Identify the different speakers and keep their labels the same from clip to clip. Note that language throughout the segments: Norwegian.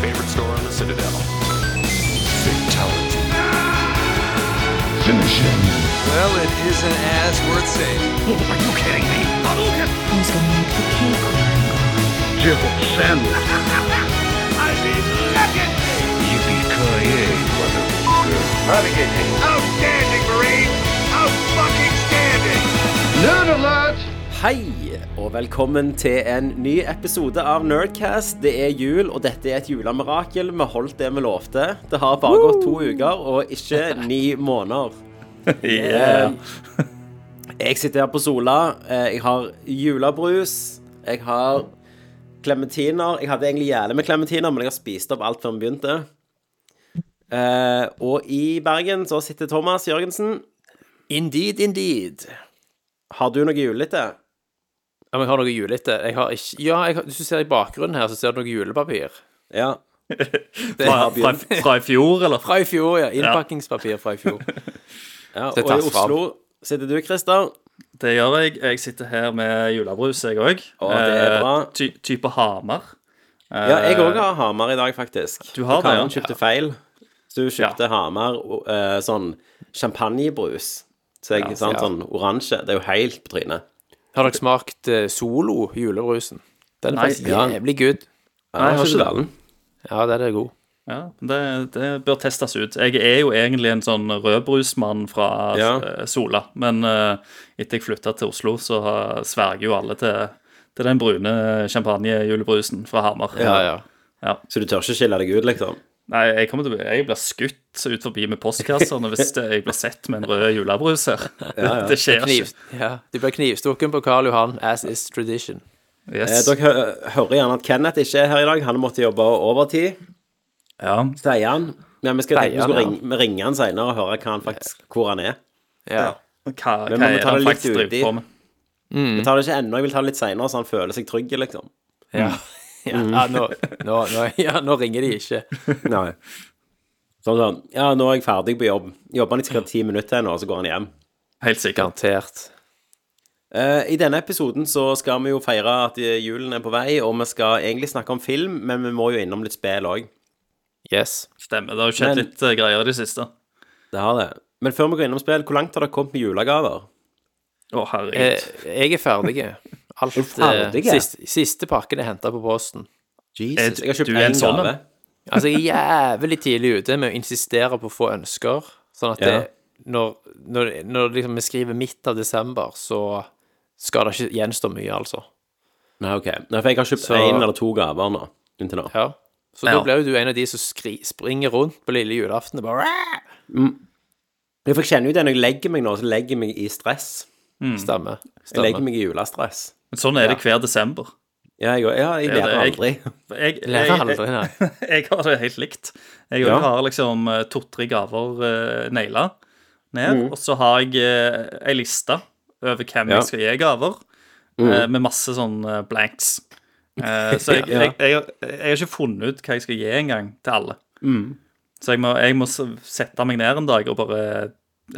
Speaker 1: favorite store on the Citadel.
Speaker 2: Well, it is an ass worth saving.
Speaker 3: Hei, og velkommen til en ny episode av Nerdcast. Det er jul, og dette er et julemirakel. Vi holdt det vi lovte. Det har bare gått to uker, og ikke ni måneder. Ehm,
Speaker 4: Yeah.
Speaker 3: Jeg sitter her på Sola. eh, Jeg har julebrus. Jeg har klementiner. Jeg hadde egentlig gjerne med klementiner, men jeg har spist opp alt før vi begynte. Eh, og i Bergen så sitter Thomas Jørgensen. Indeed, indeed. Har du noe julete?
Speaker 5: Ja, men jeg har noe julete. Jeg har ikke Ja, jeg har... hvis du ser i bakgrunnen her, så ser du noe julepapir.
Speaker 3: Ja.
Speaker 4: Fra, fra, fra i fjor, eller?
Speaker 5: Fra i fjor, ja. Innpakkingspapir fra i fjor.
Speaker 3: ja. Og
Speaker 5: Så jeg
Speaker 3: i
Speaker 5: tar fram.
Speaker 3: Oslo sitter du, Christer.
Speaker 4: Det gjør jeg. Jeg sitter her med julebrus, jeg òg.
Speaker 3: Å, det er bra.
Speaker 4: ty type Hamar.
Speaker 3: Ja, jeg òg har Hamar i dag, faktisk.
Speaker 4: Du har det,
Speaker 3: Karen
Speaker 4: ja.
Speaker 3: kjøpte feil. Så hun kjøpte Hamar og, eh, sånn champagnebrus. Så jeg, sant,
Speaker 5: ja.
Speaker 3: sånn oransje. Det er jo helt på trynet.
Speaker 5: Har dere smakt eh, Solo julebrusen? Den er
Speaker 4: Nei,
Speaker 5: faktisk
Speaker 4: ja.
Speaker 5: jævlig good.
Speaker 3: Nei, jeg har
Speaker 4: ikke
Speaker 3: ikke den.
Speaker 5: Ja, den er god.
Speaker 4: Ja, det, det bør testes ut. Jeg er jo egentlig en sånn rødbrusmann fra
Speaker 3: Ja.
Speaker 4: eh, Sola, men eh, etter jeg flytta til Oslo, så har- sverger jo alle til, til den brune champagnejulebrusen fra Hamar.
Speaker 5: Ja, ja.
Speaker 3: Så du tør ikke skille deg ut, liksom?
Speaker 4: Nei, jeg, kommer til, å bli- jeg blir skutt ut forbi med postkassene hvis det, jeg blir sett med en rød julebrus her. Det skjer
Speaker 5: Kniv,
Speaker 4: ikke.
Speaker 5: ja. De ble knivstukket på Karl Johan, as is tradition.
Speaker 3: Eh,
Speaker 4: Yes.
Speaker 3: dere hø hører gjerne at Kenneth ikke er her i dag. Han måtte jobbe overtid,
Speaker 4: Ja.
Speaker 3: sier han. Men vi skal tenke, vi
Speaker 5: Sier han,
Speaker 3: skulle
Speaker 5: ja.
Speaker 3: ringe, vi ringer han seinere og høre hva han faktisk, hvor han er.
Speaker 5: Ja.
Speaker 4: Hva, hva
Speaker 3: må vi
Speaker 4: er
Speaker 3: ta
Speaker 4: det
Speaker 3: det
Speaker 4: han
Speaker 3: litt
Speaker 4: faktisk
Speaker 3: uti?
Speaker 4: driver på med?
Speaker 3: Vi tar det ikke ennå, jeg vil ta det litt seinere, så han føler seg trygg, liksom.
Speaker 5: Ja, ja. ja nå, nå, nå, ja, nå ringer de ikke.
Speaker 3: Nei. Sånn sånn Ja, nå er jeg ferdig på jobb. Jobber han i sikkert ti minutter nå, og så går han hjem.
Speaker 4: Helt sikkert.
Speaker 5: Garantert.
Speaker 3: Eh, I denne episoden så skal vi jo feire at eh, julen er på vei, og vi skal egentlig snakke om film, men vi må jo innom litt spill òg.
Speaker 5: Yes.
Speaker 4: Stemmer. Det har jo skjedd
Speaker 3: Men-
Speaker 4: litt eh, greier i det siste. Å,
Speaker 3: Det har det. Men før vi går innom spill, hvor langt har dere kommet med julegaver?
Speaker 4: herregud.
Speaker 5: Eh, jeg er ferdig. Alt eh,
Speaker 3: ferdig?
Speaker 5: Siste, siste pakken er henta på posten.
Speaker 4: Er
Speaker 3: Jesus,
Speaker 4: du-
Speaker 3: jeg har kjøpt
Speaker 4: du er en
Speaker 3: én
Speaker 4: sånn en?
Speaker 3: gave.
Speaker 5: Altså, jeg er jævlig tidlig ute med å insistere på å få ønsker, sånn at det,
Speaker 3: Ja.
Speaker 5: når, når, når liksom vi skriver midt av desember, så skal det ikke gjenstå mye, altså.
Speaker 3: Nei, ok. Nei, for jeg har kjøpt
Speaker 5: Så-
Speaker 3: én eller to gaver nå. Inntil nå.
Speaker 5: Ja. Så
Speaker 4: Ja.
Speaker 5: da blir jo du en av de som skri, springer rundt på lille julaften og bare "Ræ!"
Speaker 3: Ja, For jeg kjenner jo det når jeg legger meg nå, så legger jeg meg i stress.
Speaker 5: Stemmer.
Speaker 3: Jeg legger
Speaker 5: Stemmer.
Speaker 3: meg i julestress.
Speaker 4: Men sånn er det hver desember.
Speaker 3: Ja, jeg, ja, jeg
Speaker 4: Det er
Speaker 3: lærer
Speaker 4: det
Speaker 3: aldri.
Speaker 4: Jeg, jeg,
Speaker 5: Lærer
Speaker 4: jeg,
Speaker 5: aldri, nei.
Speaker 4: jeg har det helt likt. Jeg
Speaker 3: Ja.
Speaker 4: har liksom eh, to-tre gaver uh, naila ned, og så har jeg eh, ei liste over hvem
Speaker 3: Mm. Ja. Mm.
Speaker 4: jeg skal gi gaver, eh, med masse sånn eh, blanks. Eh, så jeg, jeg, jeg, jeg har ikke funnet ut hva jeg skal gi engang til alle.
Speaker 3: Mm.
Speaker 4: Så jeg må, jeg må s- sette meg ned en dag og bare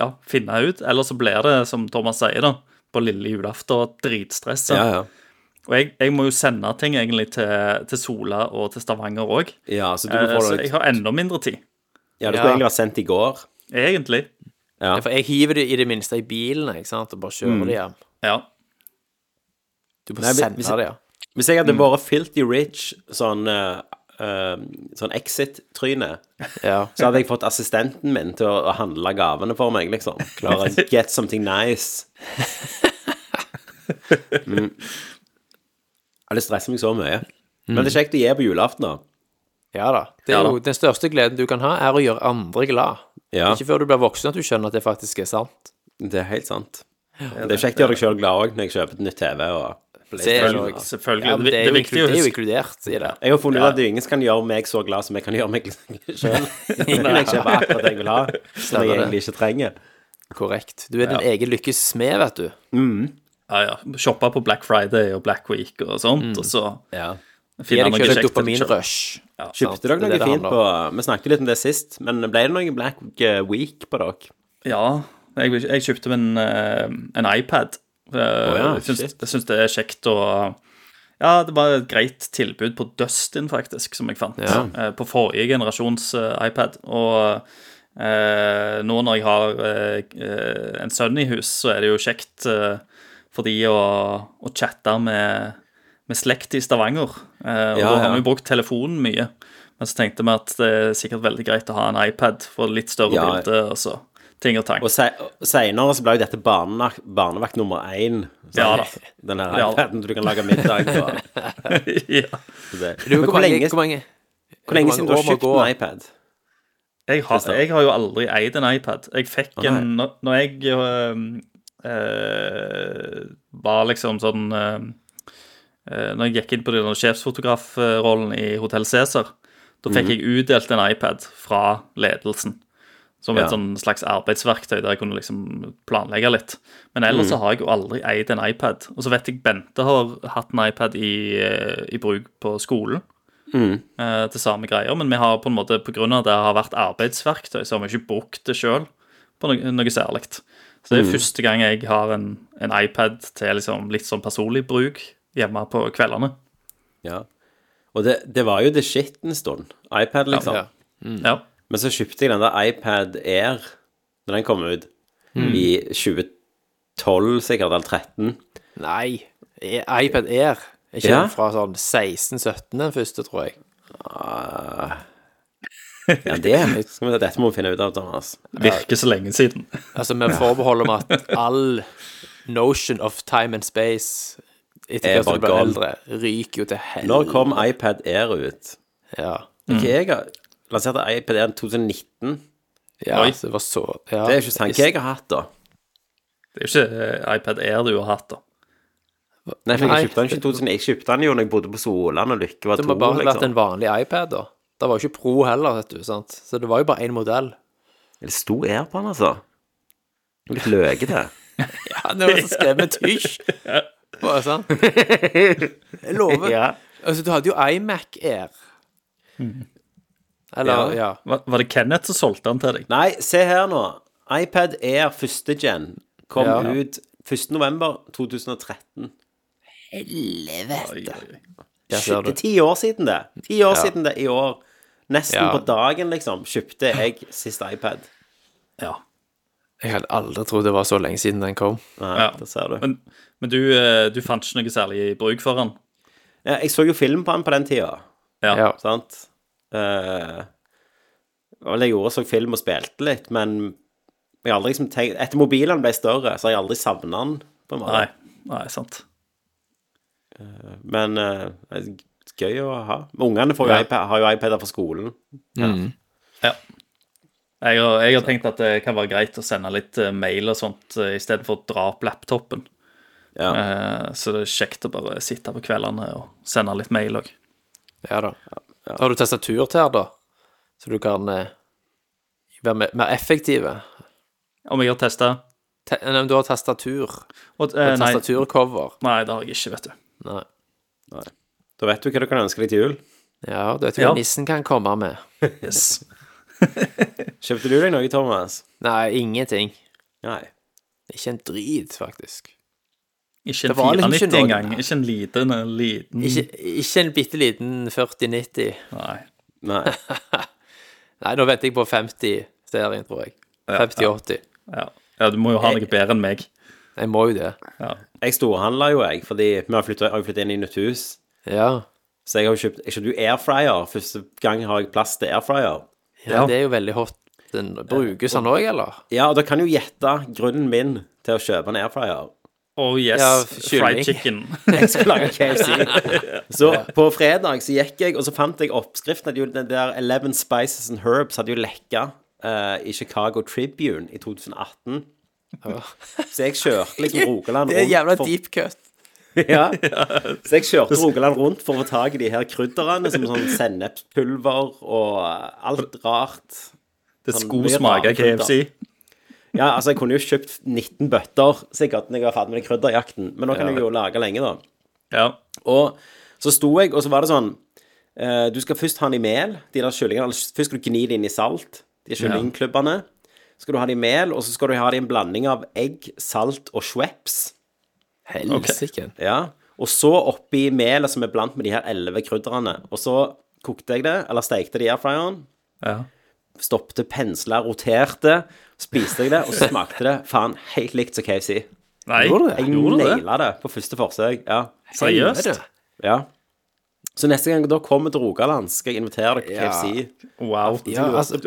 Speaker 4: ja, finne ut. Eller så blir det, som Thomas sier, da, på lille julaften, dritstress.
Speaker 3: Ja, ja.
Speaker 4: Og jeg, jeg må jo sende ting egentlig til, til Sola og til Stavanger òg.
Speaker 3: ja så du
Speaker 4: Eh,
Speaker 3: får
Speaker 4: Så
Speaker 3: noe
Speaker 4: jeg har enda mindre tid,
Speaker 3: Ja, det
Speaker 5: Ja.
Speaker 3: skulle egentlig vært sendt i går.
Speaker 4: egentlig.
Speaker 3: Ja.
Speaker 5: For jeg hiver det i det minste i bilen, ikke sant, og bare kjører det hjem.
Speaker 4: Ja.
Speaker 5: Du
Speaker 3: Nei,
Speaker 5: må
Speaker 3: hvis-
Speaker 5: sende
Speaker 3: hvis jeg-
Speaker 5: det, ja.
Speaker 3: Hvis jeg hadde vært filthy rich, sånn, eh, eh, sånn exit-tryne,
Speaker 5: ja.
Speaker 3: så hadde jeg fått assistenten min til å, å handle gavene for meg, liksom. Klare å get something nice. Mm. Ja, Det stresser meg så mye. Men det er kjekt å gi på julaften, da.
Speaker 5: Ja da. Det er
Speaker 3: Ja da.
Speaker 5: jo den største gleden du kan ha, er å gjøre andre glad.
Speaker 3: Ja.
Speaker 5: Ikke før du blir voksen at du skjønner at det faktisk er sant.
Speaker 3: Det er helt sant. Det er kjekt å gjøre deg sjøl glad òg når jeg kjøper et nytt TV. og
Speaker 5: Det er jo
Speaker 4: Selvfølgelig. selvfølgelig.
Speaker 5: Ja, men det, er
Speaker 4: det
Speaker 5: jo
Speaker 4: er viktig
Speaker 5: inklu-
Speaker 4: å
Speaker 5: det er jo
Speaker 4: huske.
Speaker 5: inkludert i det.
Speaker 3: Jeg har funnet ut at ingen kan gjøre meg så glad som jeg kan gjøre meg sjøl. Jeg kjøper akkurat det jeg vil ha, som jeg
Speaker 5: det.
Speaker 3: egentlig ikke trenger.
Speaker 5: Korrekt. Du er din egen lykkes smed, vet du.
Speaker 4: Ja, ja. Shoppe på Black Friday og Black Week og sånt, og så
Speaker 3: Ja.
Speaker 5: Gi
Speaker 4: finne
Speaker 5: deg
Speaker 4: noe
Speaker 5: selv et
Speaker 4: kjekt. til deg selv.
Speaker 5: Mm. dopaminrush. Sant,
Speaker 3: Kjøpte dere
Speaker 5: det er
Speaker 3: noe
Speaker 5: det det
Speaker 3: fint
Speaker 5: handler
Speaker 3: på Vi snakket jo litt om det sist, men ble det noe Black eh, Week på dere?
Speaker 4: Ja. Jeg, jeg kjøpte meg en, eh, en iPad. Eh,
Speaker 3: ja,
Speaker 4: jeg, syns,
Speaker 3: shit.
Speaker 4: jeg syns det er kjekt å Ja, det var et greit tilbud på Dustin, faktisk, som jeg fant.
Speaker 5: Ja.
Speaker 4: eh, På forrige generasjons eh, iPad. Og eh, nå når jeg har eh, eh, en sønn i hus, så er det jo kjekt eh, for de å, å chatte med, med slekt i Stavanger. Eh, og
Speaker 3: Ja,
Speaker 4: da har
Speaker 3: ja.
Speaker 4: vi jo brukt telefonen mye. Men så tenkte vi at det er sikkert veldig greit å ha en iPad for litt større
Speaker 3: Ja.
Speaker 4: bilde og så altså. ting og tang.
Speaker 3: Og se- og senere så ble jo dette barnevakt, barnevakt nummer én. sant?
Speaker 4: Ja da.
Speaker 3: Den her
Speaker 4: Ja da.
Speaker 3: iPaden du kan lage middag på.
Speaker 4: ja.
Speaker 3: Det. Men
Speaker 5: Du, hvor,
Speaker 3: hvor
Speaker 5: mange,
Speaker 3: lenge,
Speaker 5: hvor mange
Speaker 3: hvor lenge
Speaker 5: mange
Speaker 3: siden du har
Speaker 5: år må
Speaker 3: kjøpt
Speaker 5: gå?
Speaker 3: en iPad?
Speaker 4: Jeg har,
Speaker 3: Kristian.
Speaker 4: jeg har jo aldri eid en iPad. Jeg fikk
Speaker 3: nei.
Speaker 4: en når- Når jeg øhm, øh, var liksom sånn øhm, øh, Når jeg gikk inn på den sjefsfotografrollen i Hotell Cæsar, da fikk jeg utdelt en iPad fra ledelsen. Som et
Speaker 3: Ja.
Speaker 4: sånn slags arbeidsverktøy der jeg kunne liksom planlegge litt. Men ellers så har jeg jo aldri eid en iPad. Og så vet jeg Bente har hatt en iPad i, øh, i bruk på skolen eh, til samme greier, men vi har på en måte, på grunn av at det har vært arbeidsverktøy, så har vi ikke brukt det sjøl på noe, noe særlig. Så det er første gang jeg har en, en iPad til liksom litt sånn personlig bruk hjemme på kveldene.
Speaker 3: Ja. Og det, det var jo the shit en stund. iPad, liksom.
Speaker 5: Ja.
Speaker 4: Ja.
Speaker 3: Men så kjøpte jeg den der iPad Air da den kom ut,
Speaker 5: Mm.
Speaker 3: i 2012 sikkert, eller 13.
Speaker 5: Nei. E- iPad Air. Er ikke
Speaker 3: Ja.
Speaker 5: den fra sånn 16-17, den første, tror jeg.
Speaker 3: Ja, det skal vi, dette må vi finne ut av, Thomas.
Speaker 4: Virker så lenge siden.
Speaker 5: Altså med forbehold om at all notion of time and space
Speaker 3: Er
Speaker 5: etter hvert
Speaker 3: bare
Speaker 5: som du blir
Speaker 3: gal.
Speaker 5: eldre, ryker jo til helvete.
Speaker 3: Når kom iPad Air ut?
Speaker 5: Ja.
Speaker 3: Ok, jeg har lansert iPad Air i 2019.
Speaker 5: ja
Speaker 4: Oi.
Speaker 5: så det var så ja.
Speaker 3: Det er ikke sånn sant hva jeg har hatt, da.
Speaker 4: Det er jo ikke eh, iPad Air du har hatt, da.
Speaker 3: Nei, for
Speaker 5: Nei.
Speaker 3: jeg kjøpte den ikke i 2000. Jeg kjøpte den jo når jeg bodde på Solan, og Lykke var
Speaker 5: Det
Speaker 3: to,
Speaker 5: må bare ha vært
Speaker 3: liksom.
Speaker 5: en vanlig iPad, da. Det var jo ikke Pro heller, vet du. sant? Så det var jo bare én modell.
Speaker 3: Det sto Air på den, altså. Litt løkete.
Speaker 5: Ja, det var så skrevet med tysj. Bare sånn. Jeg lover. Altså, du hadde jo iMac Air.
Speaker 3: Mm.
Speaker 5: Eller, ja.
Speaker 4: Var, var det Kenneth som solgte den til deg?
Speaker 3: Nei, se her nå. iPad Air første gen kom
Speaker 5: Ja.
Speaker 3: ut 1. november 2013.
Speaker 4: Oi, oi, oi.
Speaker 5: Der
Speaker 3: Shit, det
Speaker 5: ser
Speaker 3: er
Speaker 5: du.
Speaker 3: ti år siden det. Ti år siden det i år. Nesten
Speaker 5: Ja.
Speaker 3: på dagen, liksom, kjøpte jeg sist iPad.
Speaker 4: Ja.
Speaker 5: Jeg hadde aldri trodd det var så lenge siden den kom.
Speaker 3: Nei,
Speaker 4: Ja.
Speaker 3: Der ser du.
Speaker 4: Men, men du, eh, du fant ikke noe særlig bruk for den?
Speaker 3: Ja, jeg så jo film på den på den tida,
Speaker 4: Ja.
Speaker 5: Ja.
Speaker 3: sant? Eh, vel, jeg gjorde så film og spilte litt, men jeg har aldri liksom tenkt Etter mobilen ble større, så har jeg aldri savna den, på en måte.
Speaker 4: Nei. Nei, sant.
Speaker 3: Men eh, det er gøy å ha. Men Ungene får jo
Speaker 4: Ja.
Speaker 3: iPad, har jo iPader fra skolen.
Speaker 4: Ja. Jeg har, jeg har tenkt at det kan være greit å sende litt eh, mail og sånt eh, istedenfor å dra opp laptopen.
Speaker 3: Ja.
Speaker 4: Eh, Så det er kjekt å bare sitte på kveldene og sende litt mail òg.
Speaker 5: Ja da. Har du tastatur til her, da? Så du kan eh, være mer, mer effektive?
Speaker 4: Om jeg har testa?
Speaker 5: Te eh, nei, men du har tastatur.
Speaker 4: Og, eh, nei,
Speaker 5: Tastaturcover.
Speaker 4: nei, det har jeg ikke, vet du.
Speaker 5: Nei.
Speaker 3: Da vet du hva du kan ønske deg til jul.
Speaker 5: Ja, du vet jo
Speaker 4: Ja.
Speaker 5: hva nissen kan komme med.
Speaker 4: Yes.
Speaker 3: Kjøpte du deg noe, Thomas?
Speaker 5: Nei, ingenting.
Speaker 3: Nei.
Speaker 5: Ikke en drit, faktisk.
Speaker 4: Ikke
Speaker 5: Det
Speaker 4: en
Speaker 5: var liksom ikke
Speaker 4: 490
Speaker 5: noe-
Speaker 4: engang. Ikke en liten, en liten
Speaker 5: Ikke, ikke en bitte liten 4090.
Speaker 4: Nei.
Speaker 3: Nei.
Speaker 5: Nei, nå venter jeg på 50-serien, tror jeg. 50-80.
Speaker 4: Ja. ja, du må jo ha noe bedre enn meg.
Speaker 5: Jeg må jo det.
Speaker 4: Ja.
Speaker 3: Jeg storhandla jo, jeg, fordi vi har flytta inn i nytt hus.
Speaker 5: Ja.
Speaker 3: Så jeg har jo kjøpt Jeg kjøpte jo airfryer. Første gang har jeg plass til airfryer.
Speaker 5: ja.
Speaker 4: Ja.
Speaker 5: Det er jo veldig hot. Den, brukes han òg, eller?
Speaker 3: Ja, og da kan jo gjette grunnen min til å kjøpe en airfryer.
Speaker 4: Oh yes,
Speaker 5: Ja,
Speaker 4: fried
Speaker 5: kylling.
Speaker 4: chicken.
Speaker 3: Jeg skal lage KFC. Så på fredag så gikk jeg, og så fant jeg oppskriften. at jo Den der Eleven Spices and Herbs hadde jo lekka eh, i Chicago Tribune i 2018. Så jeg kjørte liksom Rogaland
Speaker 5: Det er jævla
Speaker 3: for-
Speaker 5: deep cut.
Speaker 3: Ja. Så jeg kjørte Rogaland rundt for å få tak i de her krydderne, som sånn sennepspulver og eh, alt rart.
Speaker 4: Det
Speaker 3: Sånn
Speaker 4: skulle
Speaker 3: mye
Speaker 4: smake
Speaker 3: rare krydder.
Speaker 4: KFC.
Speaker 3: Ja, altså, jeg kunne jo kjøpt 19 bøtter sikkert når jeg var ferdig med den krydderjakten, men nå kan
Speaker 5: Ja.
Speaker 3: jeg jo lage lenge, da.
Speaker 4: Ja.
Speaker 3: Og så sto jeg, og så var det sånn eh, Du skal først ha den i mel, de der kyllingene. eller Først skal du gni det inn i salt, de kyllingklubbene. Så skal du ha det i mel, og så skal du ha det i en blanding av egg, salt og Schweppes.
Speaker 5: Helsike.
Speaker 3: Ja. Og så oppi melet som er blant med de her elleve krydderne. Og så kokte jeg det, eller stekte det i airfryeren.
Speaker 4: Ja.
Speaker 3: Stoppte, pensla, roterte. Spiste jeg det, og så smakte det faen helt likt som KFC.
Speaker 4: Nei,
Speaker 5: Gjorde du det?
Speaker 3: Jeg
Speaker 4: Gjorde det?
Speaker 3: naila det på første forsøk. Ja.
Speaker 4: Seriøst?
Speaker 5: Helvete.
Speaker 3: ja. Så neste gang dere kommer til Rogaland, skal jeg invitere dere på KFC.
Speaker 4: Wow.
Speaker 5: Ja, altså,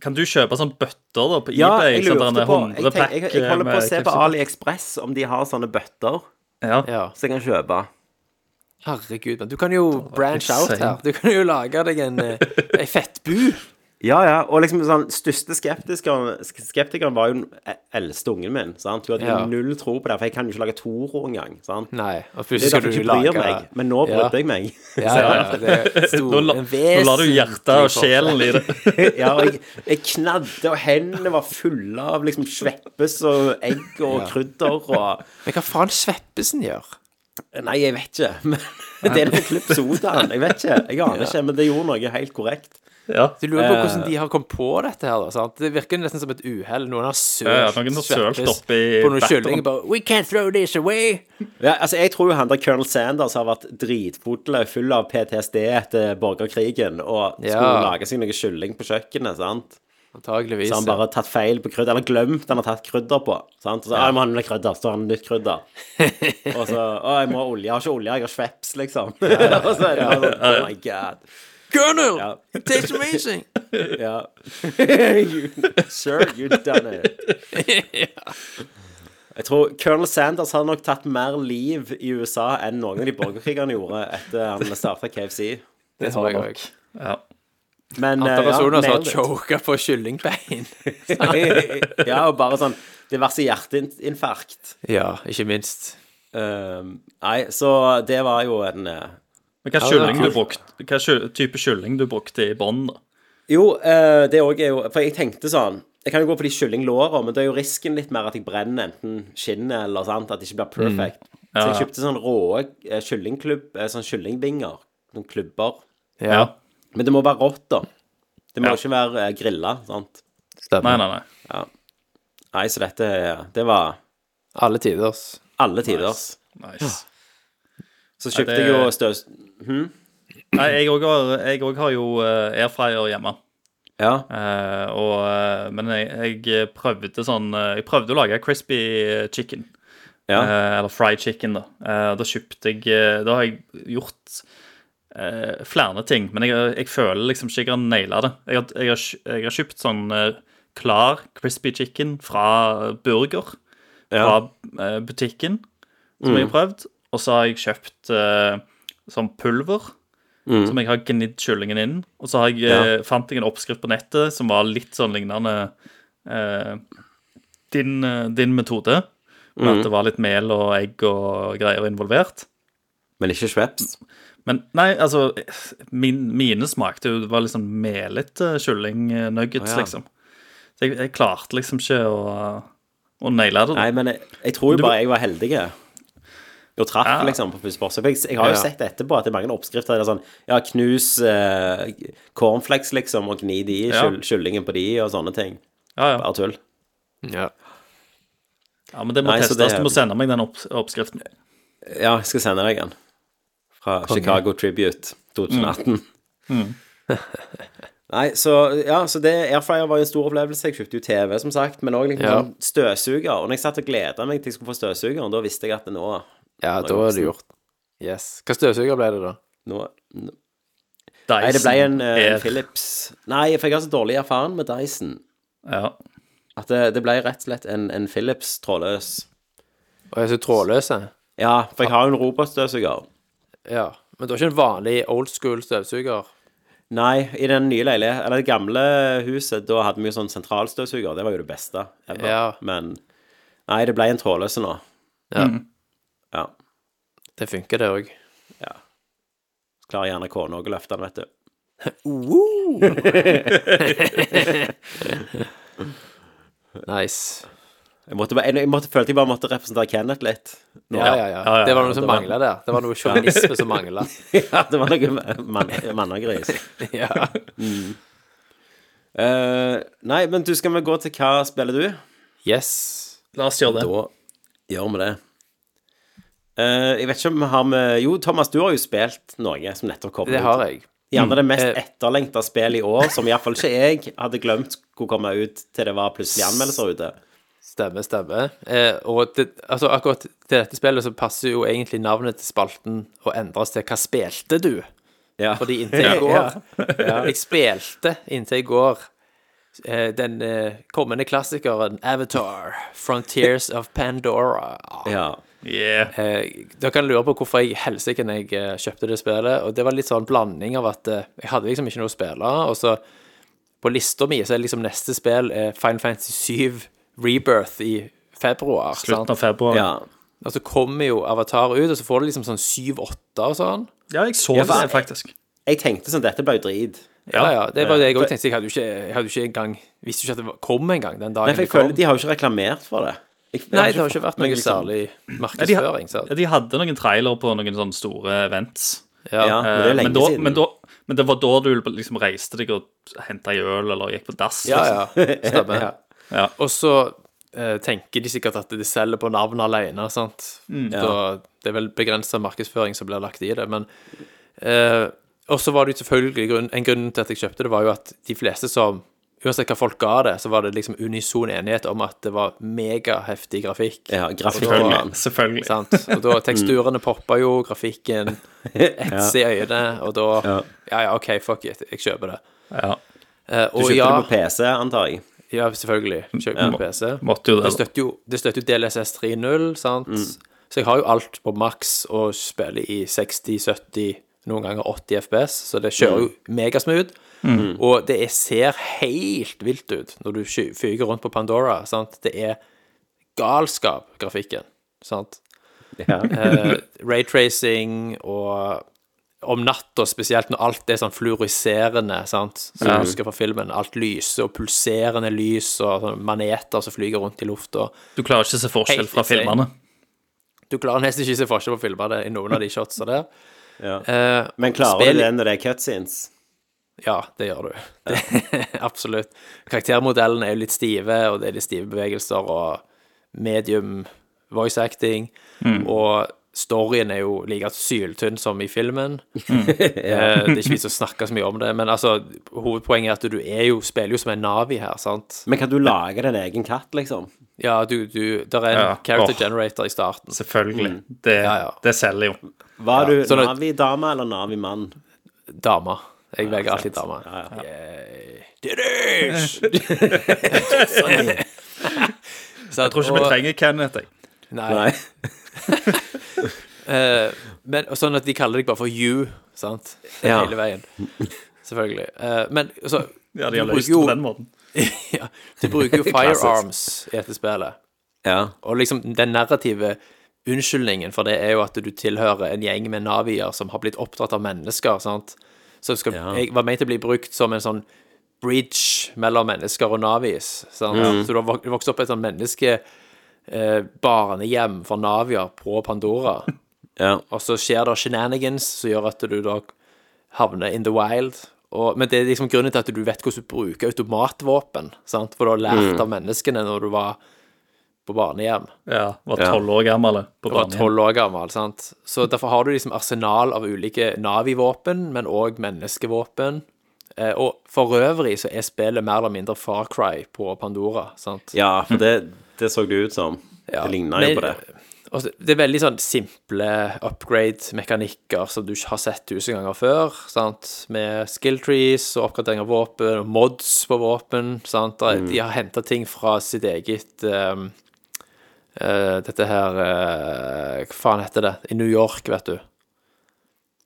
Speaker 4: Kan du kjøpe sånne bøtter da på
Speaker 3: Ja,
Speaker 4: eBay?
Speaker 3: jeg lurte på jeg, tenk, jeg, jeg holder
Speaker 5: eh,
Speaker 3: på å se på
Speaker 4: Ali.
Speaker 3: AliExpress om de har sånne bøtter
Speaker 4: Ja.
Speaker 5: ja.
Speaker 3: som jeg kan kjøpe.
Speaker 5: Herregud, men du kan jo branch out
Speaker 4: insane.
Speaker 5: her. Du kan jo lage deg en, eh, en fettbu.
Speaker 3: Ja, ja. Og liksom sånn største skeptikeren, sk- skeptikeren var jo den e- eldste ungen min. sant? Hun hadde jo
Speaker 5: Ja.
Speaker 3: null tro på det, for jeg kan jo ikke lage Toro engang. sant?
Speaker 5: Nei, og
Speaker 3: Det
Speaker 5: plutselig
Speaker 3: er
Speaker 5: skal
Speaker 3: derfor
Speaker 5: du
Speaker 3: jeg ikke
Speaker 5: lage
Speaker 3: bryr meg, men nå
Speaker 5: Ja.
Speaker 3: brydde jeg meg.
Speaker 5: Ja, ja, ja, det er stor,
Speaker 4: Nå, la,
Speaker 5: en
Speaker 4: nå lar du hjertet og
Speaker 5: vesentlig
Speaker 4: sjelen i det.
Speaker 3: ja, og jeg, jeg knadde, og hendene var fulle av liksom sveppes og egg og krydder og
Speaker 5: forskjell. Men hva faen Sveppesen gjør?
Speaker 3: Nei, jeg vet ikke. Men det er noe klipp sodaen. Jeg vet ikke. Jeg aner ikke, men det gjorde noe helt korrekt.
Speaker 4: Ja.
Speaker 5: Du lurer på hvordan de har kommet på dette her, da. Sant? Det virker nesten som et uhell. Noen har sølt
Speaker 4: Ja, ja, noen har sølt
Speaker 5: Sveppes
Speaker 4: opp i
Speaker 5: på noen
Speaker 4: batteren.
Speaker 5: kylling og bare We can't throw this away.
Speaker 3: Ja, altså, jeg tror jo han der Colonel Sanders har vært dritfodla, full av PTSD etter borgerkrigen, og skulle
Speaker 5: Ja.
Speaker 3: lage seg noe kylling på kjøkkenet, sant?
Speaker 5: Antageligvis.
Speaker 3: Så han bare har tatt feil på krydder, eller glemt han har tatt krydder på. sant? Og så, ja. jeg må ha noe krydder, så har han nytt krydder. Og så, å, jeg må ha olje, jeg har ikke olje, jeg har sveps, liksom. og så er det bare sånn, oh my god.
Speaker 5: Colonel,
Speaker 3: Ja.
Speaker 5: it tastes amazing.
Speaker 3: Ja. you, sir, you done it. Jeg tror Colonel Sanders har nok tatt mer liv i USA enn noen av de borgerkrigene gjorde etter han starta KFC.
Speaker 5: Det tror jeg òg.
Speaker 4: Ja.
Speaker 3: Men eh,
Speaker 5: Antall personer som har
Speaker 3: nailed it.
Speaker 5: choka på kyllingbein.
Speaker 3: ja, og bare sånn diverse hjerteinfarkt.
Speaker 5: Ja, ikke minst.
Speaker 3: Um, nei, så det var jo en eh,
Speaker 4: Men hva,
Speaker 5: det er
Speaker 4: kylling du
Speaker 5: kult.
Speaker 4: brukte, hva kyll- type kylling du brukte i bånn, da?
Speaker 3: Jo, eh, det òg er jo For jeg tenkte sånn Jeg kan jo gå for de kyllinglåra, men da er jo risken litt mer at jeg brenner enten skinnet eller sant, at det ikke blir perfect. Så jeg
Speaker 4: Mm. ja.
Speaker 3: kjøpte sånn rå eh, kyllingklubb, eh, sånn kyllingvinger, noen klubber.
Speaker 5: Ja,
Speaker 3: Men det må være rått, da. Det må
Speaker 4: Ja.
Speaker 3: ikke være eh, grilla, sant.
Speaker 4: Nei,
Speaker 5: stemmer.
Speaker 4: nei, nei.
Speaker 3: Nei, så dette eh, Det var
Speaker 5: Alle tiders.
Speaker 3: alle tiders.
Speaker 4: Nice.
Speaker 3: Så
Speaker 4: Ja,
Speaker 3: kjøpte
Speaker 4: det-
Speaker 3: jeg jo støs...
Speaker 4: Nei, jeg òg har, jeg også har jo eh, airfryer hjemme.
Speaker 3: Ja.
Speaker 4: Eh, og, eh, men jeg, jeg prøvde sånn eh, Jeg prøvde å lage crispy chicken.
Speaker 3: ja.
Speaker 4: Eh, eller fried chicken, da. Eh, da kjøpte jeg eh, Da har jeg gjort eh, flere ting, men jeg, jeg føler liksom ikke jeg har naila det. Jeg har, jeg har, kj- jeg har kjøpt sånn eh, klar crispy chicken fra burger fra eh, butikken, som jeg har prøvd. Og så har jeg kjøpt eh, sånn pulver.
Speaker 3: Mm.
Speaker 4: Som jeg har gnidd kyllingen inn. Og så har jeg, eh, fant jeg en oppskrift på nettet som var litt sånn lignende eh, din, eh, din metode.
Speaker 3: Mm.
Speaker 4: Men at det var litt mel og egg og greier involvert.
Speaker 3: Men ikke Schweppes.
Speaker 4: Men nei, altså min, Mine smakte jo Det var liksom melete kyllingnuggets,
Speaker 5: Å, ja.
Speaker 4: liksom. Så jeg, jeg klarte liksom ikke å, å naile det. da.
Speaker 3: Nei, men jeg, jeg tror jo
Speaker 4: Du-
Speaker 3: bare jeg var heldig. Og traff,
Speaker 4: Ja.
Speaker 3: liksom, på første forsøk. For Jeg, jeg har jo
Speaker 5: Ja.
Speaker 3: sett etterpå at det er mange oppskrifter der sånn Ja, knus eh, cornflakes, liksom, og gni de i
Speaker 4: Ja.
Speaker 3: kyll- kyllingen på de, og sånne ting.
Speaker 4: Ja, ja.
Speaker 3: Bare tull.
Speaker 5: Ja.
Speaker 4: ja, men det må
Speaker 3: Nei, så
Speaker 4: testes.
Speaker 3: det-
Speaker 4: Du må sende meg den opp, oppskriften.
Speaker 3: Ja, jeg skal sende deg en. Fra Chicago Tribute 2018. Mm. Nei, så ja, så det Airfryer var jo en stor opplevelse. Jeg kjøpte jo TV, som sagt, men òg liksom
Speaker 5: Ja.
Speaker 3: sånn støvsuger. Og når jeg satt og gleda meg til jeg skulle få støvsugeren, da visste jeg at det nå
Speaker 5: ja, da er det gjort. Yes. Hva støvsuger ble det, da?
Speaker 3: Nå, nå
Speaker 4: Dyson
Speaker 3: Nei, det ble en eh,
Speaker 4: er-
Speaker 3: Philips. Nei, for jeg har så dårlig erfaring med Dyson
Speaker 4: Ja.
Speaker 3: at det, det ble rett og slett en, en Philips trådløs.
Speaker 5: Og jeg er så trådløse.
Speaker 3: Ja, for jeg har jo en robotstøvsuger.
Speaker 5: Ja. Men du har ikke en vanlig old school støvsuger?
Speaker 3: Nei, i den nye leiligheten, eller det gamle huset, da hadde vi jo sånn sentralstøvsuger. Det var jo det beste. ever.
Speaker 5: Ja.
Speaker 3: Men nei, det ble en trådløs nå.
Speaker 5: Ja.
Speaker 3: Ja.
Speaker 5: Det funker, det òg.
Speaker 3: ja. Klarer gjerne kona å løfte den, vet du.
Speaker 5: Nice.
Speaker 3: Jeg, måtte, bare- jeg måtte, følte jeg bare måtte representere Kenneth litt. Nå.
Speaker 5: Ja, ja,
Speaker 4: Ja,
Speaker 5: ja.
Speaker 4: ja,
Speaker 5: Det var
Speaker 4: ja,
Speaker 5: noe som
Speaker 4: det var-
Speaker 5: mangla der. Det var noe sjåvinisme som mangla.
Speaker 3: Ja, det var noe mann- mannagris.
Speaker 5: Ja.
Speaker 3: Eh, nei, men du, skal vi gå til hva spiller du?
Speaker 5: Yes.
Speaker 4: La oss gjøre det.
Speaker 3: Da gjør vi det. Eh, jeg vet ikke om vi har med Jo, Thomas, du har jo spilt noe som nettopp kom
Speaker 5: Det
Speaker 3: ut.
Speaker 5: har jeg.
Speaker 3: Gjerne det mest
Speaker 5: Eh.
Speaker 3: etterlengta spillet i år, som iallfall ikke jeg hadde glemt skulle komme ut til det var plutselig anmeldelser ute.
Speaker 5: Stemmer, stemmer. Eh, og det, altså akkurat til dette spillet så passer jo egentlig navnet til spalten å endres til 'Hva spilte du?'
Speaker 3: Ja.
Speaker 5: Fordi inntil i går Jeg spilte inntil i går eh, den eh, kommende klassikeren Avatar, 'Frontiers of Pandora'.
Speaker 3: ja.
Speaker 4: Yeah.
Speaker 5: Eh, dere kan lure på hvorfor jeg helsike når jeg eh, kjøpte det spillet. Og det var litt sånn blanding av at eh, jeg hadde liksom ikke noe å spille, og så på lista mi så er liksom neste spill eh, Final Fantasy 7 Rebirth i februar. sant?
Speaker 4: Slutten av februar.
Speaker 3: ja.
Speaker 4: Ja,
Speaker 5: Og så kommer jo Avatar ut, og så får du liksom sånn 7-8 og sånn.
Speaker 4: jeg så
Speaker 3: for-
Speaker 4: det, faktisk.
Speaker 3: Jeg tenkte sånn Dette ble jo drit.
Speaker 5: Ja, ja, det var det jeg òg
Speaker 3: For-
Speaker 5: tenkte. Jeg hadde jo ikke, jeg hadde jo ikke engang Visste jo ikke at det var- kom engang den dagen
Speaker 3: Nei, for jeg
Speaker 5: det
Speaker 3: føler
Speaker 5: kom.
Speaker 3: de har jo ikke reklamert for det. Jeg, jeg
Speaker 5: Nei, det har ikke
Speaker 3: fått
Speaker 5: vært
Speaker 3: meg
Speaker 5: noe
Speaker 3: liksom-
Speaker 5: særlig
Speaker 4: de har-
Speaker 5: markedsføring. sant?
Speaker 4: Ja, de hadde noen trailer på noen sånne store events.
Speaker 3: Ja,
Speaker 5: Ja,
Speaker 3: men det er
Speaker 4: Eh,
Speaker 3: lenge
Speaker 4: men, da,
Speaker 3: siden.
Speaker 4: men, da, men det var da du liksom reiste deg og henta øl, eller gikk på dass?
Speaker 5: ja.
Speaker 4: liksom.
Speaker 5: ja stemmer.
Speaker 4: Ja.
Speaker 5: Og så eh, tenker de sikkert at de selger på navn alene, sant.
Speaker 3: Mm.
Speaker 5: Da, det er vel begrensa markedsføring som blir lagt i det, men eh, Og så var det jo selvfølgelig grunn, en grunn til at jeg kjøpte det, var jo at de fleste som Uansett hva folk ga det, så var det liksom unison enighet om at det var megaheftig grafikk.
Speaker 3: Ja, Mm. grafikk
Speaker 5: Og da-
Speaker 3: mann.
Speaker 4: Selvfølgelig. selvfølgelig.
Speaker 5: Sant? Og da teksturene poppa jo, grafikken etser i øynene, og da
Speaker 3: Ja.
Speaker 5: Ja, ja, OK, fuck it, jeg kjøper det.
Speaker 4: Ja.
Speaker 5: Eh,
Speaker 3: Du
Speaker 5: og
Speaker 3: kjøpte
Speaker 5: ja,
Speaker 3: det på PC, antar jeg.
Speaker 5: ja, selvfølgelig. Kjøper på PC.
Speaker 4: Måtte jo det.
Speaker 5: Det støtter jo, det støtter jo DLSS 3.0, sant? Så jeg har jo alt på maks og spiller i 60, 70, noen ganger 80 FPS, så det kjører jo megasmooth. Og det er, ser helt vilt ut når du sky- fyker rundt på Pandora, sant? Det er galskap, grafikken, sant?
Speaker 3: Ja.
Speaker 5: Eh, Raytracing og om natta spesielt, når alt er sånn fluoriserende, sant, som jeg husker fra filmen, alt lyser og pulserende lys og sånne maneter som flyger rundt i lufta.
Speaker 4: Du klarer ikke å se forskjell
Speaker 5: Helt
Speaker 4: fra
Speaker 5: insane.
Speaker 4: filmene.
Speaker 5: Du klarer nesten ikke å se forskjell på filmene i noen av de shotsa der.
Speaker 3: Ja.
Speaker 5: Eh,
Speaker 3: Men klarer
Speaker 5: spill-
Speaker 3: du det når det er cutscenes?
Speaker 5: ja, det gjør du. Absolutt. Karaktermodellene er jo litt stive, og det er litt stive bevegelser og medium voice acting.
Speaker 4: Mm.
Speaker 5: Og storyen er jo like syltynn som i filmen.
Speaker 4: Mm.
Speaker 5: Eh, det er ikke vits å snakke så mye om det, men altså, hovedpoenget er at du er jo, spiller jo som en Navi her, sant?
Speaker 3: Men kan du lage din egen katt, liksom?
Speaker 5: Ja, du, du Der er en
Speaker 4: Ja.
Speaker 5: character
Speaker 4: Åh.
Speaker 5: generator i starten.
Speaker 4: Selvfølgelig. Det,
Speaker 5: Mm. Ja, ja.
Speaker 4: det selger jo.
Speaker 3: Var du
Speaker 5: sånn at-
Speaker 3: Navi-dame eller Navi-mann?
Speaker 5: Dama. Jeg velger alltid dama.
Speaker 4: Sånn, Jeg tror ikke vi trenger Kenneth. Jeg.
Speaker 5: Nei. Eh, men, og sånn at de kaller deg bare for you, sant?
Speaker 3: Ja.
Speaker 5: Hele veien. Selvfølgelig. Eh, men så
Speaker 4: Ja, de
Speaker 5: du
Speaker 4: har
Speaker 5: bruker
Speaker 4: løst det
Speaker 5: jo-
Speaker 4: på den måten.
Speaker 5: ja, Du bruker jo
Speaker 3: Klassisk.
Speaker 5: firearms i dette spillet.
Speaker 3: Ja.
Speaker 5: Og liksom den narrative unnskyldningen for det er jo at du tilhører en gjeng med navier som har blitt oppdratt av mennesker, sant? Som skal,
Speaker 3: Ja.
Speaker 5: jeg var ment til å bli brukt som en sånn bridge mellom mennesker og navis. Sant? Så du har vok- vokst opp i et sånn menneske eh, barnehjem for navier på Pandora.
Speaker 3: ja.
Speaker 5: Og så skjer det shenanigans som gjør at du da havner in the wild. Og, men det er liksom grunnen til at du vet hvordan du bruker automatvåpen. Sant? For du har lært av menneskene når du var på barnehjem.
Speaker 4: Ja, Var
Speaker 3: Ja.
Speaker 4: tolv år gammel. eh, På
Speaker 5: Du var
Speaker 4: barnehjem.
Speaker 5: tolv år gammel. sant? Så derfor har du liksom arsenal av ulike Navi-våpen, men òg menneskevåpen. Eh, og for øvrig så er spillet mer eller mindre Far Cry på Pandora. sant?
Speaker 3: ja, for det, det så det ut som.
Speaker 5: Ja.
Speaker 3: Det ligna jo
Speaker 5: Men-
Speaker 3: på det.
Speaker 5: Og så- det er veldig sånn simple upgrade-mekanikker som du ikke har sett tusen ganger før, sant? med skill trees og oppgradering av våpen, og mods på våpen. Sant? Der-
Speaker 3: Mm.
Speaker 5: De har henta ting fra sitt eget ehm, eh, Dette her eh, Hva faen heter det? I New York, vet du.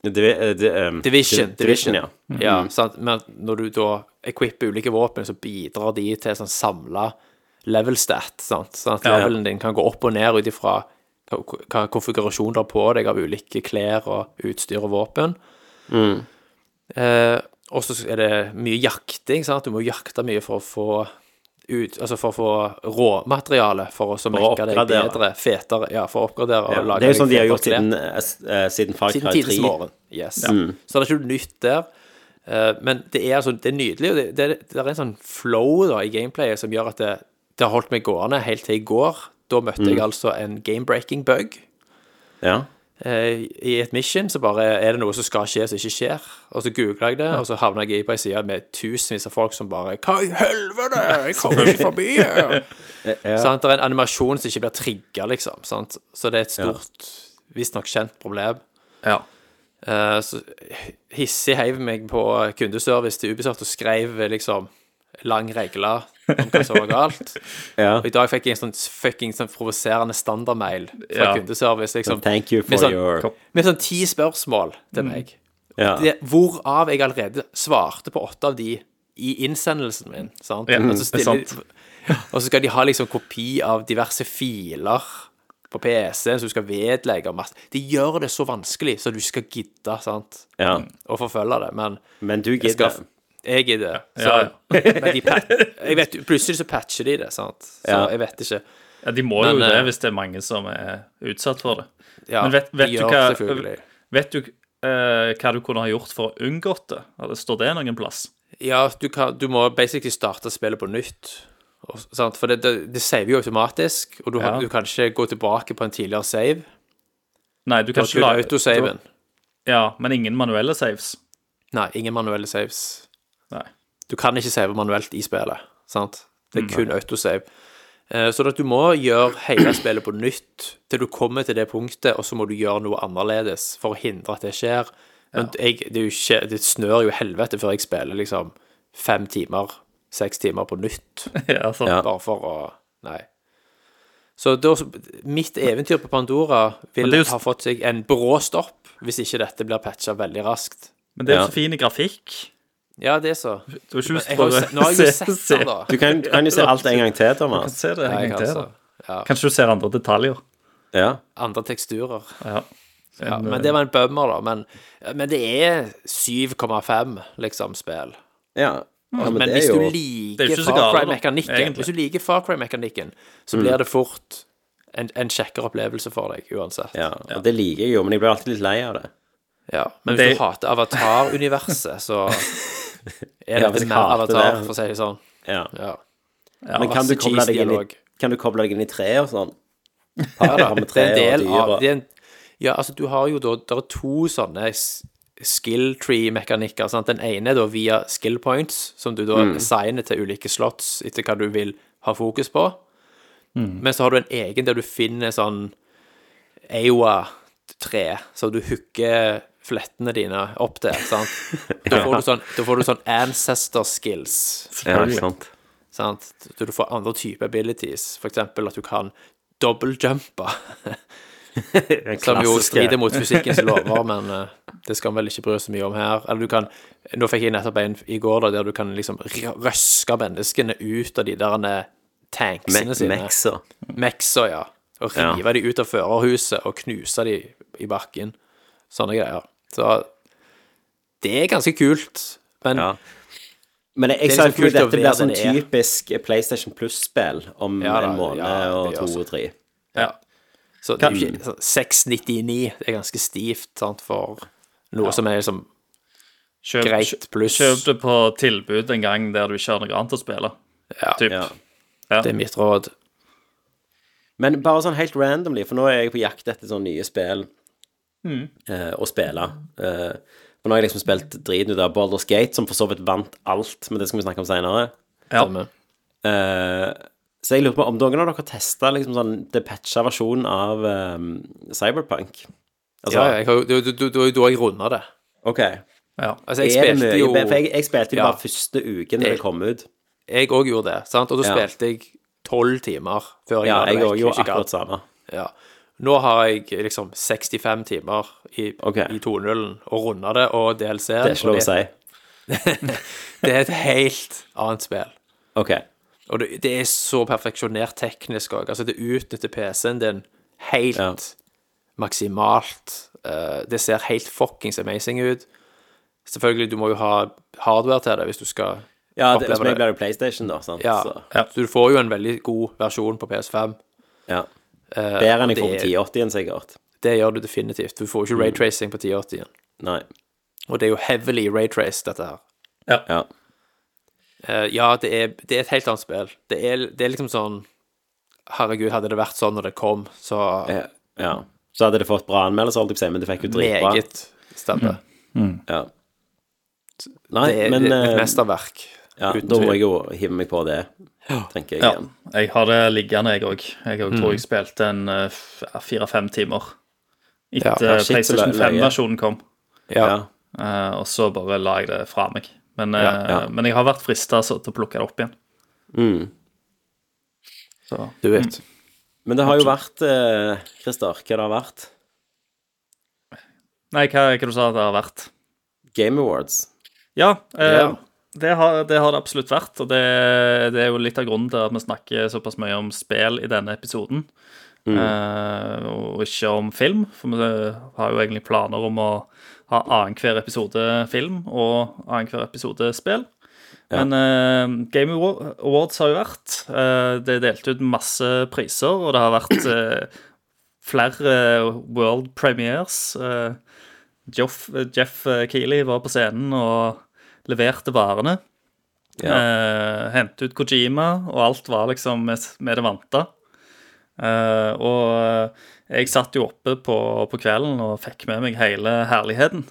Speaker 3: Divi, eh, di, ehm,
Speaker 5: Division,
Speaker 3: Div- Division, Mm. ja.
Speaker 5: Division. Ja, sant? Men når du da equipper ulike våpen, så bidrar de til sånn samla level stat. Sant? Sånn at
Speaker 4: Ja.
Speaker 5: levelen din kan gå opp og ned ut ifra hva- hva konfigurasjon du har på deg av ulike klær og utstyr og våpen.
Speaker 3: Mm.
Speaker 5: Eh, og så er det mye jakting. Sant? Du må jakte mye for å få ut, altså for å få råmateriale for å så
Speaker 3: å
Speaker 5: mekke deg
Speaker 3: oppgradere.
Speaker 5: bedre, fetere, ja, for å oppgradere og lage
Speaker 3: Det er
Speaker 5: deg
Speaker 3: jo sånn de har
Speaker 5: fetere
Speaker 3: gjort
Speaker 5: klær.
Speaker 3: siden, eh, s- eh, siden Far
Speaker 5: Siden
Speaker 3: Cry
Speaker 5: tidligste
Speaker 3: 3.
Speaker 5: morgen. Yes. Mm. Så det er ikke noe nytt der. Eh, Men det er altså, det er nydelig, og det, det, er- det er en sånn flow da i gameplayet som gjør at det, det har holdt meg gående helt til i går. Da møtte jeg altså en game-breaking bug.
Speaker 3: Ja.
Speaker 5: eh, i et mission så bare er det noe som skal skje, som ikke skjer. Og så googla jeg det, og så havna jeg på ei side med tusenvis av folk som bare Hva i helvete? Jeg kommer ikke forbi her! sant? Det er en animasjon som ikke blir trigga, liksom. Sant? Så det er et stort, visstnok kjent problem.
Speaker 4: Ja.
Speaker 5: Eh, så hissig heiv meg på kundeservice til Ubisoft og skrev eh, liksom lang regle om hva som var galt.
Speaker 3: ja.
Speaker 5: Og i dag fikk jeg en sånn fucking sånn provoserende standardmail fra
Speaker 4: Ja.
Speaker 5: kundeservice. liksom.
Speaker 3: Thank you for
Speaker 5: Med sånn-
Speaker 3: your
Speaker 5: Med sånn ti spørsmål til meg.
Speaker 3: ja.
Speaker 5: Det, hvorav jeg allerede svarte på åtte av de i innsendelsen min. Sant?
Speaker 4: Ja,
Speaker 5: og, så
Speaker 4: det er
Speaker 5: stiller, og så skal de ha liksom kopi av diverse filer på PC-en som du skal vedlegge. og masse. De gjør det så vanskelig, så du skal gidde sant?
Speaker 3: ja.
Speaker 5: å forfølge det. Men
Speaker 3: Men du
Speaker 5: jeg
Speaker 3: gidder.
Speaker 5: skal Jeg gidder. Så,
Speaker 4: Ja, ja.
Speaker 5: men de pat, jeg vet, plutselig så patcher de det, sant. Så
Speaker 3: Ja.
Speaker 5: jeg vet ikke.
Speaker 4: ja, de må
Speaker 5: Men,
Speaker 4: jo det
Speaker 5: eh,
Speaker 4: hvis det er mange som er utsatt for det.
Speaker 5: Ja,
Speaker 4: Men vet, vet
Speaker 5: de
Speaker 4: du
Speaker 5: gjør
Speaker 4: hva
Speaker 5: selvfølgelig.
Speaker 4: Vet du eh, hva du kunne ha gjort for å unngått det? Eller står det noen plass?
Speaker 5: Ja, du, kan, du må basically starte spillet på nytt. Og, sant? For det, det, det saver jo automatisk, og du, har-
Speaker 4: Ja.
Speaker 5: du kan ikke gå tilbake på en tidligere save.
Speaker 4: Nei, du
Speaker 5: Du
Speaker 4: kan
Speaker 5: har kun
Speaker 4: ikke lage
Speaker 5: autosaven.
Speaker 4: Ja, men ingen manuelle saves.
Speaker 5: Nei, ingen manuelle saves.
Speaker 4: Nei.
Speaker 5: Du kan ikke save manuelt i spillet. Sant? Det er kun autosave. Eh, Så at du må gjøre hele spillet på nytt til du kommer til det punktet, og så må du gjøre noe annerledes for å hindre at det skjer. Men jeg, det, er jo ikke, det snør jo helvete før jeg spiller liksom fem timer, seks timer på nytt.
Speaker 4: ja, altså. sant.
Speaker 3: Ja.
Speaker 5: Bare for å Nei. Så da, mitt eventyr på Pandora vil
Speaker 4: Men det er jo-
Speaker 5: ha fått seg en brå stopp hvis ikke dette blir patcha veldig raskt.
Speaker 4: Men det er jo
Speaker 3: Ja.
Speaker 4: så fin grafikk.
Speaker 5: Ja, det er så.
Speaker 4: Du har ikke
Speaker 5: Men
Speaker 4: lyst
Speaker 5: jeg
Speaker 4: til
Speaker 5: har jo
Speaker 4: å
Speaker 5: sett, nå har jeg jo sett den, da.
Speaker 3: Du kan, du kan jo se alt en gang til,
Speaker 4: Kan
Speaker 3: Thomas.
Speaker 4: se det en
Speaker 5: Nei,
Speaker 4: gang til,
Speaker 5: altså.
Speaker 4: da. Kanskje du ser andre detaljer.
Speaker 3: Ja.
Speaker 5: Andre teksturer.
Speaker 4: Ja.
Speaker 5: Ja,
Speaker 4: En, eh,
Speaker 5: men det var en bummer, da. Men, men det er 7,5, liksom, spill.
Speaker 3: ja. ja
Speaker 5: Men hvis du liker
Speaker 4: ikke så
Speaker 5: Far
Speaker 4: galt, da,
Speaker 5: Cry-mekanikken,
Speaker 4: egentlig. Mm.
Speaker 5: Hvis du liker Far Cry-mekanikken, så blir det fort en, en kjekkere opplevelse for deg, uansett.
Speaker 3: Ja, og det liker jeg jo, men jeg blir alltid litt lei av det.
Speaker 5: Ja, men hvis
Speaker 4: Det-
Speaker 5: du hater Avatar-universet, så er
Speaker 3: Ja,
Speaker 5: det
Speaker 3: hvis jeg
Speaker 5: mer
Speaker 3: hater
Speaker 5: Avatar,
Speaker 3: det.
Speaker 5: for å si det sånn.
Speaker 3: Ja.
Speaker 5: Ja.
Speaker 3: men kan du,
Speaker 5: masse
Speaker 3: koble deg inn i,
Speaker 5: cheese-dialog.
Speaker 3: kan du koble deg inn i treet og sånn?
Speaker 5: Ja da,
Speaker 3: med
Speaker 5: det er
Speaker 3: treet
Speaker 5: en
Speaker 3: og
Speaker 5: del
Speaker 3: dyr
Speaker 5: av
Speaker 3: og-
Speaker 5: det er en, Ja, altså, du har jo da Det er to sånne s- skill tree-mekanikker. sant? Den ene er da via skill points, som du da
Speaker 3: Mm.
Speaker 5: assigner til ulike slotts etter hva du vil ha fokus på.
Speaker 3: Mm.
Speaker 5: Men så har du en egen der du finner sånn Aowa-tre, som du hooker flettene dine opp til, sant. Da får du sånn, da får du sånn ancestor skills.
Speaker 3: Ja, ikke sant.
Speaker 5: Sant? Så du får andre typer abilities, f.eks. at du kan dobbeltjumpe. som jo strider mot fysikkens lover, men eh, det skal man vel ikke bry seg så mye om her. Eller du kan Nå fikk jeg nettopp en i går da, der du kan liksom r- røske menneskene ut av de der eh,
Speaker 3: Me
Speaker 5: tanksene sine.
Speaker 3: Mexer.
Speaker 5: Meksa, ja. Og
Speaker 3: Ja.
Speaker 5: rive de ut av førerhuset og knuse de i bakken. Sånne greier. Så det er ganske kult, men
Speaker 3: Ja. Men jeg, jeg
Speaker 5: Mm. Det er
Speaker 3: ser
Speaker 5: liksom
Speaker 3: for meg
Speaker 5: kult å
Speaker 3: dette blir
Speaker 5: være
Speaker 3: sånn
Speaker 5: det det er.
Speaker 3: typisk PlayStation Plus-spill om
Speaker 5: Ja da,
Speaker 3: en måned
Speaker 5: ja,
Speaker 3: og
Speaker 5: det gjør
Speaker 3: to
Speaker 5: sånn.
Speaker 3: og tre.
Speaker 5: Ja. Så det er jo ikke sånn 699 det er ganske stivt sant, for noe som er liksom
Speaker 4: kjøp,
Speaker 5: greit pluss.
Speaker 4: Kjøp det på tilbud en gang der du ikke har noe annet å spille.
Speaker 5: ja,
Speaker 4: Typ.
Speaker 3: Ja.
Speaker 5: Det er mitt råd.
Speaker 3: Men bare sånn helt randomly, for nå er jeg på jakt etter sånne nye spill
Speaker 5: Mm.
Speaker 3: eh, å spille. Eh, for nå har jeg liksom spilt driten ut av Baldur's Gate, som for så vidt vant alt, men det skal vi snakke om seinere.
Speaker 4: Ja.
Speaker 5: Denne.
Speaker 3: Eh, så jeg lurer på om noen av dere testa liksom sånn det patcha versjonen av eh, Cyberpunk? Altså,
Speaker 5: Ja, ja, jeg har jo- det var- det var jo da jeg runda det.
Speaker 3: OK.
Speaker 4: Ja.
Speaker 5: Altså, jeg
Speaker 3: er det
Speaker 5: spilte
Speaker 3: mye
Speaker 5: jo
Speaker 3: be- For jeg, jeg spilte det
Speaker 5: Ja.
Speaker 3: bare første uken da det kom ut.
Speaker 5: Jeg òg gjorde det, sant? og da
Speaker 3: Ja.
Speaker 5: spilte jeg tolv timer før jeg
Speaker 3: Ja,
Speaker 5: la det
Speaker 3: jeg
Speaker 5: vekk.
Speaker 3: òg gjorde
Speaker 5: Ikke gadd.
Speaker 3: akkurat samme.
Speaker 5: Ja. Nå har jeg liksom 65 timer i,
Speaker 3: Ok.
Speaker 5: i 2.0 og runda det, og DLC
Speaker 3: Det er ikke lov å si.
Speaker 5: Det er et helt annet spill.
Speaker 3: OK.
Speaker 5: Og det, det er så perfeksjonert teknisk òg. Altså, det utnytter PC-en din helt
Speaker 3: Ja.
Speaker 5: maksimalt. Eh, det ser helt fuckings amazing ut. Selvfølgelig, du må jo ha hardware til det hvis du skal
Speaker 3: Ja, det,
Speaker 5: oppleve
Speaker 3: som altså, jeg ble jo PlayStation, da. Sant?
Speaker 5: Ja.
Speaker 3: Så,
Speaker 5: Så du får jo en veldig god versjon på PS5.
Speaker 3: ja. Bedre enn jeg
Speaker 5: Eh, det
Speaker 3: får på
Speaker 5: er-
Speaker 3: 1080-en, sikkert.
Speaker 5: Det gjør du definitivt. Du får
Speaker 3: Mm.
Speaker 5: jo ikke raytracing på 1080-en.
Speaker 3: Nei.
Speaker 5: Og det er jo heavily raytraced, dette her.
Speaker 3: Ja.
Speaker 5: Eh, ja, det er, det er et helt annet spill. Det er, det er liksom sånn Herregud, hadde det vært sånn når det kom, så
Speaker 3: Eh, ja. Så hadde det fått bra anmeldelser, holdt jeg på å si, men det fikk jo dritbra.
Speaker 5: Meget stemmer.
Speaker 3: Ja. Nei,
Speaker 5: Det er
Speaker 3: men
Speaker 5: et
Speaker 3: eh,
Speaker 5: mesterverk.
Speaker 3: ja,
Speaker 5: uten
Speaker 3: da må
Speaker 5: tvil.
Speaker 3: jeg jo hive meg på det, tenker jeg
Speaker 4: Ja,
Speaker 3: igjen.
Speaker 4: jeg har det liggende, jeg òg. Jeg også
Speaker 5: Mm.
Speaker 4: tror jeg spilte en eh, f- ja, fire-fem timer etter
Speaker 5: Ja,
Speaker 3: shit, så
Speaker 4: PlayStation
Speaker 3: løye.
Speaker 4: 5-versjonen kom.
Speaker 5: Ja.
Speaker 3: Ja.
Speaker 4: eh, og så bare la jeg det fra meg. Men, eh,
Speaker 5: Ja,
Speaker 4: men jeg har vært frista til å plukke det opp igjen.
Speaker 3: Mm.
Speaker 4: Så
Speaker 5: Du vet.
Speaker 3: Men det har jo vært eh, Christer, hva det har vært?
Speaker 4: Nei, hva, hva du sa det har vært?
Speaker 3: Game Awards.
Speaker 4: Ja, eh,
Speaker 5: Ja.
Speaker 4: Det, har, det har det absolutt vært. Og det, det er jo litt av grunnen til at vi snakker såpass mye om spill i denne episoden. eh, og ikke om film, for vi har jo egentlig planer om å ha annenhver episode film og annenhver episode spill. Men eh, Game Awa- Awards har jo vært. eh, det er delt ut masse priser, og det har vært eh, flere world premieres. eh, Jeff, Jeff Keeley var på scenen og leverte varene.
Speaker 3: Ja.
Speaker 4: Eh, hentet ut Kojima, og alt var liksom med, med det vante. Eh, og eh, jeg satt jo oppe på, på kvelden og fikk med meg hele herligheten.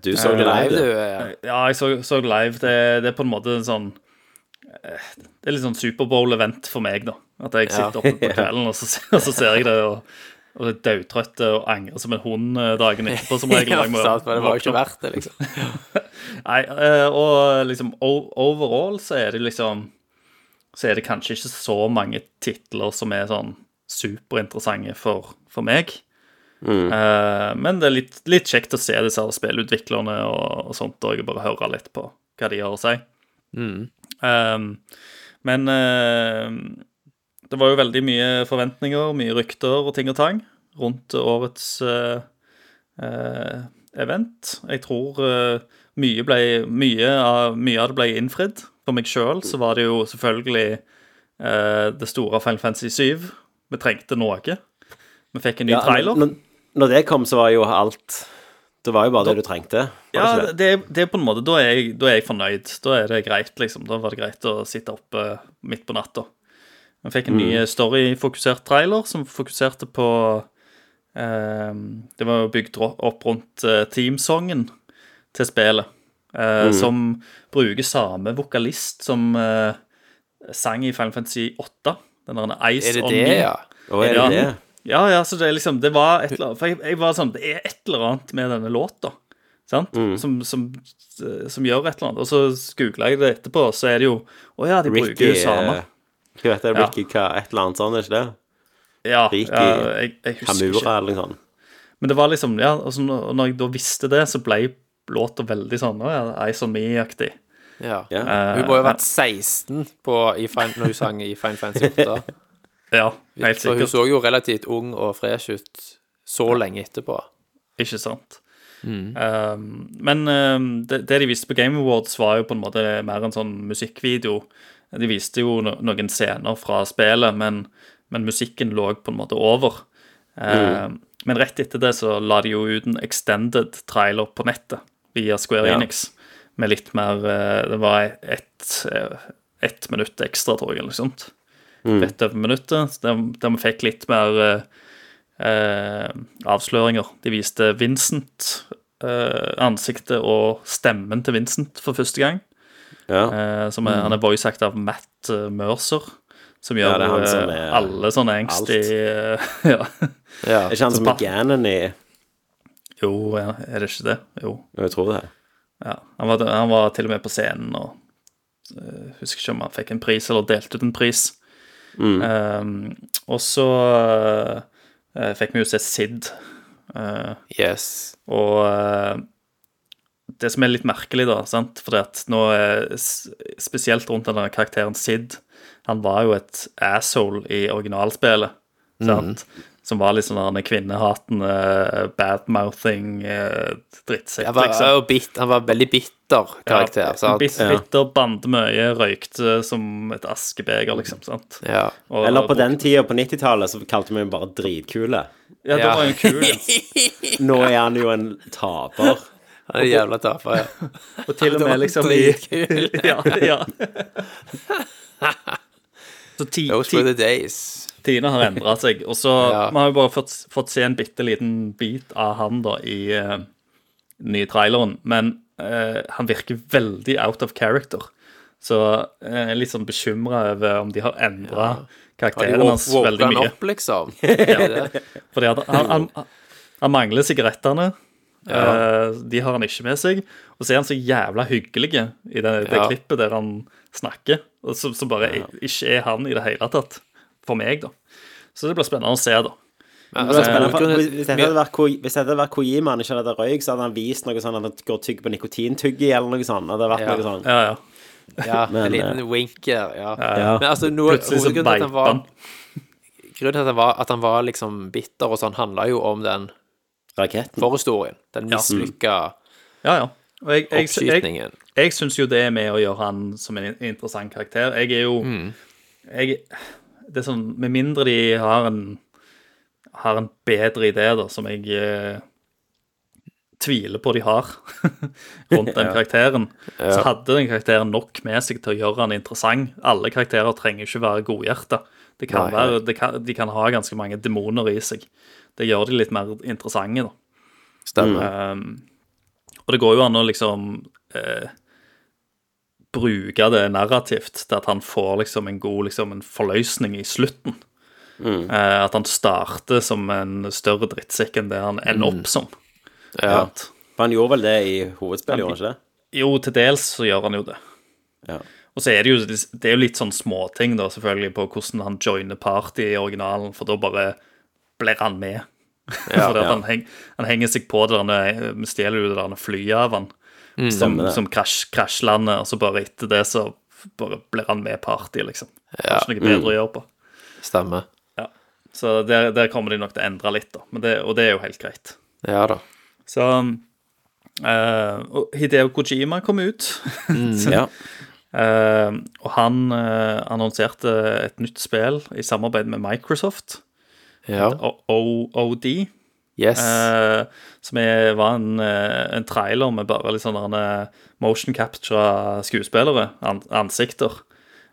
Speaker 3: Du så det
Speaker 5: Nei,
Speaker 3: live, du.
Speaker 5: du eh, er
Speaker 4: Ja, jeg så, så live. Det, det er på en måte en sånn eh, Det er litt sånn Superbowl-event for meg, da. At jeg sitter oppe på kvelden, og så, ser- og så ser jeg det, og, og er daudtrøtt og angrer som en hund eh, dagen etterpå, som regel.
Speaker 5: ja,
Speaker 4: Jeg må
Speaker 5: sant, men det var
Speaker 4: våkne
Speaker 5: jo ikke
Speaker 4: opp.
Speaker 5: verdt det, liksom.
Speaker 4: Nei, eh, og liksom o- overall så er det liksom Så er det kanskje ikke så mange titler som er sånn superinteressante for, for meg. Eh, men det er litt, litt kjekt å se disse her spillutviklerne og, og sånt og bare høre litt på hva de har å si. Eh, men eh, det var jo veldig mye forventninger, mye rykter og ting og tang rundt årets eh, eh, event. Jeg tror eh, mye, ble, mye, av, mye av det ble innfridd. For meg sjøl så var det jo selvfølgelig eh, det store Final Fantasy 7. Vi trengte noe. Vi fikk en ny
Speaker 3: Ja,
Speaker 4: trailer.
Speaker 3: når, når det kom, så var jo alt Det var jo bare det du trengte. Var
Speaker 4: Ja,
Speaker 3: det ikke det?
Speaker 4: det, er- det er på en måte, da er, jeg, da er jeg fornøyd. Da er det greit, liksom. Da var det greit å sitte oppe midt på natta. Jeg fikk en ny
Speaker 5: Mm.
Speaker 4: story-fokusert trailer som fokuserte på eh, Det var jo bygd ro- opp rundt eh, teamsongen til spillet, eh,
Speaker 5: Mm.
Speaker 4: som bruker samme vokalist som eh, sang i Final Fantasy 8. Den der Ice
Speaker 5: Er det
Speaker 4: on
Speaker 5: det,
Speaker 4: Me.
Speaker 5: ja?
Speaker 3: Å, er det
Speaker 4: Ja.
Speaker 3: det?
Speaker 4: Ja, ja, så det er liksom Det var et eller annet For jeg, jeg var sånn Det er et eller annet med denne låta, sant?
Speaker 3: Mm.
Speaker 4: Som, som, som gjør et eller annet. Og så googla jeg det etterpå, og så er det jo Å ja, de bruker
Speaker 3: Ricky
Speaker 4: jo samme.
Speaker 3: eh, Hva heter det?
Speaker 4: Ja.
Speaker 3: Ricky hva, et eller annet sånt, er ikke det?
Speaker 4: Ja,
Speaker 3: Ricky
Speaker 4: ja jeg, jeg husker ikke.
Speaker 3: Hamura eller noe sånt.
Speaker 4: Men det var liksom Ja, og så når når jeg da visste det, så ble låta veldig sånn Å ja, Eyes on Me-aktig.
Speaker 5: Ja.
Speaker 3: Ja.
Speaker 4: Eh,
Speaker 5: Hun må jo ha vært 16 på, i fin, når hun sang i Fine Fancy 8.
Speaker 4: Ja, helt
Speaker 5: Så hun
Speaker 4: sikkert.
Speaker 5: så jo relativt ung og fresh ut så lenge etterpå.
Speaker 4: Ikke sant? Um, men um, det, det de viste på Game Awards, var jo på en måte mer en sånn musikkvideo. De viste jo no noen scener fra spillet, men, men musikken lå på en måte over. Um, men rett etter det så la de jo ut en extended trailer på nettet via Square
Speaker 3: Ja.
Speaker 4: Enix. Med litt mer eh, Det var ett et minutt ekstra, tror jeg, eller noe sånt. Rett over minuttet. så Der der vi fikk litt mer eh, eh, avsløringer. De viste Vincent, eh, ansiktet og stemmen til Vincent for første gang.
Speaker 3: Ja.
Speaker 4: Eh, som er, Han er voiceact av Matt eh, Mercer, som
Speaker 3: Mm.
Speaker 4: gjør
Speaker 3: Ja, det er han
Speaker 4: eh,
Speaker 3: som er
Speaker 4: alle sånne angst
Speaker 3: alt.
Speaker 4: i eh, ja.
Speaker 5: Ja.
Speaker 3: Er ikke han
Speaker 4: så
Speaker 3: som
Speaker 4: pa-
Speaker 3: er Gannon i
Speaker 4: Jo, ja, er det ikke det? Jo.
Speaker 3: Jo, Jeg tror det.
Speaker 4: Ja. Han, var, han var til og med på scenen og eh, husker ikke om han fikk en pris eller delte ut en pris.
Speaker 3: Mm.
Speaker 4: Eh, og så eh, fikk vi jo se Sid. eh,
Speaker 5: Yes.
Speaker 4: Og eh, det som er litt merkelig, da, sant? fordi at nå eh, s- Spesielt rundt den der karakteren Sid. Han var jo et asshole i originalspillet. Sant?
Speaker 5: Mhm.
Speaker 4: Som var litt sånn der en kvinnehatende, badmouthing eh, drittsekk,
Speaker 5: Han var,
Speaker 4: liksom.
Speaker 5: han var bit, han var en veldig bitter karakter.
Speaker 4: Ja,
Speaker 5: sant?
Speaker 4: bit- bitter, bandemøye, røykte som et askebeger, liksom. sant?
Speaker 5: Ja.
Speaker 4: Og-
Speaker 3: Eller på den tida, på 90-tallet, så kalte vi ham bare dritkule.
Speaker 4: Ja, det
Speaker 5: Ja.
Speaker 4: var jo kul. Ja.
Speaker 3: Nå er han jo en taper.
Speaker 5: Han er jævla taper, ja.
Speaker 4: Og til og
Speaker 5: Det var
Speaker 4: med liksom i
Speaker 5: dritkul.
Speaker 4: Ja. ja. Så ti,
Speaker 5: Those
Speaker 4: ti,
Speaker 5: were the days.
Speaker 4: Tina har endra seg. Og så
Speaker 5: Ja.
Speaker 4: Vi har jo bare fått, fått se en bitte liten bit av han da i eh, den nye traileren. Men eh, han virker veldig out of character. Så eh, jeg er litt sånn bekymra over om de har endra
Speaker 5: Har
Speaker 4: karakteren
Speaker 5: de
Speaker 4: hans
Speaker 5: woke
Speaker 4: veldig
Speaker 5: han
Speaker 4: mye.
Speaker 5: opp, liksom? Ja.
Speaker 4: Fordi at han, han, han, han mangler sigarettene. Eh, de har han ikke med seg. Og så er han så jævla hyggelig i det, det
Speaker 5: Ja.
Speaker 4: klippet der han snakker, og som, som bare ikke er han i det hele tatt. For meg, da. Så det blir spennende å se, da.
Speaker 5: Men,
Speaker 3: Det var spennende, for
Speaker 5: grunnen-
Speaker 3: hvis- hvis dette hadde vært Ko- Hvis dette hadde vært Kojima han ikke hadde røyk, så hadde han vist noe sånn at han går og tygger på nikotintyggi eller noe sånt. Det hadde vært
Speaker 5: Ja.
Speaker 3: noe sånn.
Speaker 4: Ja, ja.
Speaker 5: Ja,
Speaker 3: Men,
Speaker 5: en liten wink her. Ja.
Speaker 3: ja.
Speaker 5: Men altså, noe,
Speaker 4: Plutselig så
Speaker 5: hovedgrunnen til at han
Speaker 4: beit
Speaker 5: var
Speaker 4: han.
Speaker 5: Grunnen til at han var, at han var liksom bitter og sånn, handla jo om den
Speaker 3: Raketten.
Speaker 5: forhistorien. Den mislykka
Speaker 4: ja, ja. Og jeg, jeg, jeg,
Speaker 5: oppskytningen.
Speaker 4: jeg syns jo det er med å gjøre han som en interessant karakter. Jeg er jo jeg, Det er sånn Med mindre de har en har en bedre idé, da, som jeg eh, tviler på de har, rundt den karakteren, så hadde den karakteren nok med seg til å gjøre han interessant. Alle karakterer trenger ikke være godhjerta. Det kan
Speaker 5: Nei,
Speaker 4: være, det kan, de kan ha ganske mange demoner i seg. Det gjør de litt mer interessante, da.
Speaker 5: Stemmer.
Speaker 4: Um, og det går jo an å liksom eh, bruke det narrativt til at han får liksom en god liksom en forløsning i slutten. Eh, at han starter som en større drittsekk enn det han ender opp som.
Speaker 5: Ja.
Speaker 4: Sant?
Speaker 3: For han gjorde vel det i hovedspillet, gjorde han ikke det?
Speaker 4: Jo, til dels så gjør han jo det.
Speaker 3: Ja.
Speaker 4: Og så er det jo, det er jo litt sånn småting, da, selvfølgelig, på hvordan han joiner party i originalen, for da bare blir han med. Fordi at han, heng, han henger seg på det der, vi stjeler jo det der flyet av han, som,
Speaker 3: Mm, Stemmer det.
Speaker 4: som krasj, krasjlander, og så bare etter det så bare blir han med party, liksom. Det er ikke noe
Speaker 3: mm.
Speaker 4: bedre å gjøre på.
Speaker 5: Stemmer.
Speaker 4: Ja. Så der, der kommer de nok til å endre litt, da. Men det, og det er jo helt greit.
Speaker 5: Ja da.
Speaker 4: Så um, eh, og Hideo Kojima kom ut.
Speaker 3: Ja.
Speaker 4: Eh, og han eh, annonserte et nytt spill i samarbeid med Microsoft,
Speaker 5: Ja.
Speaker 4: O- OOD,
Speaker 5: Yes.
Speaker 4: eh, som er, var en, eh, en trailer med bare litt sånne eh, motion capture skuespillere, an ansikter.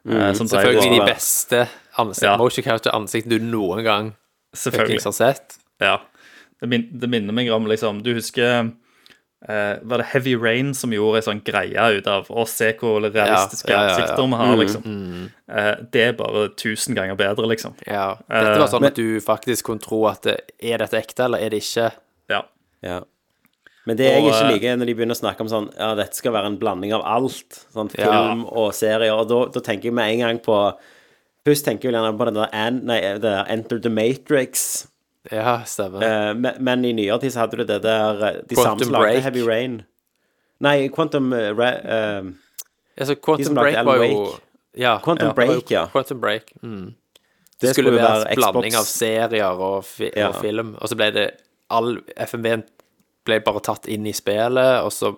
Speaker 4: eh, som drev
Speaker 5: Mm, Selvfølgelig de
Speaker 4: og-
Speaker 5: beste ansikt,
Speaker 4: Ja.
Speaker 5: motion capture ansiktene du noen gang fuckings
Speaker 4: Selvfølgelig.
Speaker 5: har sett.
Speaker 4: Ja. Det, min, det minner meg om liksom Du husker eh, Var det Heavy Rain som gjorde en sånn greie ut av Å, se hvor realistiske
Speaker 5: Ja, Mm. ja, ja, ja.
Speaker 4: ansikter vi har, liksom. Eh, det er bare tusen ganger bedre, liksom.
Speaker 5: Ja. Dette var
Speaker 4: Eh,
Speaker 5: sånn at du faktisk kunne tro at det, er dette ekte, eller er det ikke?
Speaker 4: Ja.
Speaker 3: ja. Men det jeg
Speaker 4: Og,
Speaker 3: ikke
Speaker 4: eh,
Speaker 3: liker, er når de begynner å snakke om sånn Ja, dette skal være en blanding av alt. Sånn
Speaker 5: Ja.
Speaker 3: film og serier. Og da, da tenker jeg med en gang på Først tenker jeg vel gjerne på den der, An- nei, det der Enter the Matrix.
Speaker 5: Ja, stemmer.
Speaker 3: Eh, men, men i nyere tid så hadde du det der eh, De
Speaker 5: Quantum
Speaker 3: samme som lagde
Speaker 5: Break.
Speaker 3: Heavy Rain. Nei, Quantum eh, Ra... eh,
Speaker 5: Altså,
Speaker 3: de som lagde
Speaker 5: Quantum Break
Speaker 3: Alan
Speaker 5: var jo
Speaker 3: Wake.
Speaker 5: ja,
Speaker 3: Quantum
Speaker 5: ja, det var jo
Speaker 3: Break, ja.
Speaker 5: Quantum Break. Mm.
Speaker 3: det
Speaker 5: skulle
Speaker 3: jo
Speaker 5: være en blanding
Speaker 3: Xbox.
Speaker 5: av serier og, fi
Speaker 3: Ja.
Speaker 5: og film, og så ble det all FMV-en ble bare tatt inn i spillet, og så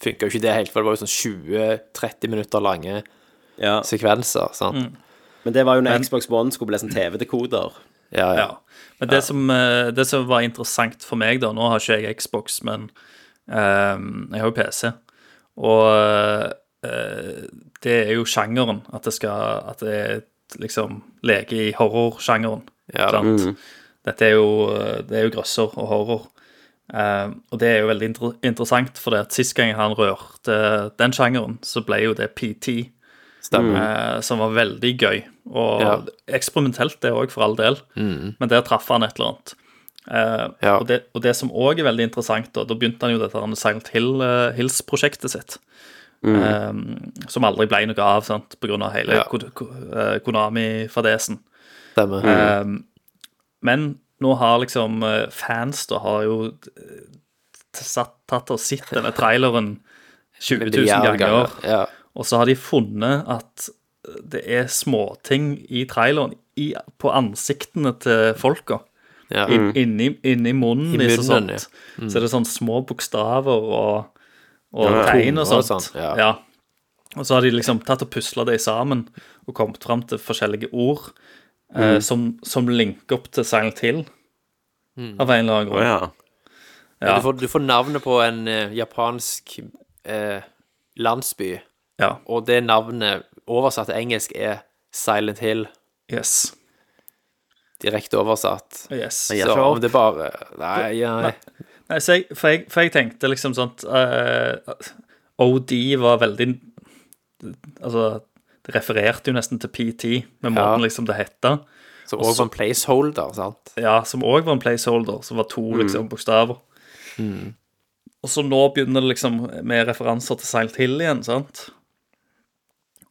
Speaker 5: funka jo ikke det helt, for det var jo sånn 20-30 minutter lange
Speaker 3: ja.
Speaker 5: sekvenser, sant?
Speaker 4: Mm.
Speaker 3: Men det var jo når Xbox One skulle bli sånn TV-dekoder.
Speaker 5: Ja, ja.
Speaker 4: Ja. Men det, som, eh, det som var interessant for meg, da Nå har ikke jeg Xbox, men eh, jeg har jo PC. Og eh, det er jo sjangeren. At det skal At det er et, liksom leke i horrorsjangeren.
Speaker 5: Ja. Mm.
Speaker 4: sant? Dette er jo, eh, det er jo grøsser og horror. Eh, og det er jo veldig inter interessant, for det at sist gang han rørte den sjangeren, så ble jo det PT
Speaker 5: Stemmer.
Speaker 4: eh, som var veldig gøy. Og
Speaker 5: Ja. Mm.
Speaker 4: eksperimentelt, det òg, for all del. Men der traff han et eller annet. Eh,
Speaker 5: Ja.
Speaker 4: og, det, og det som òg er veldig interessant, da, da begynte han jo dette her Silent Hill, eh, Hills-prosjektet sitt. Eh, som aldri ble noe av, sant, på grunn av hele
Speaker 5: Mm. Ja.
Speaker 4: Ko- Ko- eh, Konami-fadesen.
Speaker 3: Mm.
Speaker 4: Eh,
Speaker 5: Stemmer.
Speaker 4: Men nå har liksom eh, fans da har jo eh, satt, tatt og sett denne traileren 20 000
Speaker 5: Milliard
Speaker 4: ganger.
Speaker 5: Ja.
Speaker 4: Og så har de funnet at det er småting i traileren i, på ansiktene til folka.
Speaker 5: Ja.
Speaker 3: Mm.
Speaker 4: In, inni, inni munnen,
Speaker 5: I
Speaker 4: deres og
Speaker 5: munnen, Mm.
Speaker 4: sånt. Så er det sånn små bokstaver og, og tegn og
Speaker 5: Toner og
Speaker 4: sånt.
Speaker 5: sånt, ja.
Speaker 4: Og så har de liksom tatt og pusla det sammen og kommet fram til forskjellige ord eh, som, som linker opp til Silent Hill.
Speaker 5: Mm.
Speaker 4: Av en eller annen grunn.
Speaker 3: ja.
Speaker 4: Ja.
Speaker 5: Du, får, du får navnet på en eh, japansk eh, landsby,
Speaker 4: Ja.
Speaker 5: og det navnet oversatt til engelsk er Silent Hill.
Speaker 4: Yes.
Speaker 5: direkte oversatt.
Speaker 4: Yes.
Speaker 3: Ja.
Speaker 5: Så
Speaker 3: ikke opp.
Speaker 5: om det bare Nei, nei.
Speaker 4: Nei, så jeg, for, jeg, for jeg tenkte liksom sånn OD var veldig Altså, det refererte jo nesten til PT, med måten liksom det hette.
Speaker 5: Så også en placeholder, sant?
Speaker 4: Ja, som òg var en placeholder, som var to
Speaker 5: Mm.
Speaker 4: liksom, bokstaver. Og så nå begynner det liksom med referanser til Silent Hill igjen, sant?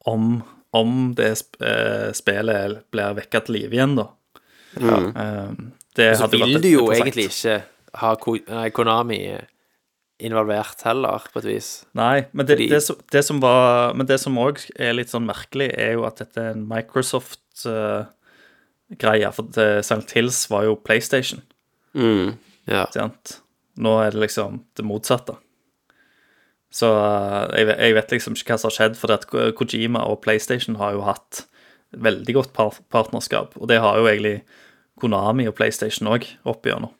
Speaker 4: Om, om det sp eh, spillet blir vekket til live igjen, da. Eh, det
Speaker 5: Mm. Så
Speaker 4: hadde
Speaker 5: vil
Speaker 4: vært
Speaker 5: du jo
Speaker 4: interessant.
Speaker 5: egentlig ikke ha Ko- nei, Konami involvert heller, på et vis.
Speaker 4: Nei, men det,
Speaker 5: Fordi-
Speaker 4: det, som, det som var Men det som òg er litt sånn merkelig, er jo at dette er en Microsoft-greie. for det, Silent Hills var jo PlayStation,
Speaker 5: Ja.
Speaker 4: sant? Nå er det liksom det motsatte. Så eh, jeg, vet- jeg vet liksom ikke hva som har skjedd, for at Ko- Kojima og PlayStation har jo hatt veldig godt par partnerskap, og det har jo egentlig Konami og PlayStation òg oppigjennom.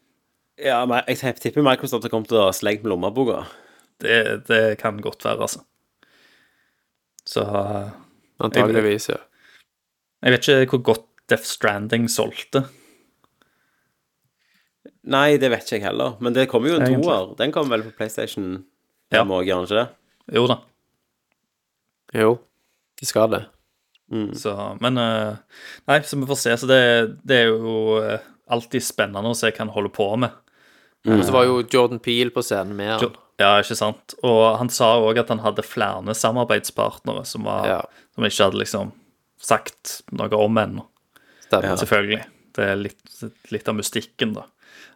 Speaker 3: Ja, men jeg tipper Microsoft har kommet til å slenge med lommeboka.
Speaker 4: Det, det kan godt være, altså. Så eh,
Speaker 5: Antageligvis, ja.
Speaker 4: Jeg vet ikke hvor godt Death Stranding solgte.
Speaker 3: Nei, det vet ikke jeg heller. Men det kommer jo en
Speaker 4: Egentlig.
Speaker 3: toer. Den kommer vel på PlayStation
Speaker 4: Ja.
Speaker 3: ja. må jeg gjøre den ikke det?
Speaker 4: Jo da.
Speaker 5: Jo, det skal det. Mm.
Speaker 4: Så, men eh, Nei, så vi får se. Så det, det er jo eh, alltid spennende å se hva han holder på med.
Speaker 5: Og så var jo Jordan Peele på scenen med han.
Speaker 4: Ja, ikke sant? Og han sa òg at han hadde flere samarbeidspartnere som, var,
Speaker 5: Ja.
Speaker 4: som ikke hadde liksom sagt noe om ennå.
Speaker 5: Stemmer.
Speaker 4: Selvfølgelig. Det er litt, litt av mystikken, da.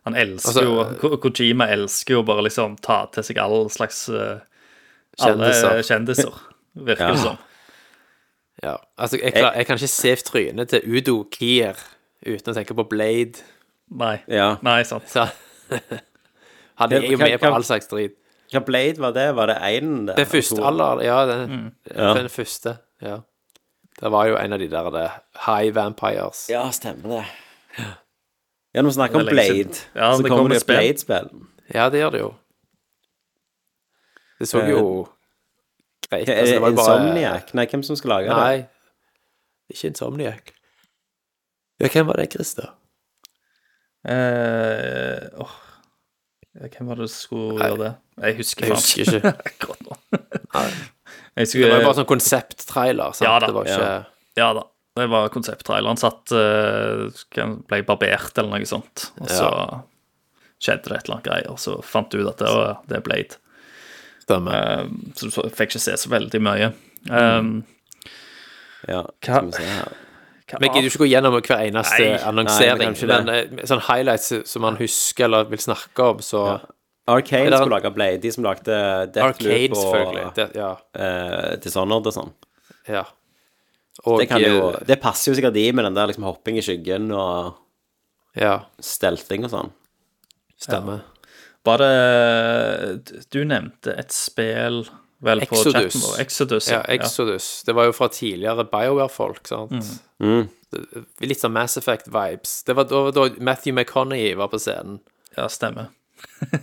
Speaker 4: Han elsker
Speaker 5: Altså,
Speaker 4: jo Ko- Kojima elsker jo bare liksom ta til seg all slags eh, alle
Speaker 5: Kjendiser.
Speaker 4: kjendiser, virker det som.
Speaker 5: Ja. Altså, jeg, klar, jeg kan ikke se trynet til Udo Kier uten å tenke på Blade.
Speaker 4: Nei.
Speaker 3: Ja.
Speaker 4: Nei, sant.
Speaker 5: Så, han er jo
Speaker 3: Kan-
Speaker 5: med på
Speaker 3: kan-
Speaker 5: all slags drit.
Speaker 3: Hva Blade var det? Var det én der?
Speaker 5: Den første aller Ja, den,
Speaker 3: Ja.
Speaker 5: den første. Ja. Det var jo en av de der det, High Vampires.
Speaker 3: Ja, stemmer det. Ja, når vi snakker om
Speaker 4: Det er lenge siden.
Speaker 3: Blade,
Speaker 4: Ja,
Speaker 3: så
Speaker 4: det
Speaker 3: kommer
Speaker 4: kommer
Speaker 3: det
Speaker 4: et spill.
Speaker 3: Blade-spill.
Speaker 5: Ja, det gjør det jo. Det så
Speaker 3: Eh,
Speaker 5: jo greit Altså,
Speaker 3: Er det
Speaker 5: var jo bare-
Speaker 3: Eh, Insomniac? Nei, hvem som skal lage det?
Speaker 5: Nei. Ikke Insomniac. Ja, hvem var det, Christer?
Speaker 4: Eh, åh. Ja, Hvem var det som skulle gjøre det? Jeg husker,
Speaker 5: Jeg
Speaker 4: faen
Speaker 5: husker ikke.
Speaker 4: akkurat nå. Jeg
Speaker 5: Det var
Speaker 4: husker,
Speaker 5: jo bare sånn konsepttrailer. sant?
Speaker 4: Ja da,
Speaker 5: det var ikke
Speaker 4: Ja da. Det var konsepttraileren. Satt eh, hvem Ble barbert eller noe sånt. Og så skjedde det et eller annet greier, og så fant du ut at det, var- det er Blade.
Speaker 5: stemme.
Speaker 4: Um, så du så- fikk ikke se så veldig mye.
Speaker 5: Mm.
Speaker 4: Um,
Speaker 3: Ja,
Speaker 4: Hva-
Speaker 3: skal vi se her.
Speaker 4: hva
Speaker 5: Vi gidder jo
Speaker 4: annet?
Speaker 5: ikke gå gjennom hver eneste
Speaker 4: Nei,
Speaker 5: annonsering,
Speaker 3: nei, vi kan ikke
Speaker 5: men eh, sånn highlights som man husker eller vil snakke om, så
Speaker 3: Arcane
Speaker 5: Eller-
Speaker 3: skulle lage Blade, de som lagde
Speaker 5: Arcade,
Speaker 3: Deathloop og
Speaker 5: selvfølgelig. Det, ja,
Speaker 3: eh, Dishonored og sånn.
Speaker 5: ja. Og
Speaker 3: Det, kan jo,
Speaker 5: eh,
Speaker 3: det passer jo sikkert de med den der liksom hopping i skyggen og
Speaker 5: Ja,
Speaker 3: stelting og sånn.
Speaker 5: stemmer.
Speaker 4: Var det Du nevnte et spill vel på
Speaker 5: Exodus.
Speaker 4: chatten vår. Exodus.
Speaker 5: Ja, Exodus. Det var jo fra tidligere BioWare-folk, sant. Det- Litt sånn Mass Effect-vibes. Det var da, da Matthew McConney var på scenen.
Speaker 4: ja, stemmer.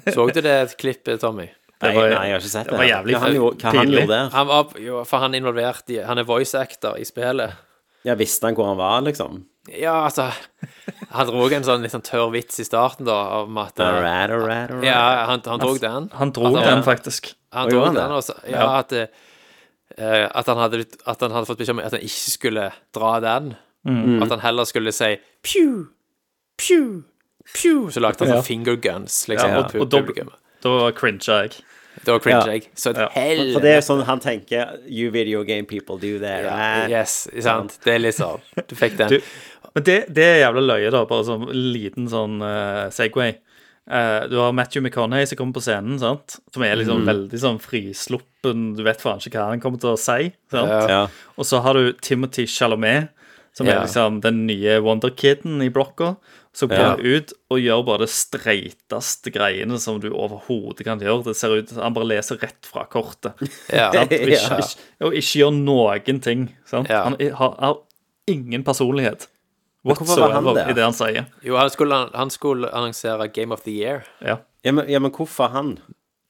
Speaker 5: Så du det klippet, Tommy?
Speaker 3: Nei,
Speaker 4: var-
Speaker 3: nei, jeg har ikke sett det.
Speaker 4: det var
Speaker 3: her.
Speaker 4: jævlig
Speaker 3: hva han, gjorde- hva han
Speaker 4: pinlig.
Speaker 3: gjorde der?
Speaker 5: Han var jo, for han er involvert i Han er voice actor i spillet.
Speaker 3: Ja, visste han hvor han var, liksom?
Speaker 5: Ja, altså Han dro en sånn litt sånn tørr vits i starten, da, om at
Speaker 3: Alright, alright, alright.
Speaker 5: Ja, han, han drog den.
Speaker 4: Han dro
Speaker 5: At
Speaker 4: den, faktisk.
Speaker 5: Han
Speaker 3: Og
Speaker 5: dro
Speaker 3: gjorde han
Speaker 5: den,
Speaker 3: det?
Speaker 5: og så Ja, at, eh, eh, at, han hadde, litt- at han hadde fått beskjed om at han ikke skulle dra den.
Speaker 4: Mm.
Speaker 3: Mm.
Speaker 5: At han heller skulle si pju, pju, pju. Så lagde han sånn finger guns, liksom.
Speaker 4: Ja,
Speaker 5: mot
Speaker 4: og- og da-
Speaker 5: publikum.
Speaker 4: Da cringa jeg.
Speaker 5: Da
Speaker 3: Ja.
Speaker 5: cringe jeg. Så et
Speaker 4: Ja.
Speaker 5: helvete.
Speaker 3: For det er jo sånn han tenker You video game people do that.
Speaker 5: Ja,
Speaker 3: right?
Speaker 5: Yes, sant. Det er litt sånn. Du fikk den.
Speaker 4: Du, men det, det er jævla løye, da, bare som liten sånn eh, Segway. Eh, du har Matthew McConaughey som kommer på scenen, sant? som er
Speaker 5: Mm.
Speaker 4: liksom veldig sånn frisluppen, du vet faen ikke hva han kommer til å si. Sant?
Speaker 5: Ja.
Speaker 3: Ja.
Speaker 4: Og så har du Timothy Chalamet, som
Speaker 5: Ja.
Speaker 4: er liksom den nye Wonderkiden i blokka, som
Speaker 3: Ja.
Speaker 4: går ut og gjør bare det streiteste greiene som du overhodet kan gjøre. Det ser ut Han bare leser rett fra kortet.
Speaker 5: Ja.
Speaker 4: Sant? Og
Speaker 3: Ja.
Speaker 4: ikke, ikke, og ikke gjør noen ting. Sant?
Speaker 5: Ja.
Speaker 4: Han i- har, har ingen personlighet
Speaker 3: hvorfor var han
Speaker 4: whatsoever
Speaker 3: det?
Speaker 4: i det han sier.
Speaker 5: Jo, han skulle, han skulle annonsere Game of the Year.
Speaker 4: Ja.
Speaker 3: Ja, men, ja, men hvorfor han?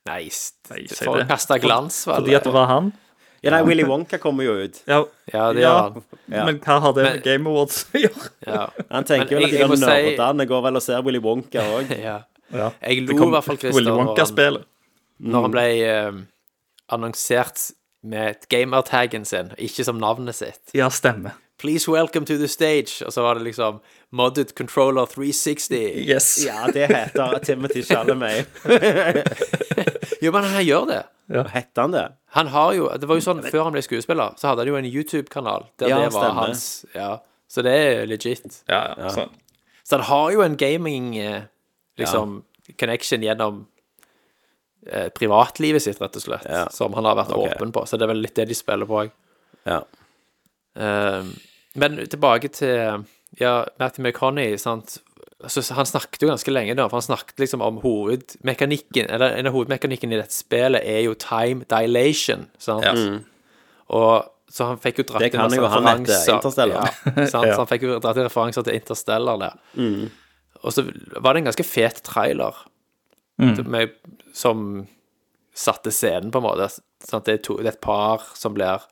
Speaker 5: Nice.
Speaker 4: Nei, si
Speaker 5: For å
Speaker 4: det.
Speaker 5: kaste glans, vel?
Speaker 4: Fordi at det var han.
Speaker 3: Ja, nei, Willy Wonka kommer jo ut.
Speaker 4: Ja,
Speaker 5: Ja, det gjør han.
Speaker 3: Ja.
Speaker 4: Men hva har det med
Speaker 5: Men-
Speaker 4: Game Awards å gjøre?
Speaker 5: Ja.
Speaker 3: Han tenker
Speaker 5: Men
Speaker 3: vel
Speaker 5: jeg-
Speaker 3: at de
Speaker 5: jeg må
Speaker 3: der
Speaker 5: si-
Speaker 3: nerdene går vel og ser Willy Wonka òg.
Speaker 5: ja.
Speaker 4: Ja.
Speaker 5: Jeg
Speaker 4: Det
Speaker 5: lo i
Speaker 4: kom
Speaker 5: hvert fall, Christer,
Speaker 4: Willy
Speaker 5: når han-
Speaker 4: Wonka-spillet.
Speaker 5: når
Speaker 3: Mm.
Speaker 5: han ble eh, annonsert med gamertaggen sin, ikke som navnet sitt.
Speaker 4: Ja, stemmer.
Speaker 5: Please welcome to the stage. Og så var det liksom Modded Controller 360.
Speaker 4: Yes.
Speaker 3: Ja, det heter Timothy Chalamet.
Speaker 5: Jo, men han gjør det.
Speaker 3: Heter han det?
Speaker 5: Han har jo Det var jo sånn før han ble skuespiller, så hadde han jo en YouTube-kanal der
Speaker 3: Ja,
Speaker 5: det var
Speaker 3: stemmer.
Speaker 5: hans. Ja, Så det er legit.
Speaker 4: Ja, ja, sånn.
Speaker 5: Så han har jo en gaming eh, liksom connection gjennom eh, privatlivet sitt, rett og slett,
Speaker 3: Ja.
Speaker 5: som han har vært
Speaker 3: Ok.
Speaker 5: åpen på. Så det er vel litt det de spiller på òg.
Speaker 3: Ja.
Speaker 5: Ehm, men tilbake til ja, Matthew McConney, sant. Så han snakket jo ganske lenge da, for han snakket liksom om hovedmekanikken, eller en av hovedmekanikken i dette spillet er jo time dilation, sant. Og så han fikk jo dratt
Speaker 3: Mm. Det kan jo han hette, Interstellar.
Speaker 5: Ja, sant? Så han fikk jo dratt inn referanser til Interstellar der.
Speaker 3: Mm.
Speaker 5: Og så var det en ganske fet trailer
Speaker 3: Mm.
Speaker 5: med, som satte scenen, på en måte. Sant? Det, er to, det er et par som blir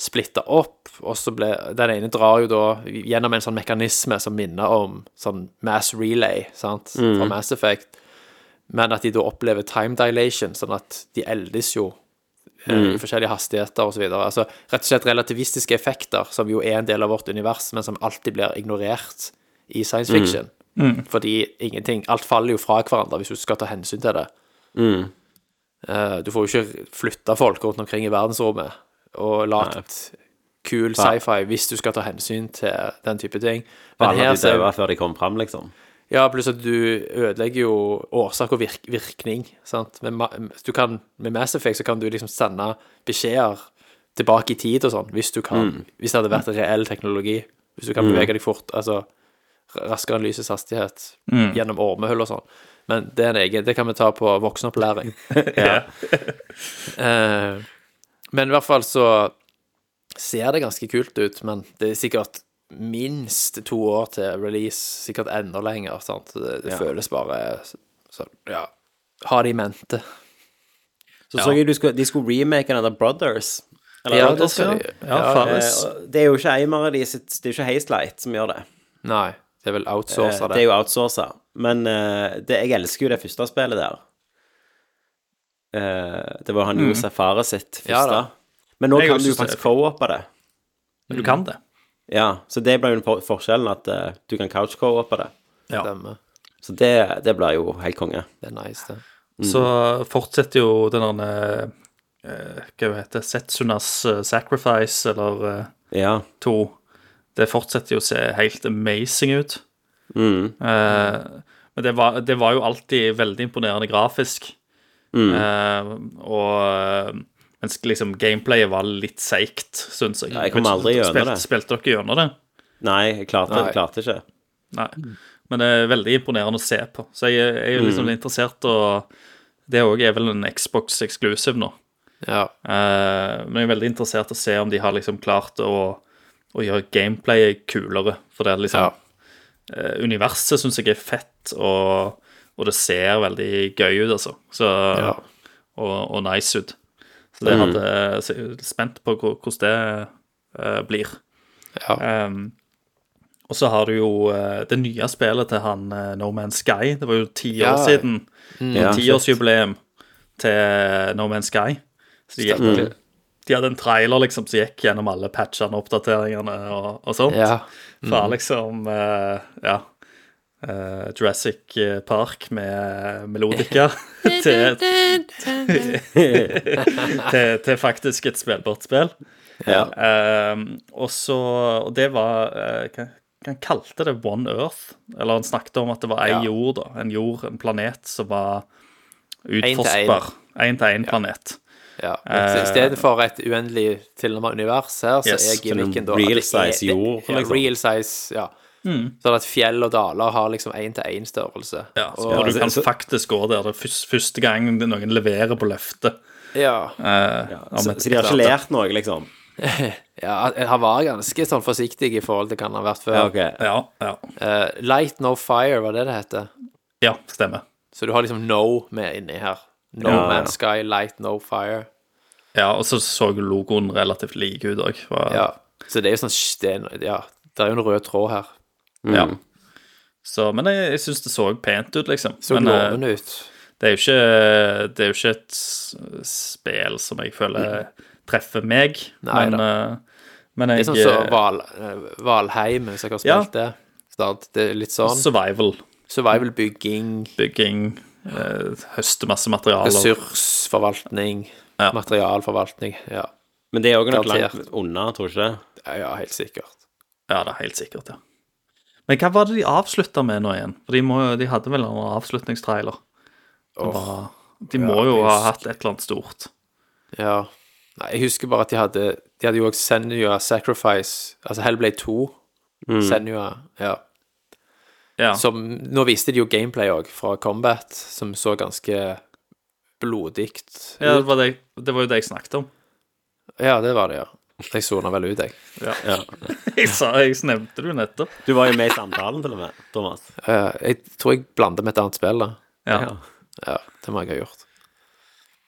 Speaker 5: splitta opp, og så ble Den ene drar jo da gjennom en sånn mekanisme som minner om sånn mass relay, sant, fra Mass Effect, men at de da opplever time dilation, sånn at de eldes jo eh,
Speaker 3: Mm.
Speaker 5: i forskjellige hastigheter osv. Altså rett og slett relativistiske effekter, som jo er en del av vårt univers, men som alltid blir ignorert i science
Speaker 3: Mm.
Speaker 5: fiction. Fordi ingenting Alt faller jo fra hverandre hvis du skal ta hensyn til det.
Speaker 3: Mm.
Speaker 5: Eh, Du får jo ikke flytta folk rundt omkring i verdensrommet og lagt kul sci-fi hvis du skal ta hensyn til den type ting. Men
Speaker 3: Alle
Speaker 5: her
Speaker 3: de
Speaker 5: så
Speaker 3: daua før de kom fram, liksom.
Speaker 5: Ja, pluss at du ødelegger jo årsak og virk, virkning, sant. Med, ma- du kan, med Mass Effect så kan du liksom sende beskjeder tilbake i tid og sånn, hvis du kan Hvis det hadde vært reell teknologi. Hvis du kan bevege deg fort, altså r- raskere enn lysets hastighet gjennom ormehull og sånn. Men det er en egen Det kan vi ta på voksenopplæring.
Speaker 4: Ja.
Speaker 5: Eh, Men i hvert fall så ser det ganske kult ut, men det er sikkert minst to år til release, sikkert enda lenger, sant. Det, det føles bare sånn, ja. Ha det i mente.
Speaker 3: Så så jeg du skulle, de skulle remake den der Brothers. Eller
Speaker 5: Ja, det
Speaker 3: Brothers,
Speaker 5: skal de.
Speaker 4: Ja,
Speaker 5: Ja,
Speaker 3: Eh,
Speaker 4: Fares.
Speaker 3: og Det er jo ikke Eimer av de sitt Det er ikke Hazelight som gjør det.
Speaker 5: Nei, det er vel
Speaker 3: Eh,
Speaker 5: outsourca,
Speaker 3: Det er
Speaker 5: det.
Speaker 3: jo outsourca. Men eh, det, jeg elsker jo det første spillet der. Eh, det var han Josef Fare sitt
Speaker 5: Ja
Speaker 3: første.
Speaker 5: da.
Speaker 3: Men nå
Speaker 4: Mm. Jeg
Speaker 3: kan
Speaker 4: også
Speaker 3: du jo
Speaker 4: synes det er
Speaker 3: faktisk co-oppe det.
Speaker 4: Du kan det.
Speaker 3: Ja, så det ble jo for- forskjellen, at eh, du kan couch-co-oppe det.
Speaker 4: Ja.
Speaker 5: Stemmer.
Speaker 3: Så det, det blir jo helt konge.
Speaker 5: Det er nice, det.
Speaker 4: Så fortsetter jo den der eh, Hva heter det? Setsunas eh, Sacrifice, eller eh,
Speaker 3: Ja.
Speaker 4: to. Det fortsetter jo å se helt amazing ut.
Speaker 3: Mm.
Speaker 4: Eh, men det var, det var jo alltid veldig imponerende grafisk.
Speaker 3: Mm.
Speaker 4: Eh, og eh, mens liksom gameplayet var litt seigt, syns jeg.
Speaker 3: jeg kom aldri gjennom
Speaker 4: Spilte-
Speaker 3: det.
Speaker 4: Spilte dere gjennom det?
Speaker 3: Nei, jeg klarte,
Speaker 5: Nei.
Speaker 3: klarte ikke.
Speaker 4: Nei. Men det er veldig imponerende å se på. Så jeg, jeg er jo
Speaker 3: Mm.
Speaker 4: liksom interessert, og det òg er vel en Xbox exclusive nå.
Speaker 5: Ja.
Speaker 4: Eh, men jeg er veldig interessert i å se om de har liksom klart å, å gjøre gameplayet kulere. For det er liksom
Speaker 5: Ja.
Speaker 4: eh, Universet syns jeg er fett, og, og det ser veldig gøy ut, altså. Så,
Speaker 5: Ja. Mm.
Speaker 4: og, og nice ut. Så det hadde, så jeg er spent på hvor- hvordan det eh, blir.
Speaker 5: ja.
Speaker 4: Ehm, og så har du jo eh, det nye spillet til han eh, No Man's Sky. Det var jo ti
Speaker 5: Ja. Mm.
Speaker 4: år siden.
Speaker 3: Ja.
Speaker 4: Tiårsjubileum til No Man's Sky. Så de, gikk, de hadde en trailer liksom som gikk gjennom alle patchene og oppdateringene og, og sånt.
Speaker 5: ja.
Speaker 4: Fra liksom eh, ja, eh, Jurassic Park med melodica til, til, til faktisk et spillbart spill.
Speaker 3: Ja.
Speaker 4: Ehm, og så Og det var eh, hva, hva Han kalte det One Earth. Eller han snakket om at det var ei
Speaker 5: Ja.
Speaker 4: jord, da. En jord, en planet, som var
Speaker 5: en.
Speaker 4: utforskbar. Én-til-én-planet.
Speaker 5: ja. Men så I stedet for et uendelig tilnærmet univers her, så
Speaker 4: Yes,
Speaker 5: er gimmicken da at
Speaker 3: real
Speaker 5: det er-
Speaker 3: size
Speaker 5: det-
Speaker 3: jord,
Speaker 5: ja,
Speaker 3: liksom.
Speaker 5: Real size, ja. Sånn at fjell og daler har liksom én-til-én-størrelse.
Speaker 4: Ja, så og du kan faktisk gå der det er først, første gang noen leverer på løftet.
Speaker 5: Ja.
Speaker 4: Eh, om
Speaker 3: Så,
Speaker 4: et
Speaker 3: så de har ikke
Speaker 4: klart-
Speaker 3: lært noe, liksom?
Speaker 5: Ja, han var ganske sånn forsiktig i forhold til hva han har vært før.
Speaker 3: Ja, ok.
Speaker 4: Ja, ja.
Speaker 5: Eh, light no fire, var det det heter?
Speaker 4: ja, stemmer.
Speaker 5: Så du har liksom no med inni her. No
Speaker 3: Ja, ja.
Speaker 5: man's sky, light no fire.
Speaker 4: Ja, og så så jo logoen relativt lik ut òg.
Speaker 5: Ja. Så det er jo sånn det er, en- Ja, det er jo en rød tråd her.
Speaker 4: Ja.
Speaker 5: mm.
Speaker 4: Så, men jeg, jeg syns det så pent ut, liksom.
Speaker 5: Så
Speaker 4: men eh,
Speaker 5: lovende ut.
Speaker 4: det er jo ikke, det er jo ikke et s- spill som jeg føler treffer meg.
Speaker 5: Mm. Nei
Speaker 4: men, eh, men
Speaker 5: Det
Speaker 4: jeg
Speaker 5: er sånn som Val, eh, Valheim, hvis dere har
Speaker 4: Ja.
Speaker 5: spilt det. Sant? Det er litt sånn.
Speaker 4: Survival.
Speaker 5: Survival-bygging,
Speaker 4: Bygging. eh, høste masse materialer.
Speaker 5: ressursforvaltning,
Speaker 4: Ja.
Speaker 5: materialforvaltning. Ja.
Speaker 3: Men det er òg nok langt
Speaker 5: Garantert.
Speaker 3: unna, tror jeg ikke.
Speaker 5: ja, ja, helt sikkert.
Speaker 4: Ja, det er helt sikkert, ja. Men hva var det de avslutta med nå igjen? For de, må, jo- de hadde vel en avslutningstrailer. Det var- de må jo ha hatt et eller annet stort.
Speaker 5: Ja. Nei, jeg husker bare at de hadde De hadde jo også Senua Sacrifice, altså Hellblade 2. Senua, ja.
Speaker 4: Mm. Ja.
Speaker 5: Som Nå viste de jo gameplay òg, fra Combat, som så ganske blodig ut.
Speaker 4: Ja, det, var det, det var jo det jeg snakket om.
Speaker 5: Ja, det var det, ja. Jeg sona vel ut, jeg.
Speaker 4: Jeg, sa, jeg nevnte det jo nettopp.
Speaker 3: Du var jo med i samtalen, til og med, Thomas. Um,
Speaker 5: Eh, jeg tror jeg blander med et annet spill, da.
Speaker 4: Ja.
Speaker 5: Ja, det må jeg ha gjort.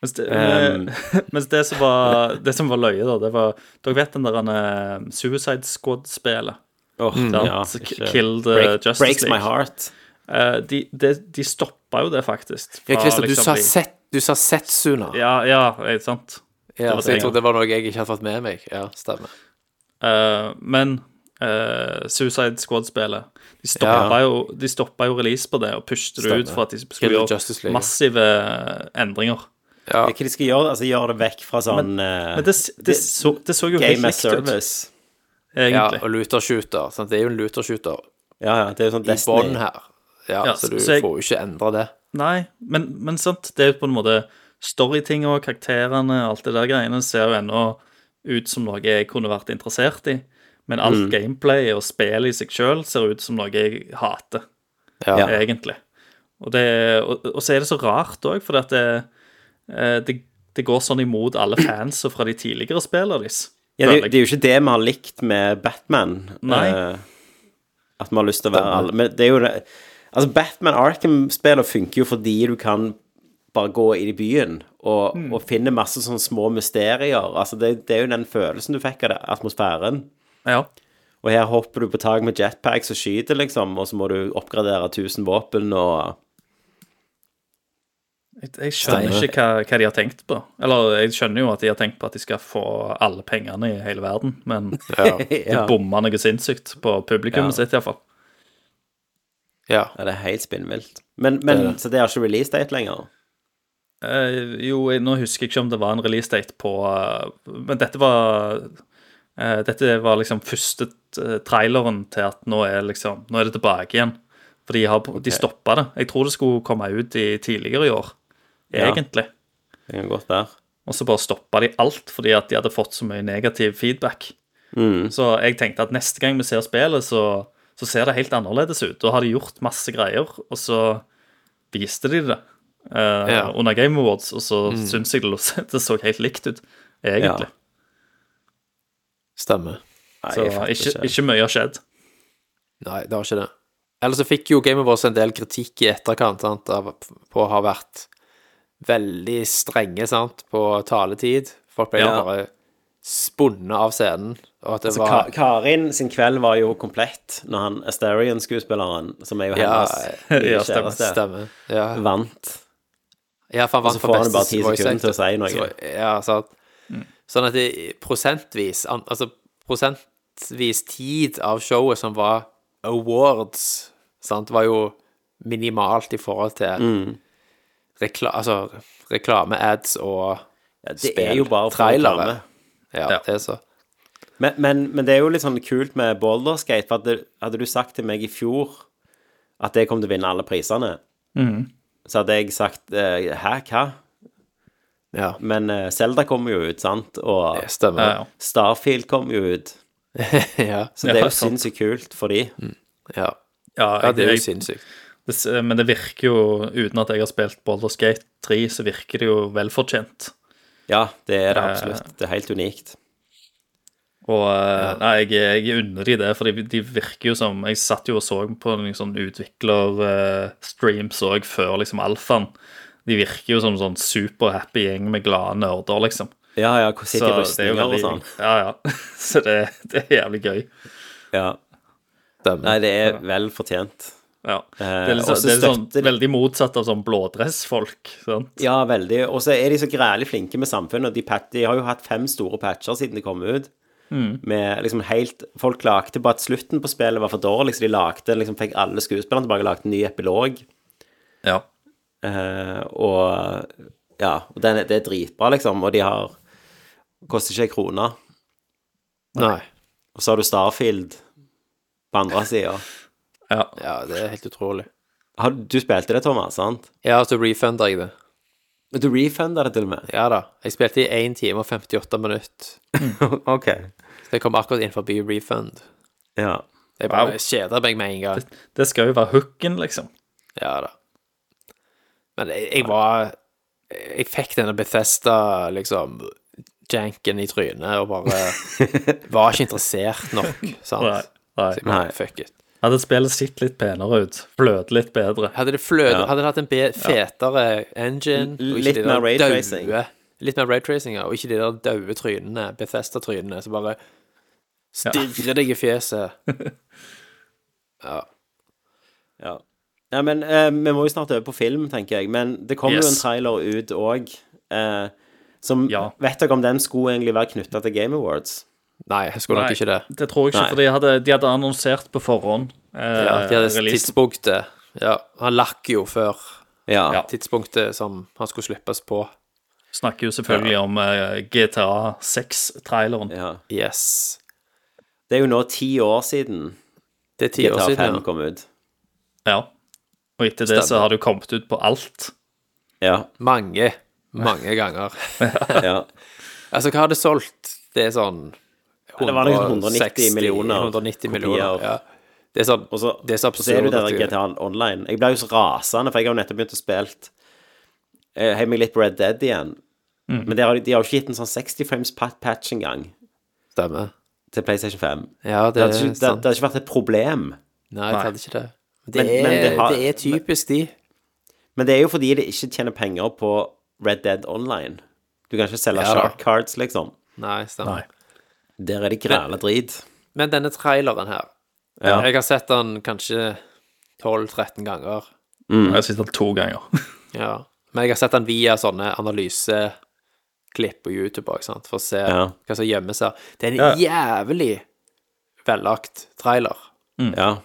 Speaker 4: Mens, det, eh, mens det, som var, det som var løye, da, det var Dere vet den der eh, Suicide Squad-spelet?
Speaker 3: Åh,
Speaker 4: Der
Speaker 3: ja,
Speaker 4: s-
Speaker 3: ikke-
Speaker 4: Kill the
Speaker 3: Break,
Speaker 4: eh, Justice
Speaker 3: breaks my
Speaker 4: League.
Speaker 3: heart.
Speaker 4: Eh, de de, de stoppa jo det, faktisk.
Speaker 5: Ja,
Speaker 4: fra
Speaker 5: Christer, du,
Speaker 4: liksom
Speaker 5: sa
Speaker 4: de-
Speaker 5: set, du sa Setsuna. Ja,
Speaker 4: Ja, ja, eh, sant. var
Speaker 5: så jeg
Speaker 4: det, ja.
Speaker 5: trodde det var noe jeg ikke hadde fått med meg. Ja, stemmer.
Speaker 4: Eh, men eh, Suicide Squad-spillet De stoppa jo, de stoppa jo release på det og pushet det
Speaker 5: Stemmer.
Speaker 4: ut for at de
Speaker 5: Kill
Speaker 4: skulle
Speaker 5: the Justice
Speaker 4: gjøre
Speaker 5: League.
Speaker 4: massive eh, endringer.
Speaker 5: Ja,
Speaker 3: Hva de skal gjøre? Altså, gjøre det vekk fra sånn eh,
Speaker 4: Men det, s- det, så, det så jo helt
Speaker 3: Game as
Speaker 4: likt ut,
Speaker 3: service.
Speaker 5: ja
Speaker 4: egentlig.
Speaker 5: og lootershooter. Sant? Det er jo en lootershooter
Speaker 3: Ja, ja, det er jo sånn
Speaker 5: i bånn
Speaker 3: Destiny.
Speaker 5: her. Ja,
Speaker 4: Ja,
Speaker 5: så du
Speaker 4: så jeg-
Speaker 5: får jo ikke endra det.
Speaker 4: Nei, men, men sant, det er jo på en måte storytinga, karakterene, alt det der greiene ser jo ennå ut som noe jeg kunne vært interessert i. Men alt
Speaker 5: Mm.
Speaker 4: gameplay og spillet i seg sjøl ser ut som noe jeg hater,
Speaker 5: Ja.
Speaker 4: egentlig. Og, det, og, og så er det så rart òg, for det, eh, det, det går sånn imot alle fans og fra de tidligere spillene deres.
Speaker 3: Ja, det, er jo-
Speaker 4: føler
Speaker 3: det
Speaker 4: jeg.
Speaker 3: er jo ikke det vi har likt med Batman.
Speaker 4: Nei.
Speaker 3: eh, at vi har lyst til å være alle Men det er jo det Altså, Batman Arkham-spillene funker jo fordi du kan bare gå inn i byen og,
Speaker 4: Mm.
Speaker 3: og finne masse sånne små mysterier. Altså, det, det er jo den følelsen du fikk av det, atmosfæren.
Speaker 4: ja.
Speaker 3: Og her hopper du på tak med jetpacks og skyter, liksom, og så må du oppgradere 1000 våpen og
Speaker 4: Jeg, jeg skjønner ikke hva, hva de har tenkt på. Eller jeg skjønner jo at de har tenkt på at de skal få alle pengene i hele verden, men De
Speaker 3: Ja,
Speaker 4: bomma noe sinnssykt på publikummet sitt, iallfall.
Speaker 5: Ja.
Speaker 3: Ja, det er helt spinnvilt. Men, men så det har ikke release date lenger?
Speaker 4: Uh, jo, jeg, nå husker jeg ikke om det var en releasedate på eh, Men dette var eh, Dette var liksom første eh, traileren til at nå er liksom Nå er det tilbake igjen. For de, har, de stoppa det. Jeg tror det skulle komme ut i tidligere i år,
Speaker 3: Ja.
Speaker 4: egentlig.
Speaker 3: Det kan godt være.
Speaker 4: Og så bare stoppa de alt fordi at de hadde fått så mye negativ feedback. Så jeg tenkte at neste gang vi ser spillet, så, så ser det helt annerledes ut. Da har de gjort masse greier, og så viste de det eh,
Speaker 5: Ja.
Speaker 4: under Game Awards, og så syns jeg det, lo- det så helt likt ut, egentlig.
Speaker 5: Stemmer.
Speaker 3: Nei,
Speaker 4: Så
Speaker 3: jeg fatter
Speaker 4: ikke, ikke mye har skjedd.
Speaker 5: Nei, det var ikke det. Eller så fikk jo Game of Us en del kritikk i etterkant sant, av, på å ha vært veldig strenge sant, på taletid. Folk ble jo
Speaker 3: Ja.
Speaker 5: bare spunnet av scenen. Og at det
Speaker 3: Så Ka
Speaker 5: var
Speaker 3: Karin sin kveld var jo komplett når han Asterion-skuespilleren, som er jo
Speaker 5: Ja,
Speaker 3: hennes
Speaker 4: ja,
Speaker 3: nye
Speaker 4: stemmer,
Speaker 3: kjæreste,
Speaker 5: Stemmer. Ja.
Speaker 3: vant.
Speaker 5: Ja, for han
Speaker 3: Og så får
Speaker 5: vant for
Speaker 3: han
Speaker 5: beste
Speaker 3: bare 10
Speaker 5: voice
Speaker 3: sekunder til å
Speaker 5: actor.
Speaker 3: si noe.
Speaker 5: Så- Ja, sant. Sånn at det prosentvis an- Altså prosentvis tid av showet som var awards, sant, var jo minimalt i forhold til
Speaker 3: Mm.
Speaker 5: rekla, altså, reklame-ads og
Speaker 3: Ja, det er jo bare for
Speaker 5: Trailere.
Speaker 3: reklame.
Speaker 5: ja,
Speaker 4: Ja.
Speaker 5: det er så.
Speaker 3: Men, men, men det er jo litt sånn kult med Boulderskate, for hadde, hadde du sagt til meg i fjor at det kom til å vinne alle prisene, Mm. så hadde jeg sagt eh, hæ, hva?
Speaker 5: Ja,
Speaker 3: Men eh, Zelda kommer jo ut, sant? Og
Speaker 5: det stemmer.
Speaker 4: Ja, ja.
Speaker 3: Starfield kommer jo ut.
Speaker 5: ja,
Speaker 3: Så det er
Speaker 4: Ja,
Speaker 3: jo
Speaker 4: sant.
Speaker 3: sinnssykt kult for de.
Speaker 5: ja.
Speaker 4: Ja,
Speaker 5: ja, det er jo
Speaker 4: jeg-
Speaker 5: sinnssykt.
Speaker 4: det s- eh, men det virker jo, uten at jeg har spilt Baldur's Gate 3, så virker det jo velfortjent.
Speaker 3: Ja, det er det absolutt. Det er helt unikt.
Speaker 4: Og eh, nei, jeg, jeg unner de det, for de, de virker jo som Jeg satt jo og så på noen sånn eh, utvikler-streams òg før liksom alfaen. De virker jo som en sånn superhappy gjeng med glade nerder, liksom.
Speaker 3: Ja, ja, hvor
Speaker 4: Så
Speaker 3: sikkert
Speaker 4: det er jo
Speaker 3: rustninger og
Speaker 4: veldig
Speaker 3: sånn.
Speaker 4: Ja, ja. Så det, det er jævlig gøy.
Speaker 3: Ja. Nei, det er vel fortjent.
Speaker 4: Ja.
Speaker 3: Eh,
Speaker 4: Det er, liksom,
Speaker 3: også
Speaker 4: det er sånn,
Speaker 3: støtter-
Speaker 4: veldig motsatt av sånn blådressfolk. Sant?
Speaker 3: Ja, veldig. Og så er de så grælig flinke med samfunnet. og De, pat- de har jo hatt fem store patcher siden de kom ut. Med liksom helt, Folk klagde på at slutten på spillet var for dårlig, så de lagde, liksom, fikk alle skuespillerne tilbake og lagde en ny epilog.
Speaker 4: Ja.
Speaker 3: Eh, og ja, og den, er- det er dritbra, liksom. Og de har Koster ikke ei krone.
Speaker 5: Nei.
Speaker 3: Og så har du Starfield på andre sida.
Speaker 4: ja.
Speaker 5: Ja, det er helt utrolig.
Speaker 3: Har- Du spilte det, Thomas, sant?
Speaker 5: Ja, så refunda jeg det.
Speaker 3: Men Du refunda det til og med.
Speaker 5: Ja da. Jeg spilte i 1 time og 58 minutter.
Speaker 3: OK.
Speaker 5: Så jeg kom akkurat inn forbi refund.
Speaker 3: Ja.
Speaker 5: Jeg bare
Speaker 4: Wow.
Speaker 5: kjeder meg med en gang.
Speaker 4: Det skal jo være hooken, liksom.
Speaker 5: Ja da. Men jeg, jeg var Jeg fikk denne Bethesda, liksom, janken i trynet og bare var ikke interessert nok, sant?
Speaker 4: Nei. Nei.
Speaker 5: Så jeg bare,
Speaker 3: Nei.
Speaker 5: Fuck it.
Speaker 4: Hadde spillet sett litt penere ut. Fløt litt bedre.
Speaker 5: Hadde det fløt, hadde det hatt en be fetere engine
Speaker 3: L-
Speaker 5: og ikke
Speaker 3: litt
Speaker 5: de der
Speaker 3: mer raytracing.
Speaker 5: daue- Litt mer raytracing, ja, og ikke de der daue trynene, Bethesda-trynene, som bare stirrer deg i fjeset.
Speaker 3: Ja. ja men eh, vi må jo snart over på film, tenker jeg. Men det kom jo
Speaker 4: Yes.
Speaker 3: en trailer ut òg eh, som
Speaker 4: Ja.
Speaker 3: Vet dere om den skulle egentlig være knytta til Game Awards?
Speaker 5: Nei, jeg skulle nok
Speaker 4: Nei,
Speaker 5: ikke det.
Speaker 4: Det tror jeg ikke,
Speaker 3: Nei.
Speaker 4: for de hadde, de hadde annonsert på forhånd. Eh,
Speaker 5: Ja, de hadde
Speaker 4: release.
Speaker 5: tidspunktet. Ja, han lakk jo før
Speaker 3: Ja.
Speaker 4: Ja.
Speaker 5: tidspunktet som han skulle slippes på.
Speaker 4: Snakker jo selvfølgelig om eh, GTA 6-traileren.
Speaker 3: ja.
Speaker 5: Yes.
Speaker 3: Det er jo nå ti år siden
Speaker 5: Det er ti år
Speaker 3: GTA 5
Speaker 5: siden. ja.
Speaker 3: kom ut.
Speaker 4: Ja. Og etter det så
Speaker 5: Stemmer.
Speaker 4: har det jo kommet ut på alt.
Speaker 3: Ja.
Speaker 5: Mange, mange ganger.
Speaker 3: ja.
Speaker 5: altså, hva har det solgt? Det er sånn
Speaker 3: det var noe sånn 190 millioner
Speaker 5: 190
Speaker 3: kopier.
Speaker 5: millioner, ja. Det er sånn
Speaker 3: Og så,
Speaker 5: Det er så
Speaker 3: og så er det
Speaker 5: absurd
Speaker 3: jo
Speaker 5: at
Speaker 3: det
Speaker 5: du-
Speaker 3: der GTA Online. Jeg ble jo så rasende, for jeg har jo nettopp begynt å spille eh, Hei meg litt på Red Dead igjen. Men de har, de har jo ikke gitt en sånn 60 frames pat- patch engang
Speaker 5: Stemme.
Speaker 3: til PlayStation 5.
Speaker 5: Ja, det,
Speaker 3: Det
Speaker 5: er
Speaker 3: hadde ikke, det,
Speaker 5: sant.
Speaker 3: det hadde ikke vært et problem.
Speaker 5: Nei, det hadde ikke det. Men det,
Speaker 3: Men-
Speaker 5: er,
Speaker 3: men det har-
Speaker 5: det er typisk de.
Speaker 3: Men det er jo fordi det ikke tjener penger på Red Dead Online. Du kan ikke selge
Speaker 5: Ja da.
Speaker 3: shark cards, liksom.
Speaker 5: Nei, stemmer.
Speaker 4: Nei.
Speaker 3: Der er det græla drit.
Speaker 5: Men denne traileren her
Speaker 3: Ja.
Speaker 5: Jeg har sett den kanskje 12-13 ganger. Mm.
Speaker 4: Jeg har sett den to ganger.
Speaker 5: Ja. Men jeg har sett den via sånne analyseklipp på YouTube også, sant? for å se
Speaker 3: Ja.
Speaker 5: hva som gjemmer seg. Det er en jævlig vellagt trailer.
Speaker 3: Ja.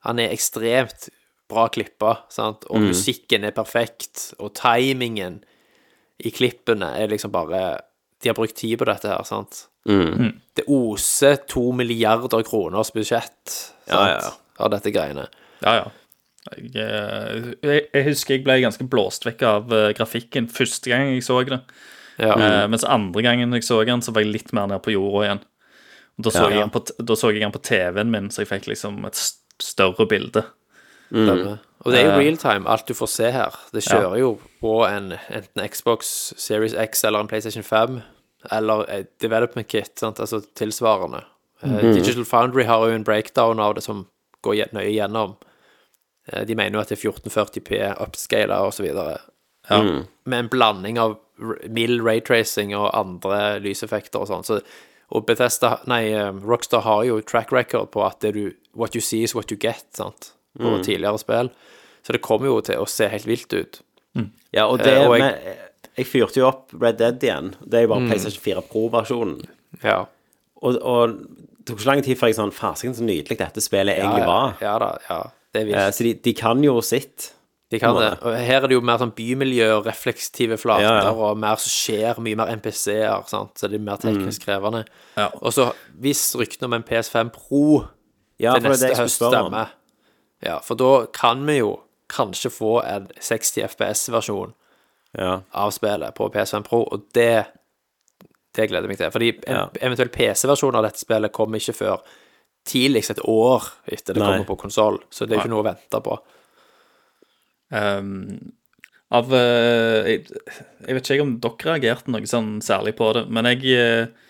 Speaker 5: Han er ekstremt bra klippa, sant?
Speaker 3: Mm.
Speaker 5: og musikken er perfekt, og timingen i klippene er liksom bare De har brukt tid på dette her, sant?
Speaker 3: Mm.
Speaker 5: Det oser to milliarder kroners budsjett sant?
Speaker 3: Ja, ja, ja.
Speaker 5: av dette greiene.
Speaker 4: Ja, ja. Jeg, eh, jeg, jeg husker jeg ble ganske blåst vekk av eh, grafikken første gang jeg så det.
Speaker 5: Ja.
Speaker 3: Mm.
Speaker 4: Eh, mens andre gangen jeg så den, så var jeg litt mer nede på jorda igjen. Og Da så, jeg den på, t- da så jeg den på TV-en min, så jeg fikk liksom et st- større bilde.
Speaker 5: stemmer. Og det er jo real time, alt du får se her. Det kjører jo på en enten Xbox Series X eller en PlayStation 5, eller et development kit, sant? altså tilsvarende. Eh, Digital Foundry har jo en breakdown av det som går gje- nøye gjennom. Eh, De mener jo at det er 1440P, upscala og så videre. Med en blanding av r- mild raytracing og andre lyseffekter og sånn. Så, og Bethesda, nei, eh, Rockstar har jo track record på at det du, what you see is what you get, sant? På
Speaker 3: Mm.
Speaker 5: tidligere spill. Så det kommer jo til å se helt vilt ut.
Speaker 3: ja og det
Speaker 5: Eh, og jeg- Mm.
Speaker 3: men, eh, Jeg fyrte jo opp Red Dead igjen. Det er jo bare PlayStation 4 Pro-versjonen.
Speaker 5: Ja.
Speaker 3: Og, og det tok så lang tid før jeg sånn Fasiken, så nydelig dette spillet
Speaker 5: Ja,
Speaker 3: egentlig
Speaker 5: ja,
Speaker 3: var.
Speaker 5: Ja da, ja. Det er
Speaker 3: Eh,
Speaker 5: vilt.
Speaker 3: Så de, de kan jo sitt.
Speaker 5: De kan
Speaker 3: må
Speaker 5: det.
Speaker 3: det.
Speaker 5: Og her er det jo mer sånn bymiljø og refleksive flater
Speaker 3: Ja, ja.
Speaker 5: og mer som skjer, mye mer NPC-er, sant. Så det er mer
Speaker 3: Mm.
Speaker 5: teknisk krevende.
Speaker 4: Ja.
Speaker 5: Og så, hvis ryktene om en PS5 Pro
Speaker 3: Ja,
Speaker 5: til
Speaker 3: for det er
Speaker 5: neste
Speaker 3: det jeg
Speaker 5: høst
Speaker 3: skulle spørre om.
Speaker 5: stemmer Ja, for da kan vi jo kanskje få en 60 FPS-versjon
Speaker 3: Ja.
Speaker 5: av spillet på PS5 Pro, og det det gleder jeg meg til. Fordi en
Speaker 3: Ja.
Speaker 5: eventuell PC-versjon av dette spillet kommer ikke før tidligst et år etter det
Speaker 3: Nei.
Speaker 5: kommer på konsoll, så det er jo ikke noe å vente på.
Speaker 4: Um, av eh, jeg, jeg vet ikke om dere reagerte noe sånn særlig på det, men jeg eh,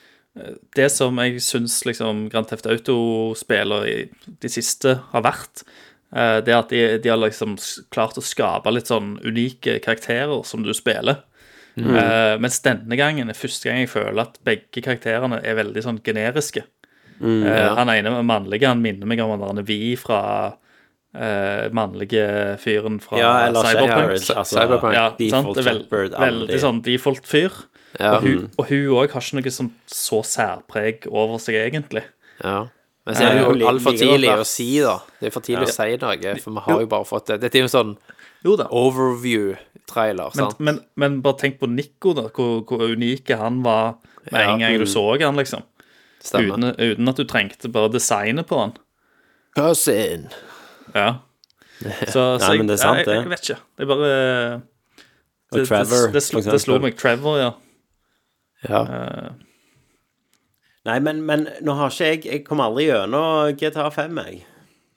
Speaker 4: Det som jeg syns liksom Grand Theft Auto-spiller i de siste har vært, eh, det er at de, de har liksom s- klart å skape litt sånn unike karakterer som du spiller. Eh, mens denne gangen er første gang jeg føler at begge karakterene er veldig sånn generiske. Eh, Han ene mannlige han minner meg om han der vi fra eh, mannlige fyren fra
Speaker 3: Ja, eller Jack
Speaker 4: Cyberpunk.
Speaker 3: Harris. Altså,
Speaker 5: Cyberpunk.
Speaker 4: Ja, sant?
Speaker 3: Default
Speaker 4: Det er Vel,
Speaker 3: Shepard, aldri.
Speaker 4: veldig sånn default fyr.
Speaker 5: Ja.
Speaker 4: Og hun- Og hun òg har ikke noe som så særpreg over seg, egentlig.
Speaker 5: Ja. Men så er det
Speaker 3: Ja,
Speaker 5: jo
Speaker 3: ja.
Speaker 5: altfor
Speaker 3: Ligger
Speaker 5: tidlig
Speaker 3: der.
Speaker 5: å si, da. Det er for tidlig å si noe, for vi har jo bare fått det. Dette er jo en sånn
Speaker 4: Jo da. Men,
Speaker 5: overview-trailer, sant?
Speaker 4: men, men bare tenk på Nico, da. Hvor, hvor unike han var med en gang
Speaker 3: mm.
Speaker 4: du så han, liksom.
Speaker 5: Stemmer.
Speaker 4: Uten, uten at du trengte bare designet på han.
Speaker 5: Cousin.
Speaker 4: Ja. Så, så
Speaker 3: Nei, men det er sant,
Speaker 4: jeg, jeg,
Speaker 3: det.
Speaker 4: jeg vet ikke. Det er bare
Speaker 3: Og Trevor,
Speaker 4: det, det, slo,
Speaker 3: for
Speaker 4: det slo
Speaker 3: eksempel.
Speaker 4: meg. Trevor, ja.
Speaker 5: Ja.
Speaker 3: Nei, men, men nå har ikke jeg Jeg kom aldri gjennom GTA 5, jeg.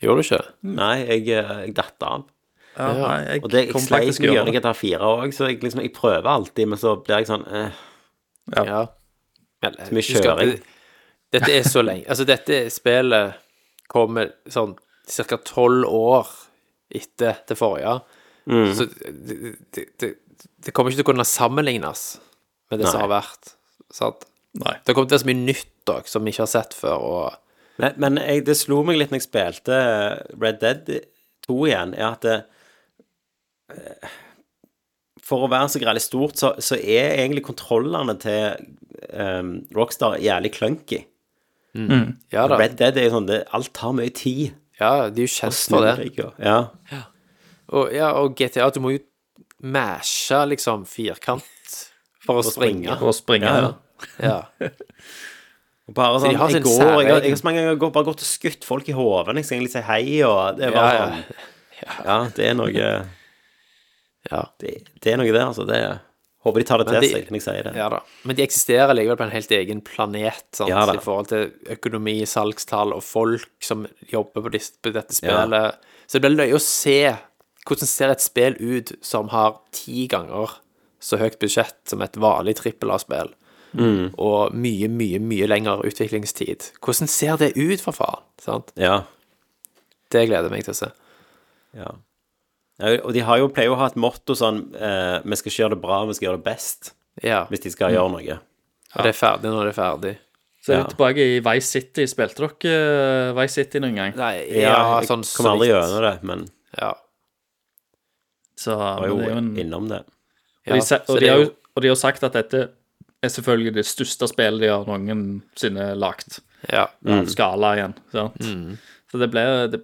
Speaker 5: Gjorde du ikke?
Speaker 3: Nei, jeg, eh, jeg datt av.
Speaker 4: ja, nei, jeg
Speaker 3: Og det jeg
Speaker 4: kom
Speaker 3: sleit
Speaker 4: faktisk
Speaker 3: med gjennom
Speaker 4: gjennom det.
Speaker 3: GTA 4 òg, så jeg, liksom, jeg prøver alltid, men så blir jeg sånn eh,
Speaker 5: Ja. Men,
Speaker 3: mye
Speaker 5: husk at
Speaker 3: kjøring.
Speaker 5: det- Dette er så lenge Altså, dette spillet kommer sånn ca. tolv år etter det forrige. Så det, det, det, det kommer ikke til å kunne sammenlignes med det som har
Speaker 3: Nei.
Speaker 5: vært. Sant?
Speaker 4: Nei.
Speaker 5: Det har kommet til å være så mye nytt da, som vi ikke har sett før. Og
Speaker 3: Men, men jeg, det slo meg litt når jeg spilte eh, Red Dead 2 igjen, er at det, eh, For å være så greit stort, så, så er egentlig kontrollene til eh, Rockstar jævlig clunky.
Speaker 5: ja da.
Speaker 3: Red Dead er jo sånn det, Alt tar mye tid.
Speaker 5: Ja, de er jo kjent for det.
Speaker 3: Snurriker. Ja.
Speaker 5: Og, ja, og GTA, du må jo mashe liksom firkant for å
Speaker 3: springe.
Speaker 5: springe.
Speaker 4: For å springe.
Speaker 3: Ja, ja.
Speaker 5: Ja.
Speaker 3: Og Bare sånn,
Speaker 5: de har
Speaker 3: jeg
Speaker 5: sin
Speaker 3: går, jeg, jeg,
Speaker 5: særegen-
Speaker 3: har så mange ganger gått- bare gått og skutt folk i hodet når jeg skal egentlig si hei, og det er bare
Speaker 5: Ja, ja.
Speaker 3: sånn Ja, det er noe
Speaker 5: ja.
Speaker 3: Det, det er noe der, altså. Det Håper de tar det
Speaker 5: Men
Speaker 3: til
Speaker 5: de-
Speaker 3: seg når jeg sier det.
Speaker 5: Ja da. Men de eksisterer likevel på en helt egen planet sant?
Speaker 3: Ja da.
Speaker 5: i forhold til økonomi, salgstall og folk som jobber på, disse, på dette spillet. Så det blir løye å se hvordan ser et spill ut som har ti ganger så høyt budsjett som et vanlig trippel A-spill,
Speaker 3: Mm.
Speaker 5: og mye, mye, mye lengre utviklingstid. Hvordan ser det ut, for faen? Sant?
Speaker 3: Ja.
Speaker 5: Det gleder jeg meg til å se.
Speaker 3: Ja. Ja, Og de har jo, pleier jo å ha et motto sånn eh, Vi skal ikke gjøre det bra, vi skal gjøre det best.
Speaker 5: Ja.
Speaker 3: Hvis de skal gjøre noe.
Speaker 5: Og det er ferdig når det er ferdig.
Speaker 4: Så er
Speaker 3: Ja.
Speaker 4: vi tilbake i Vice City. Spilte dere eh, Vice City noen gang?
Speaker 5: Nei,
Speaker 3: Ja,
Speaker 5: ja,
Speaker 3: jeg
Speaker 5: sånn
Speaker 3: kom aldri
Speaker 5: vidt.
Speaker 3: gjennom det, men
Speaker 5: Ja.
Speaker 4: Så,
Speaker 3: var
Speaker 4: men det er
Speaker 3: jo
Speaker 4: jo en,
Speaker 3: innom det.
Speaker 4: og, de,
Speaker 5: Ja,
Speaker 4: sa-
Speaker 5: så
Speaker 4: og,
Speaker 5: det
Speaker 4: de
Speaker 5: er
Speaker 4: har,
Speaker 5: jo-
Speaker 4: jo- og de har sagt at dette er selvfølgelig det største spillet de har noensinne lagt.
Speaker 5: Ja.
Speaker 4: Av Skala igjen. Sant? Så det blir det,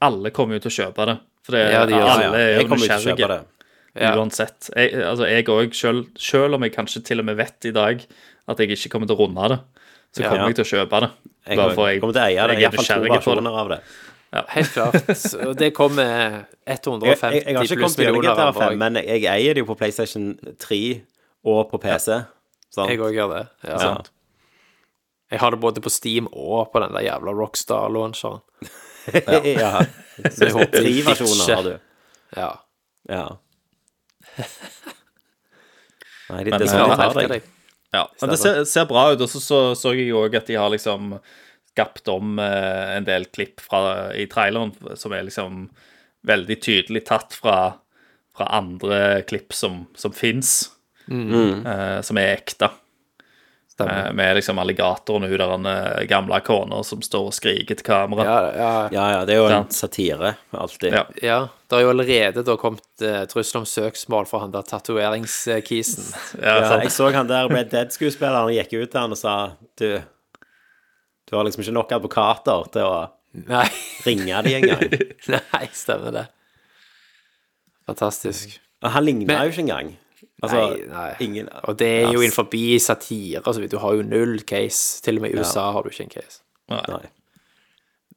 Speaker 4: Alle kommer jo til å kjøpe det. For det,
Speaker 5: Ja, de gjør det.
Speaker 4: alle er
Speaker 3: Jeg
Speaker 4: jo
Speaker 3: kommer jo ikke til å kjøpe
Speaker 4: nysgjerrige.
Speaker 3: det.
Speaker 5: Ja.
Speaker 4: Uansett. Jeg, altså, jeg òg, selv, selv om jeg kanskje til og med vet i dag at jeg ikke kommer til å runde det, så
Speaker 5: Ja.
Speaker 4: kommer jeg til å kjøpe det.
Speaker 3: Jeg kommer,
Speaker 4: jeg,
Speaker 3: kommer til å eie det.
Speaker 4: jeg
Speaker 3: Jeg har
Speaker 4: er
Speaker 3: to
Speaker 4: nysgjerrig på det.
Speaker 3: versjoner av det.
Speaker 5: Helt klart. Og det kom med
Speaker 3: Jeg,
Speaker 5: 150
Speaker 3: jeg, jeg har ikke
Speaker 5: pluss
Speaker 3: kommet gjennom
Speaker 5: millioner
Speaker 3: GTA
Speaker 5: av
Speaker 3: 5,
Speaker 5: meg.
Speaker 3: men jeg, jeg eier det jo på PlayStation 3 og på PC. Sant?
Speaker 5: Jeg òg gjør det. Ja.
Speaker 3: Ja.
Speaker 5: Jeg har det både på Steam og på den der jævla Rockstar-launcheren.
Speaker 3: ja.
Speaker 5: Så jeg håper
Speaker 3: Tre
Speaker 5: de
Speaker 3: versjoner har du.
Speaker 5: ditcher. Ja.
Speaker 3: Ja. Nei, det,
Speaker 4: Men,
Speaker 3: det
Speaker 4: Ja,
Speaker 5: Ja,
Speaker 3: skal de ta
Speaker 5: merker
Speaker 3: eh, deg.
Speaker 5: deg.
Speaker 4: Ja, men det ser, ser bra ut. Og så så, så jeg jo òg at de har liksom skapt om eh, en del klipp fra, i traileren som er liksom veldig tydelig tatt fra, fra andre klipp som, som fins, eh, som er ekte.
Speaker 5: Stemmer.
Speaker 4: Eh, med liksom alligatoren og hun der eh, gamle kona som står og skriker til kamera.
Speaker 5: Ja, ja, ja.
Speaker 3: Ja, ja, det er jo en
Speaker 4: Sant.
Speaker 3: satire, alltid.
Speaker 4: Ja.
Speaker 5: ja. Det har jo allerede da kommet eh, trussel om søksmål fra han der tatoveringskisen.
Speaker 4: Ja,
Speaker 3: Ja,
Speaker 4: sant?
Speaker 3: jeg så han der Red Dead-skuespilleren gikk ut til han og sa Du, du har liksom ikke nok advokater til å
Speaker 5: Nei.
Speaker 3: ringe de engang.
Speaker 5: Nei, stemmer det. Fantastisk.
Speaker 3: Og han ligna
Speaker 5: Men-
Speaker 3: jo ikke engang. Altså,
Speaker 5: Nei, nei.
Speaker 3: ingen
Speaker 5: Og det er jo
Speaker 3: Ass.
Speaker 5: innenfor satire og så vidt. Du har jo null case. Til og med i USA har du ikke en case.
Speaker 4: Nei.
Speaker 3: Nei.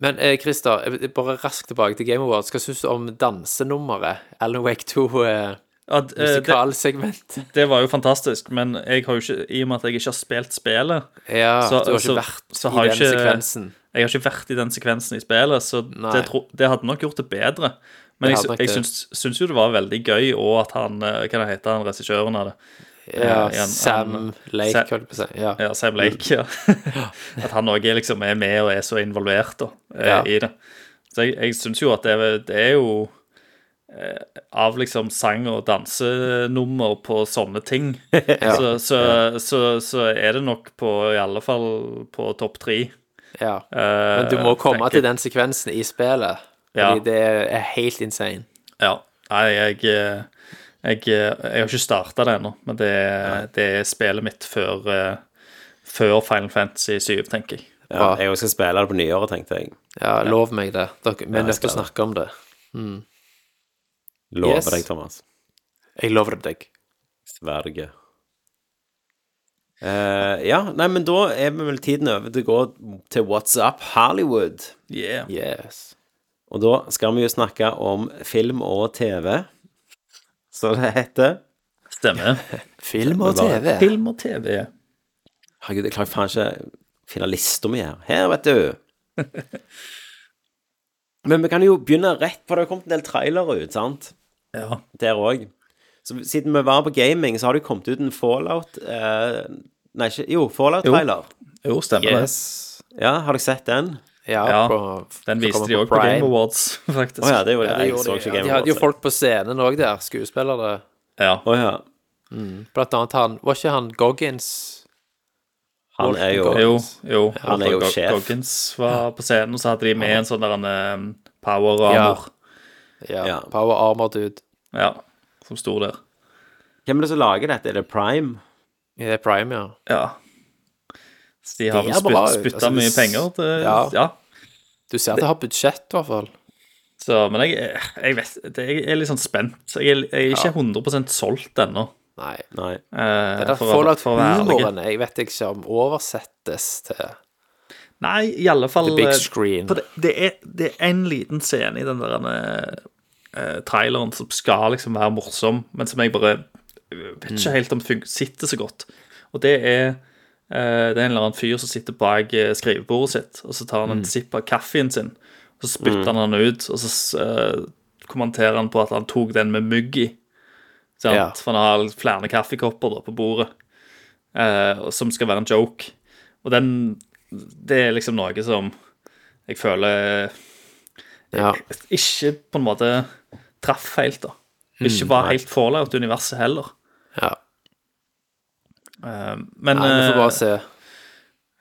Speaker 5: Men eh, Christer, jeg vil bare raskt tilbake til Game Awards. Hva syns du om dansenummeret? Alan Wake 2-musikalsegmentet?
Speaker 4: Ja, d- eh, det, det var jo fantastisk, men jeg har jo ikke, i og med at jeg ikke har spilt spillet,
Speaker 5: ja,
Speaker 4: så-
Speaker 5: du har
Speaker 4: så-
Speaker 5: ikke vært
Speaker 4: så har
Speaker 5: i
Speaker 4: jeg
Speaker 5: den
Speaker 4: ikke-
Speaker 5: sekvensen.
Speaker 4: Jeg har ikke vært i den sekvensen i spillet, så
Speaker 5: Nei.
Speaker 4: det, tro, det hadde nok gjort det bedre. Men jeg,
Speaker 5: Det hadde nok
Speaker 4: jeg
Speaker 5: det.
Speaker 4: syns, syns jo det var veldig gøy, og at han eh, Hva det heter han regissøren av det? ja,
Speaker 5: Ja,
Speaker 4: han-
Speaker 5: Sam Lake,
Speaker 4: Sam-
Speaker 5: holdt jeg på å si. Ja.
Speaker 4: Ja, Sam Lake. Ja. at han òg er, liksom, er med og er så involvert da, eh,
Speaker 5: Ja.
Speaker 4: i det. Så jeg, jeg syns jo at det, er- det er jo av liksom sang- og dansenummer på sånne ting, så, så, så, så er det nok på i alle fall på topp tre. eh,
Speaker 5: Ja. Men du må komme
Speaker 4: tenker-
Speaker 5: til den sekvensen i spillet,
Speaker 4: Ja.
Speaker 5: fordi det er helt insane.
Speaker 4: Ja. Nei, jeg Jeg, jeg, eh, jeg har ikke starta det ennå, men det, det er spillet mitt før, eh, før Final Fantasy 7, tenker jeg.
Speaker 3: Ja, jeg også skal spille det på nyåret, tenkte jeg.
Speaker 5: Ja, lov meg det. Dere, vi er nødt til
Speaker 3: skal
Speaker 5: å
Speaker 3: det.
Speaker 5: snakke om det.
Speaker 3: Lover
Speaker 5: Yes.
Speaker 3: deg, Thomas.
Speaker 5: Jeg lover det deg.
Speaker 3: Sverige. Eh, ja, nei, men da er vi vel tiden over til å gå til What's Up Hollywood.
Speaker 4: Yeah.
Speaker 5: Yes.
Speaker 3: Og da skal vi jo snakke om film og TV, som det heter.
Speaker 4: Stemmer.
Speaker 5: Film og
Speaker 3: Det
Speaker 5: TV.
Speaker 4: Film og TV.
Speaker 3: Herregud, jeg klarer faen ikke å finne lista mi her. Her, vet du. Men vi kan jo begynne rett på det. har kommet en del trailere ut, sant?
Speaker 4: Ja.
Speaker 3: Der òg. Så siden vi var på gaming, så har det jo kommet ut en Fallout eh, Nei, ikke Jo, Fallout-trailer.
Speaker 4: Jo, stemmer det.
Speaker 5: Yes.
Speaker 3: Ja, har dere sett den?
Speaker 5: Ja,
Speaker 4: Ja,
Speaker 5: på-
Speaker 4: Den
Speaker 5: som
Speaker 4: viste
Speaker 5: kommer
Speaker 4: de òg på
Speaker 5: Prime.
Speaker 4: Game Awards, faktisk.
Speaker 3: Å ja, det gjorde
Speaker 5: Ja,
Speaker 3: jeg.
Speaker 5: det
Speaker 3: jeg
Speaker 5: gjorde
Speaker 3: så
Speaker 5: de,
Speaker 3: ikke
Speaker 5: ja.
Speaker 3: Game
Speaker 5: de hadde jo
Speaker 3: Awards.
Speaker 5: folk på scenen òg der, skuespillere.
Speaker 4: Ja.
Speaker 3: Å ja.
Speaker 5: Blant annet han Var ikke han Goggins?
Speaker 3: Han er jo
Speaker 5: Walton
Speaker 4: Jo, jo.
Speaker 3: Han er jo
Speaker 4: Go-
Speaker 3: sjef.
Speaker 4: Goggins var på scenen, og så hadde de med en sånn der en eh, power armor.
Speaker 5: Ja.
Speaker 3: Ja.
Speaker 5: Power Armor Dude.
Speaker 4: Ja. Som sto der.
Speaker 3: Hvem er det som lager dette? Er det Prime?
Speaker 5: Det er Prime, ja.
Speaker 4: Ja. Så de har
Speaker 5: Det
Speaker 4: vel
Speaker 5: er bra,
Speaker 4: spytta
Speaker 5: vet du. Altså, det
Speaker 4: mye
Speaker 5: s-
Speaker 4: penger til ja.
Speaker 5: Ja. Du ser at det har budsjett, i hvert fall.
Speaker 4: Så, men jeg, jeg vet det- Jeg er litt sånn spent. Jeg er, jeg er ikke 100 solgt ennå.
Speaker 5: Nei.
Speaker 3: Nei.
Speaker 4: eh,
Speaker 5: Det er
Speaker 4: for å- for å være ærlig.
Speaker 5: Fallout-humoren jeg vet ikke om oversettes til
Speaker 4: Nei, i alle fall
Speaker 5: The big
Speaker 4: eh,
Speaker 5: screen.
Speaker 4: på Det, det, er, det er en liten scene i den der eh, traileren som skal liksom være morsom, men som jeg bare eh, vet
Speaker 5: Mm.
Speaker 4: ikke helt om fun- sitter så godt. Og det er eh, det er en eller annen fyr som sitter bak eh, skrivebordet sitt, og så tar
Speaker 5: Mm.
Speaker 4: han en sipp av kaffen sin, og så spytter han den ut, og så eh, kommenterer han på at han tok den med mugg i. Sant?
Speaker 5: Ja.
Speaker 4: For han har flere kaffekopper da på bordet, eh, og som skal være en joke. Og den Det er liksom noe som jeg føler
Speaker 5: Ja.
Speaker 4: ikke på en måte traff helt, da.
Speaker 5: Mm,
Speaker 4: Ikke var helt Fallout-universet heller.
Speaker 5: ja.
Speaker 4: Eh, Men
Speaker 5: Nei, vi får bare se.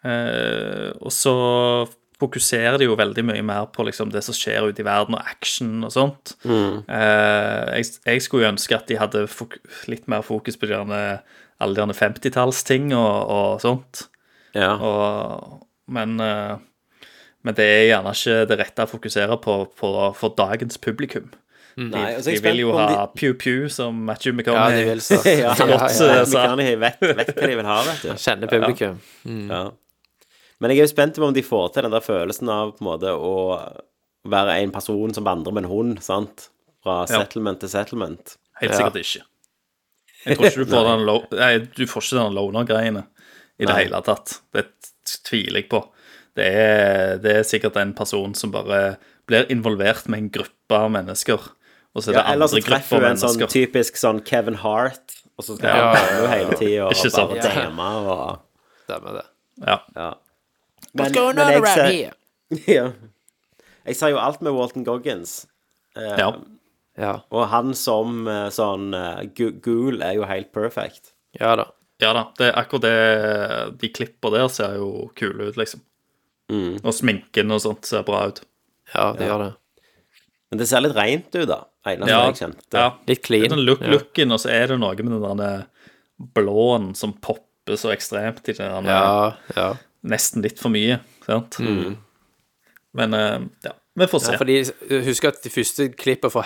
Speaker 4: eh, Og så fokuserer de jo veldig mye mer på liksom det som skjer ute i verden, og action og sånt.
Speaker 3: Mm.
Speaker 4: Eh, jeg, jeg skulle jo ønske at de hadde fok litt mer fokus på de derne, alle de derne 50-tallsting og, og sånt.
Speaker 3: Ja.
Speaker 4: Og, men, eh, men det er gjerne ikke det rette å fokusere på, på for dagens publikum. De,
Speaker 3: Nei, og så er
Speaker 4: de
Speaker 3: jeg
Speaker 4: vil jo
Speaker 3: spent på om
Speaker 4: ha Pew Pew som Matthew
Speaker 5: Ja, de
Speaker 4: McConaughey.
Speaker 5: vil så.
Speaker 3: ja,
Speaker 5: Ja, ja,
Speaker 4: Så-
Speaker 5: ja.
Speaker 3: Nei,
Speaker 4: så-
Speaker 3: McCartney vet, vet hva de vil ha, vet du.
Speaker 5: Kjenner publikum.
Speaker 3: Ja. Men jeg er jo spent på om de får til den der følelsen av på en måte å være en person som vandrer med en hund, sant? Fra
Speaker 4: Ja.
Speaker 3: settlement til settlement.
Speaker 4: Helt sikkert ikke. Jeg tror ikke du får den, lo nei, du får ikke den loner-greiene i det
Speaker 3: Nei.
Speaker 4: hele tatt. Det t- tviler jeg på. Det er, det er sikkert en person som bare blir involvert med en gruppe av mennesker. Og så er det
Speaker 3: Ja, ellers så
Speaker 4: andre grupper
Speaker 3: treffer
Speaker 4: av
Speaker 3: du en sånn
Speaker 4: mennesker.
Speaker 3: typisk sånn Kevin Hart, og så skal
Speaker 4: Ja,
Speaker 3: han være med hele tida og
Speaker 4: Ikke sant.
Speaker 3: bare dame og
Speaker 5: Stemmer det.
Speaker 4: Ja.
Speaker 3: Ja.
Speaker 5: What's going on around
Speaker 3: ser-
Speaker 5: here?
Speaker 3: ja. Jeg ser jo alt med Walton Goggins.
Speaker 4: ja.
Speaker 5: Ja.
Speaker 3: Og han som eh, sånn eh, gu- gul er jo helt perfect.
Speaker 5: ja da.
Speaker 4: Ja da, det er akkurat det De klipper der ser jo kule ut, liksom.
Speaker 3: Mm.
Speaker 4: Og sminken og sånt ser bra ut.
Speaker 5: Ja, de gjør det.
Speaker 3: Men det ser litt reint ut, da. Eneste jeg kjente.
Speaker 4: ja.
Speaker 5: Litt clean.
Speaker 4: Det er den look,
Speaker 5: Ja.
Speaker 4: looken, og så er det noe med den der eh, blåen som popper så ekstremt i den der
Speaker 5: Ja, ja.
Speaker 4: Nesten litt for mye, sant? Men eh, ja, vi får se.
Speaker 5: Ja, fordi Husk at de første klippene fra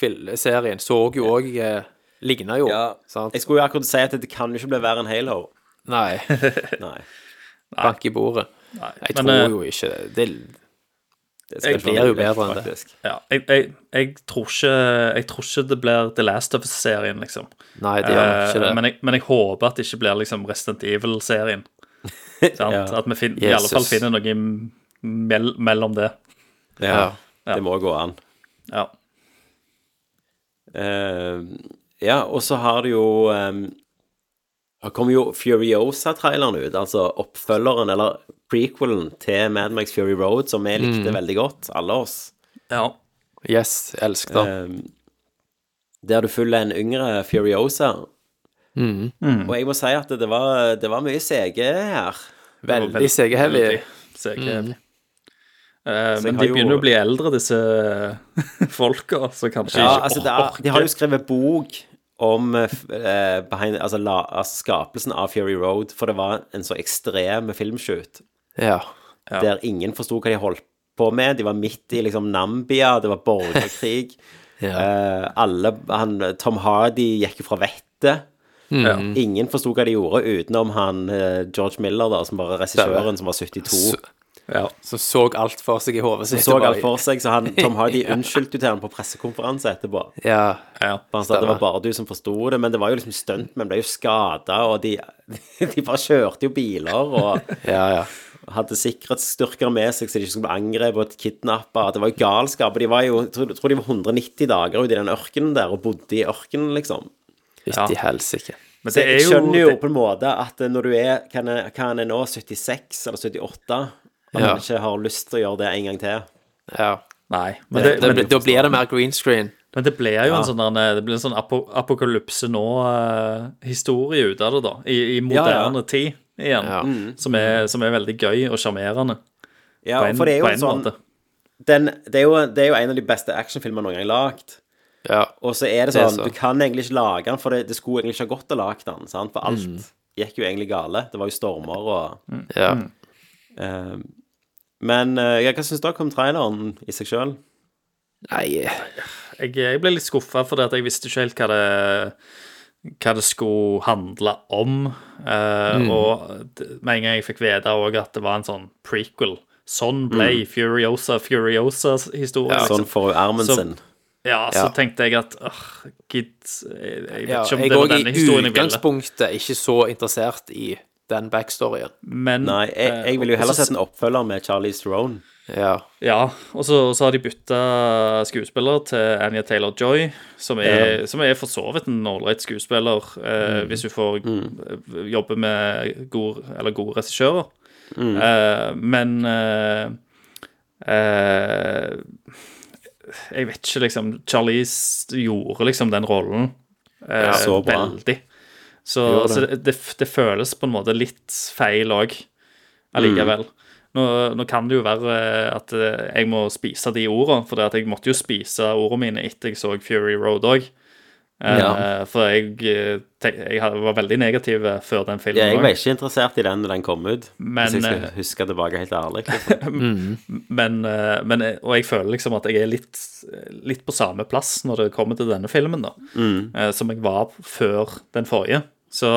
Speaker 5: Halo-serien så jo òg eh, Ligna jo. Sant?
Speaker 3: Jeg skulle jo akkurat si at det kan jo ikke bli verre enn Halo.
Speaker 5: Nei.
Speaker 3: Nei.
Speaker 5: Bank i bordet.
Speaker 4: Nei,
Speaker 5: Jeg
Speaker 4: men, eh,
Speaker 5: tror jo ikke det. det.
Speaker 3: skal
Speaker 4: Jeg
Speaker 3: bli
Speaker 5: blir jo
Speaker 3: litt,
Speaker 5: bedre enn det.
Speaker 3: faktisk.
Speaker 4: ja, jeg, jeg, jeg, tror ikke, jeg tror ikke det blir The Last of Us-serien, liksom.
Speaker 5: Nei, det gjør
Speaker 4: Eh,
Speaker 5: ikke det.
Speaker 4: Men, jeg, men jeg håper at det ikke blir liksom Resident Evil-serien. Sant? At vi fin- i alle
Speaker 5: Jesus.
Speaker 4: fall finner noe m- mell mellom det.
Speaker 3: Ja.
Speaker 5: Ja.
Speaker 3: Det må gå an.
Speaker 4: Ja.
Speaker 3: Eh, ja, og så har det jo um, Det kommer jo Furiosa-traileren ut, altså oppfølgeren, eller prequelen til Mad Max Fury Road, som vi likte veldig godt, alle oss.
Speaker 4: ja.
Speaker 5: Yes, elsket den.
Speaker 3: eh, der du følger en yngre Furiosa. Og jeg må si at det- det var, det var mye CG her.
Speaker 5: Veldig segeheavy.
Speaker 3: Mm.
Speaker 4: Segeheavy. Eh,
Speaker 3: jeg
Speaker 4: men
Speaker 3: har
Speaker 4: de
Speaker 3: jo-
Speaker 4: begynner å bli eldre, disse eh, folka, så kanskje
Speaker 3: Ja,
Speaker 4: ikke
Speaker 3: altså, det er, de har jo skrevet bok om eh, f- eh, behind, altså, la, altså, skapelsen av Fury Road, for det var en så ekstrem filmshoot
Speaker 5: Ja.
Speaker 4: Ja.
Speaker 3: der ingen forsto hva de holdt på med. De var midt i liksom Nambia, det var borgerkrig.
Speaker 5: ja.
Speaker 3: Eh, alle, han, Tom Hardy gikk jo fra vettet.
Speaker 4: Ja.
Speaker 5: Mm.
Speaker 3: Ingen forsto hva de gjorde, utenom han eh, George Miller, da, som var regissøren, som var 72.
Speaker 5: Så-
Speaker 4: Ja.
Speaker 5: Som så alt for seg i hodet sitt.
Speaker 3: Så
Speaker 5: og bare-
Speaker 3: alt for seg, så han, Tom Hardy unnskyldte jo til han på pressekonferanse etterpå.
Speaker 5: Ja.
Speaker 4: Ja.
Speaker 3: For han sa at det var
Speaker 5: Stemmer.
Speaker 3: bare du som forsto det, men det var jo liksom stunt, men ble jo skada, og de, de bare kjørte jo biler og
Speaker 5: ja, ja.
Speaker 3: hadde sikkerhetsstyrker med seg så de ikke skulle bli angrepet og kidnappa. Det var jo galskap. og De var jo, jeg tror, jeg tror de var 190 dager ute i den ørkenen der og bodde i ørkenen, liksom.
Speaker 5: Fytti helsike.
Speaker 4: Men
Speaker 3: Så
Speaker 4: det er
Speaker 3: jeg
Speaker 4: jo
Speaker 3: skjønner jo
Speaker 4: det-
Speaker 3: på en måte at når du er Hva er- hva er en nå? 76 eller 78? At
Speaker 5: Ja.
Speaker 3: man ikke har lyst til å gjøre det en gang til.
Speaker 5: Ja.
Speaker 4: Nei. Men
Speaker 5: Det,
Speaker 4: det, men,
Speaker 5: da blir det mer green screen.
Speaker 4: men det blir jo en sånn der- Det blir en sånn apo, apokalypse nå-historie ut av det, da. I, i
Speaker 3: ja.
Speaker 4: moderne tid igjen.
Speaker 5: Ja.
Speaker 4: Som, er, som er veldig gøy og sjarmerende.
Speaker 3: Ja,
Speaker 4: på en-
Speaker 3: for det er jo
Speaker 4: på
Speaker 3: en
Speaker 4: en
Speaker 3: sånn
Speaker 4: måte.
Speaker 3: den, det, er jo, det er jo en av de beste actionfilmer noen gang lagd.
Speaker 5: Ja.
Speaker 3: Og så er det
Speaker 5: Det er
Speaker 3: sånn,
Speaker 5: så.
Speaker 3: du kan egentlig ikke lage den, for det, det skulle egentlig ikke ha gått å lage den, sant?
Speaker 4: Mm.
Speaker 3: For alt gikk jo egentlig gale. Det var jo stormer og
Speaker 5: ja.
Speaker 3: eh, Men eh, ja, hva syns dere om traileren i seg sjøl?
Speaker 5: Nei eh,
Speaker 4: Jeg, jeg ble litt skuffa, fordi at jeg visste ikke helt hva det, hva det skulle handle om. Eh,
Speaker 3: Mm.
Speaker 4: Og d- med en gang jeg fikk vite òg at det var en sånn prequel. Sånn ble Furiosa Furiosa-historien. Ja,
Speaker 3: Mm. Sånn får hun armen
Speaker 4: Så-
Speaker 3: sin.
Speaker 4: ja, så
Speaker 5: Ja.
Speaker 4: tenkte jeg at åh, gid Jeg, jeg vet
Speaker 5: ja,
Speaker 4: ikke om
Speaker 5: Jeg
Speaker 4: det var
Speaker 5: òg
Speaker 4: denne
Speaker 5: i
Speaker 4: historien jeg ville.
Speaker 5: utgangspunktet ikke så interessert i den backstoryen.
Speaker 4: Men eh,
Speaker 3: Nei, jeg, jeg ville jo heller
Speaker 4: også-
Speaker 3: sett en oppfølger med Charlie Theron.
Speaker 5: Ja.
Speaker 4: Ja, og så, og så har de bytta skuespiller til Anja Taylor-Joy, som, er- som er for så vidt en ålreit skuespiller eh,
Speaker 3: Mm.
Speaker 4: hvis hun får eh, jobbe med god, eller gode regissører.
Speaker 3: Mm.
Speaker 4: Eh, men eh, eh, Jeg vet ikke, liksom Charlize gjorde liksom den rollen eh,
Speaker 3: så bra.
Speaker 4: veldig. Så, så det, det, det føles på en måte litt feil òg,
Speaker 3: Mm.
Speaker 4: allikevel. Nå, nå kan det jo være at eh, jeg må spise de ordene, for det at jeg måtte jo spise ordene mine etter jeg så Fury Road òg.
Speaker 3: Ja.
Speaker 4: For jeg, eh, tenk, jeg had- var veldig negativ eh, før den filmen.
Speaker 3: Ja, jeg
Speaker 4: også.
Speaker 3: var ikke interessert i den når den kom ut,
Speaker 4: Men,
Speaker 3: hvis jeg skal
Speaker 4: eh,
Speaker 3: huske tilbake helt ærlig.
Speaker 4: men, eh, men, jeg- og jeg føler liksom at jeg er litt, litt på samme plass når det kommer til denne filmen, da.
Speaker 3: Mm.
Speaker 4: eh, Som jeg var før den forrige. Så,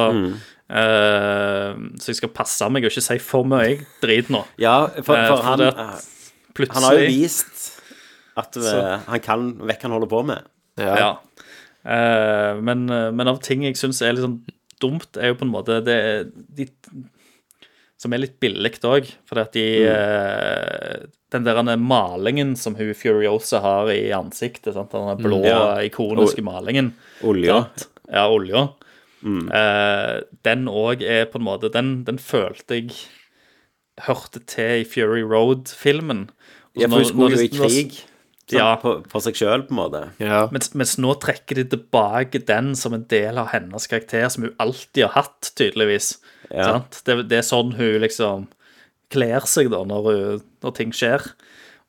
Speaker 4: eh, så jeg skal passe meg og ikke si for mye drit nå.
Speaker 3: Ja, for,
Speaker 4: Eh,
Speaker 3: for han,
Speaker 4: det at
Speaker 3: eh,
Speaker 4: plutselig
Speaker 3: han har jo vist at eh, han kan vekk han holder på med.
Speaker 5: Ja.
Speaker 4: Ja. Eh, men, men av ting jeg syns er litt sånn dumt, er jo på en måte det de, Som er litt billig òg, fordi at de
Speaker 3: Mm.
Speaker 4: eh, Den der denne malingen som hun Furiosa har i ansiktet, sant? den blå,
Speaker 3: Mm.
Speaker 4: eh,
Speaker 3: ja.
Speaker 4: ikoniske malingen
Speaker 3: Olja.
Speaker 4: sant? Ja, olja.
Speaker 3: Mm.
Speaker 4: Eh, den òg er på en måte Den, den følte jeg hørte til i Fury Road-filmen. Og
Speaker 3: Ja, for
Speaker 4: når-
Speaker 3: hun skulle
Speaker 4: når
Speaker 3: jo i
Speaker 4: det- når-
Speaker 3: krig
Speaker 4: Ja.
Speaker 3: sant, Sånn, på- for seg sjøl, på en måte.
Speaker 5: Ja.
Speaker 4: mens, mens nå trekker de tilbake den som en del av hennes karakter, som hun alltid har hatt, tydeligvis. Sant? Det, det er sånn hun liksom kler seg da, når, hun, når ting skjer.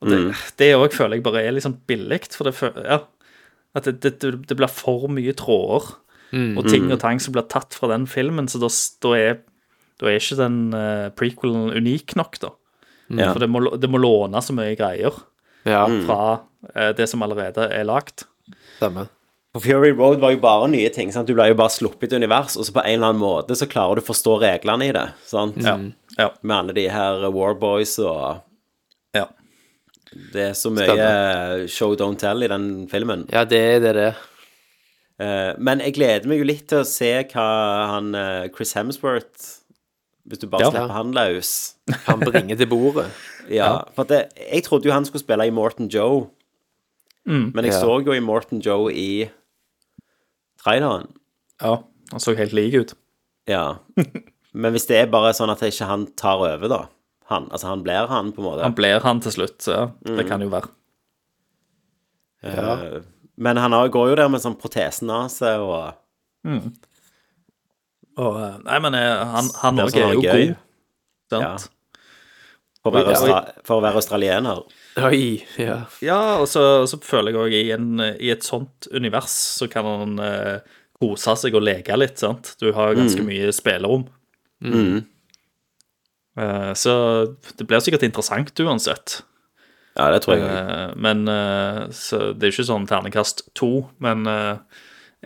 Speaker 4: Og det det òg føler jeg bare er litt sånn billig, for det føler ja, At det, det, det blir for mye tråder og ting og tang som blir tatt fra den filmen, så da, s- da, er, da er ikke den eh, prequelen unik nok, da.
Speaker 3: Ja.
Speaker 4: Mm. For det må, det må låne så mye greier
Speaker 5: ja.
Speaker 4: fra eh, det som allerede er lagd.
Speaker 5: Stemmer.
Speaker 3: For Fury Road var jo bare nye ting. sant? Du ble jo bare sluppet i et univers, og så på en eller annen måte så klarer du å forstå reglene i det. sant?
Speaker 4: Ja.
Speaker 3: Med alle de her Warboys og
Speaker 4: Ja.
Speaker 3: Det er så mye show don't tell i den filmen.
Speaker 5: Ja, det er det, det.
Speaker 3: Eh, men jeg gleder meg jo litt til å se hva han eh, Chris Hemsworth Hvis du bare
Speaker 4: Ja.
Speaker 3: slipper han løs.
Speaker 5: Han bringer til bordet.
Speaker 3: Ja, for at det, jeg trodde jo han skulle spille i Morton Joe, men jeg
Speaker 5: Ja.
Speaker 3: så jo i Morton Joe i traileren.
Speaker 4: Ja, han så helt lik ut.
Speaker 3: Ja. Men hvis det er bare sånn at ikke han tar over, da han, Altså, han blir han, på en måte.
Speaker 4: Mm. Han blir han til slutt, så ja. det kan jo være.
Speaker 3: Eh, Men han har- går jo der med sånn protesenase og
Speaker 4: Og, eh, nei, men eh, han, han
Speaker 3: Det er
Speaker 4: også
Speaker 3: sånn
Speaker 4: er jo
Speaker 3: gøy.
Speaker 4: god. Sant?
Speaker 3: for å være,
Speaker 5: Ja.
Speaker 3: austra for å være australiener.
Speaker 5: Eh, Oi, ja.
Speaker 4: Ja, og så, og så føler jeg òg i, en- eh, i et sånt univers så kan han eh, kose seg og leke litt, sant. Du har ganske mye spillerom. Mm. Eh, så det blir sikkert interessant uansett.
Speaker 3: Ja, det tror jeg òg.
Speaker 4: Eh, men eh, så det er ikke sånn terningkast to, men eh,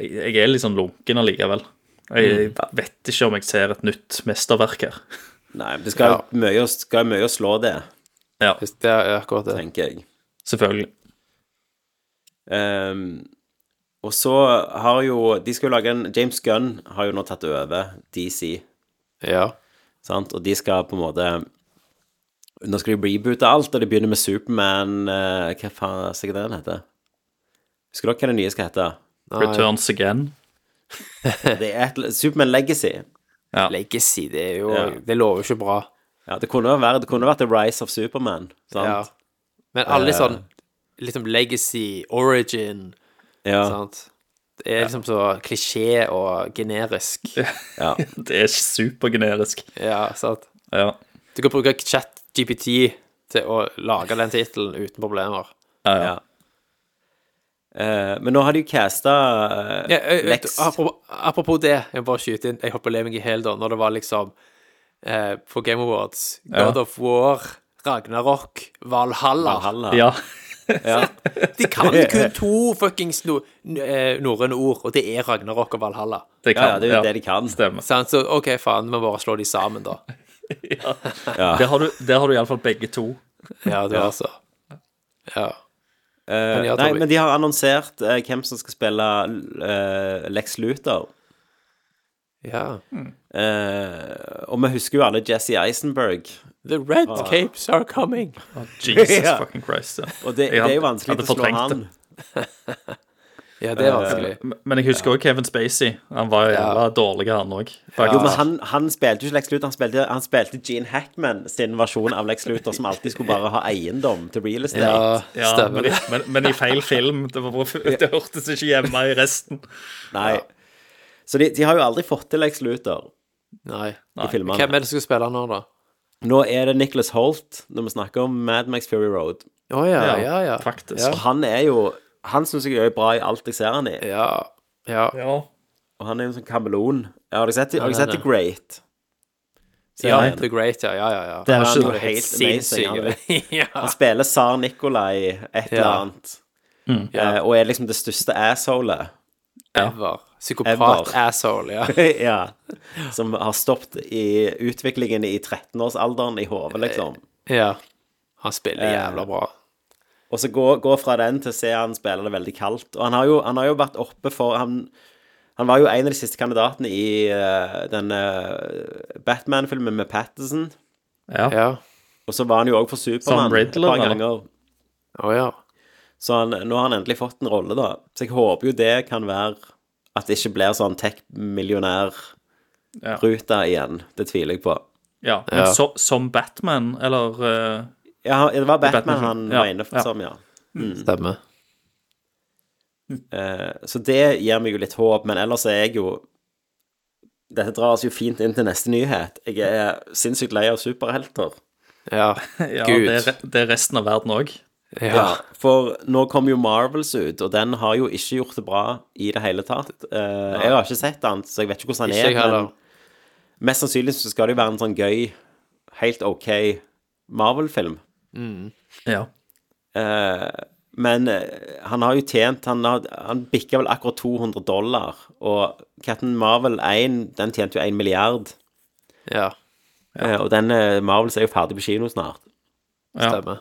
Speaker 4: jeg, jeg er litt sånn lunken allikevel.
Speaker 3: Mm.
Speaker 4: Jeg vet ikke om jeg ser et nytt mesterverk her.
Speaker 3: Nei, men det skal jo mye, å- skal jo mye å slå det,
Speaker 4: Ja,
Speaker 5: Det er akkurat det.
Speaker 3: tenker jeg.
Speaker 4: selvfølgelig.
Speaker 3: Ehm, og så har jo De skal jo lage en James Gunn har jo nå tatt over DC,
Speaker 5: Ja.
Speaker 3: sant? og de skal på en måte Nå skal de reboote alt, og de begynner med Superman eh, Hva faen er sikkert det den heter? Husker dere hva det nye skal hete?
Speaker 4: Returns again.
Speaker 3: Det er et, Superman Legacy.
Speaker 4: Ja.
Speaker 5: Legacy, det er jo
Speaker 3: Ja.
Speaker 5: Det lover jo ikke bra.
Speaker 3: Ja, det kunne vært, det kunne vært The Rise of Superman.
Speaker 5: Ja.
Speaker 3: Sant?
Speaker 5: Men alle
Speaker 3: Eh.
Speaker 5: sånn liksom legacy, origin,
Speaker 3: Ja.
Speaker 5: sant. Det er liksom så klisjé og generisk.
Speaker 3: ja.
Speaker 4: Det er supergenerisk.
Speaker 5: Ja, sant.
Speaker 4: Ja.
Speaker 5: Du kan bruke chat-GPT til å lage den tittelen uten problemer.
Speaker 4: Ja, ja.
Speaker 3: ja. Eh, men nå har de jo casta
Speaker 5: Ja, ø- ah, ø-
Speaker 3: Lex.
Speaker 5: Apropos, apropos det, jeg må bare skyte inn. Jeg holdt på å le meg i hjel da, når det var liksom eh, på Game Awards God of War, Ragnarok, Valhalla.
Speaker 3: Valhalla.
Speaker 4: ja.
Speaker 5: De kan kun to fuckings no, n- eh, norrøne ord, og det er Ragnarok og Valhalla.
Speaker 4: Det
Speaker 3: Ja, ja,
Speaker 4: kan
Speaker 3: det er jo det de kan.
Speaker 4: Stemmer.
Speaker 5: Sant? Så OK, faen, vi bare slår de sammen, da.
Speaker 4: Der har du, der har du iallfall begge to.
Speaker 5: Ja, du altså. Ja.
Speaker 3: Eh,
Speaker 5: Men ja,
Speaker 3: nei,
Speaker 5: Tommy.
Speaker 3: men de har annonsert eh, hvem som skal spille eh, Lex Luthor.
Speaker 5: ja.
Speaker 3: Eh, og vi husker jo alle Jesse Eisenberg.
Speaker 5: The red capes are coming.
Speaker 4: Jesus
Speaker 3: Ja.
Speaker 4: fucking Christ. Ja.
Speaker 3: Og det,
Speaker 4: Jeg hadde-
Speaker 3: det er jo vanskelig
Speaker 4: hadde
Speaker 3: å slå
Speaker 4: fortrengt
Speaker 3: han.
Speaker 4: det.
Speaker 5: Ja, det er vanskelig.
Speaker 4: Men- Men jeg husker òg Kevin Spacey. Han var jo jævla dårlig, han òg.
Speaker 3: Jo, men han, han spilte jo ikke Lex Luthor, han spilte, han spilte Gene Hackman sin versjon av Lex Luthor, som alltid skulle bare ha eiendom til real estate.
Speaker 5: Ja,
Speaker 4: Ja, men,
Speaker 5: stemmer
Speaker 4: i-
Speaker 5: det.
Speaker 4: men, men i feil film. Det, var bare, det hørtes ikke hjemme i resten.
Speaker 3: Nei. Så de, de har jo aldri fått til Lex Luthor
Speaker 5: Nei.
Speaker 3: i filmene.
Speaker 5: Hvem er det som skal spille nå, da?
Speaker 3: Nå er det Nicholas Holt når vi snakker om Mad Max Fury Road.
Speaker 5: Å ja,
Speaker 4: Ja,
Speaker 5: ja, ja.
Speaker 4: faktisk.
Speaker 5: Ja.
Speaker 3: Og han er jo Han syns jeg er bra i alt jeg ser han i.
Speaker 5: Ja. ja.
Speaker 4: Ja.
Speaker 3: Og han er jo en sånn kameleon. Ja, har dere sett, har dere
Speaker 5: Han er
Speaker 3: sett The
Speaker 5: det.
Speaker 3: Great?
Speaker 5: Ja,
Speaker 3: Serien?
Speaker 5: The Great, ja, ja, ja. ja.
Speaker 3: Der er
Speaker 5: Han
Speaker 3: ikke noe
Speaker 5: jo
Speaker 3: helt amazing, han er
Speaker 5: ja.
Speaker 3: Han spiller Tsar Nikolai et eller
Speaker 5: Ja. Mm.
Speaker 3: annet. Eh, og er liksom det største assholet.
Speaker 5: Ever. Psykopat-asshole, ja.
Speaker 3: ja. Som har stoppet i utviklingen i 13-årsalderen i hodet, liksom.
Speaker 5: ja. Han spiller jævla bra.
Speaker 3: Og så gå, gå fra den til å se han spille det veldig kaldt. Og han har jo, han har jo vært oppe for han, han var jo en av de siste kandidatene i eh, denne Batman-filmen med Patterson.
Speaker 4: ja.
Speaker 5: Ja.
Speaker 3: Og så var han jo òg for Supermann
Speaker 4: Som
Speaker 3: et
Speaker 4: Riddler,
Speaker 3: par
Speaker 4: eller?
Speaker 3: ganger.
Speaker 5: Å ja.
Speaker 3: Så han, nå har han endelig fått en rolle, da. Så jeg håper jo det kan være at det ikke blir sånn tech-millionær-ruta
Speaker 4: Ja.
Speaker 3: igjen. Det tviler jeg på.
Speaker 4: ja. Men
Speaker 5: Ja.
Speaker 4: så- som Batman, eller eh,
Speaker 3: Ja, det var Batman,
Speaker 4: Batman,
Speaker 3: han
Speaker 4: ja.
Speaker 3: var inne for,
Speaker 4: Ja.
Speaker 3: som, ja.
Speaker 5: Stemmer.
Speaker 3: Eh, Så det gir meg jo litt håp, men ellers er jeg jo Dette drar oss jo fint inn til neste nyhet. Jeg er sinnssykt lei av superhelter.
Speaker 5: Ja.
Speaker 4: ja,
Speaker 5: Gud.
Speaker 4: det, er, re- det er resten av verden òg.
Speaker 5: Ja.
Speaker 3: For nå kom jo Marvels ut, og den har jo ikke gjort det bra i det hele tatt. Eh, Jeg har ikke sett den, så jeg vet ikke hvordan
Speaker 5: Ikke jeg
Speaker 3: den er.
Speaker 5: heller.
Speaker 3: Men mest sannsynlig så skal det jo være en sånn gøy, helt OK Marvel-film.
Speaker 4: Ja.
Speaker 3: Eh, men eh, han har jo tjent Han, har- han bikka vel akkurat 200 dollar, og Captain Marvel 1, den tjente jo 1 milliard.
Speaker 5: Ja.
Speaker 3: Eh, Og den eh, Marvels er jo ferdig på kino snart.
Speaker 4: ja.
Speaker 5: Stemmer.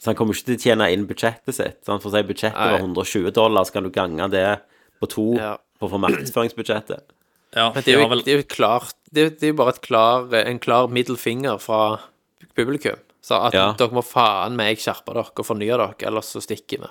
Speaker 3: Så han kommer ikke til å tjene inn budsjettet sitt. Så han får si budsjettet
Speaker 5: Nei.
Speaker 3: var 120 dollar, så kan du gange det på to
Speaker 5: Ja.
Speaker 3: for å få markedsføringsbudsjettet.
Speaker 4: ja.
Speaker 5: Men det er
Speaker 4: de har
Speaker 5: jo,
Speaker 4: vel-
Speaker 5: det er jo klart Det er jo, det er jo bare et klar, en klar middelfinger fra publikum. Så at
Speaker 3: Ja.
Speaker 5: dere må faen meg skjerpe dere og fornye dere, ellers så stikker vi.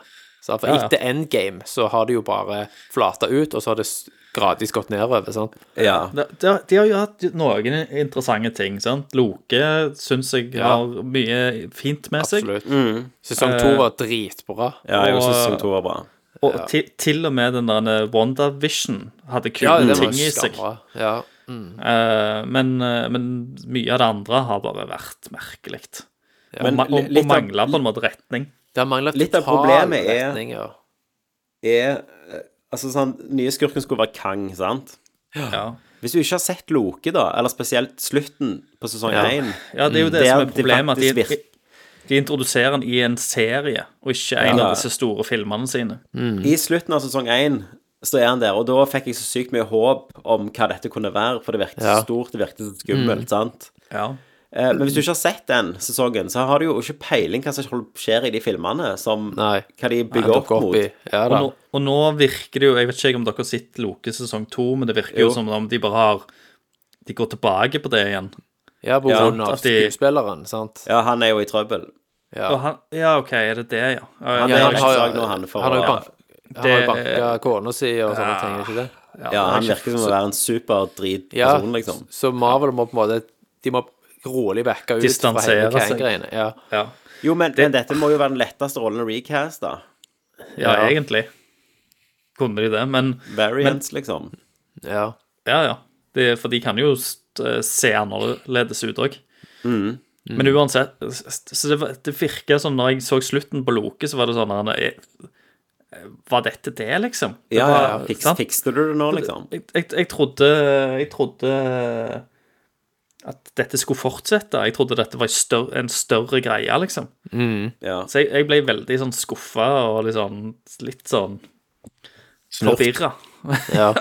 Speaker 5: Så for
Speaker 4: Ja, ja.
Speaker 5: etter endgame så har det jo bare flata ut, og så har det s- gradvis gått nedover. sant?
Speaker 3: Ja.
Speaker 4: De, de, de har jo hatt noen interessante ting. sant? Loke syns jeg
Speaker 5: Ja.
Speaker 4: har mye fint med seg. Eh,
Speaker 5: Absolutt.
Speaker 3: Mm.
Speaker 5: Sesong to var dritbra.
Speaker 3: ja jeg
Speaker 4: Og-
Speaker 3: syns sesong to var bra.
Speaker 4: Og ti, til og med den der WandaVision hadde
Speaker 5: Ja,
Speaker 4: kule
Speaker 5: det var
Speaker 4: ting i seg.
Speaker 5: skambra. Ja.
Speaker 4: Eh, men, eh, men mye av det andre har bare vært merkelig.
Speaker 3: Men
Speaker 4: og ma- og,
Speaker 3: litt
Speaker 4: og
Speaker 3: av-
Speaker 4: mangler på en måte retning.
Speaker 5: Det har manglet
Speaker 3: Litt av
Speaker 5: total
Speaker 3: problemet er-
Speaker 5: retning, ja.
Speaker 3: Er eh, Altså, sånn Nye skurken skulle være Kang, sant?
Speaker 4: Ja.
Speaker 3: Hvis du ikke har sett Loke, da, eller spesielt slutten på sesong én
Speaker 4: ja, det er jo det
Speaker 3: Der
Speaker 4: som er
Speaker 3: det faktisk
Speaker 4: problemet. At de,
Speaker 3: virker.
Speaker 4: de introduserer den i en serie, og ikke en av disse store filmene sine.
Speaker 3: I slutten av sesong én så er han der, og da fikk jeg så sykt mye håp om hva dette kunne være, for det virket så
Speaker 5: Ja.
Speaker 3: stort, det virket så skummelt,
Speaker 4: Mm.
Speaker 3: sant?
Speaker 4: Ja.
Speaker 3: Eh, men hvis du ikke har sett den sesongen, så har du jo ikke peiling hva som hold- skjer i de filmene, som
Speaker 5: Nei.
Speaker 3: hva de
Speaker 5: Han
Speaker 3: bygger opp
Speaker 5: dukker opp
Speaker 3: mot.
Speaker 5: i- Ja
Speaker 4: Og
Speaker 5: da.
Speaker 4: nå, og nå virker det jo Jeg vet ikke om dere har sett Loke sesong to, men det virker jo,
Speaker 3: Jo.
Speaker 4: som om de bare har De går tilbake på det igjen.
Speaker 5: Ja, på grunn av
Speaker 4: at de-
Speaker 5: skuespilleren, sant.
Speaker 3: Ja, han er jo i trøbbel.
Speaker 5: Ja.
Speaker 4: Og han, ja, OK, er det det, ja? Ja,
Speaker 3: Han
Speaker 4: ja,
Speaker 3: er
Speaker 5: han
Speaker 3: en
Speaker 5: har jo-
Speaker 3: rettssak nå, han, for
Speaker 5: han har jo
Speaker 3: å
Speaker 5: bank- Han har jo
Speaker 4: Det-
Speaker 5: banka kona si og sånne ting, er ikke det?
Speaker 3: Ja, han
Speaker 4: det er ikke-
Speaker 3: virker som å være en
Speaker 5: Ja,
Speaker 3: superdritperson, liksom.
Speaker 5: så Marvel må på en måte De må rolig vekke ut fra hele
Speaker 4: Distansere seg.
Speaker 5: Kang-greiene. Ja.
Speaker 4: ja,
Speaker 3: Jo, men, men dette må jo være den letteste rollen å recaste. da.
Speaker 4: ja,
Speaker 5: Ja.
Speaker 4: egentlig kunne de det, men
Speaker 3: Variants, liksom.
Speaker 5: ja.
Speaker 4: Ja, ja. Det, for de kan jo st- eh, se annerledes ut òg.
Speaker 3: Mm.
Speaker 4: Men uansett s- Så det, var- det virker som når jeg så slutten på Loke, så var det sånn han, eh, Var dette det, liksom? Det
Speaker 3: Ja, ja,
Speaker 4: var-
Speaker 3: Fiks,
Speaker 4: sant?
Speaker 3: fikste du det nå, liksom?
Speaker 4: Jeg, jeg, jeg trodde Jeg trodde at dette skulle fortsette. Jeg trodde dette var en større, en større greie, liksom.
Speaker 3: Ja.
Speaker 4: Så jeg, jeg ble veldig sånn skuffa og litt sånn, litt sånn forvirra.
Speaker 5: ja.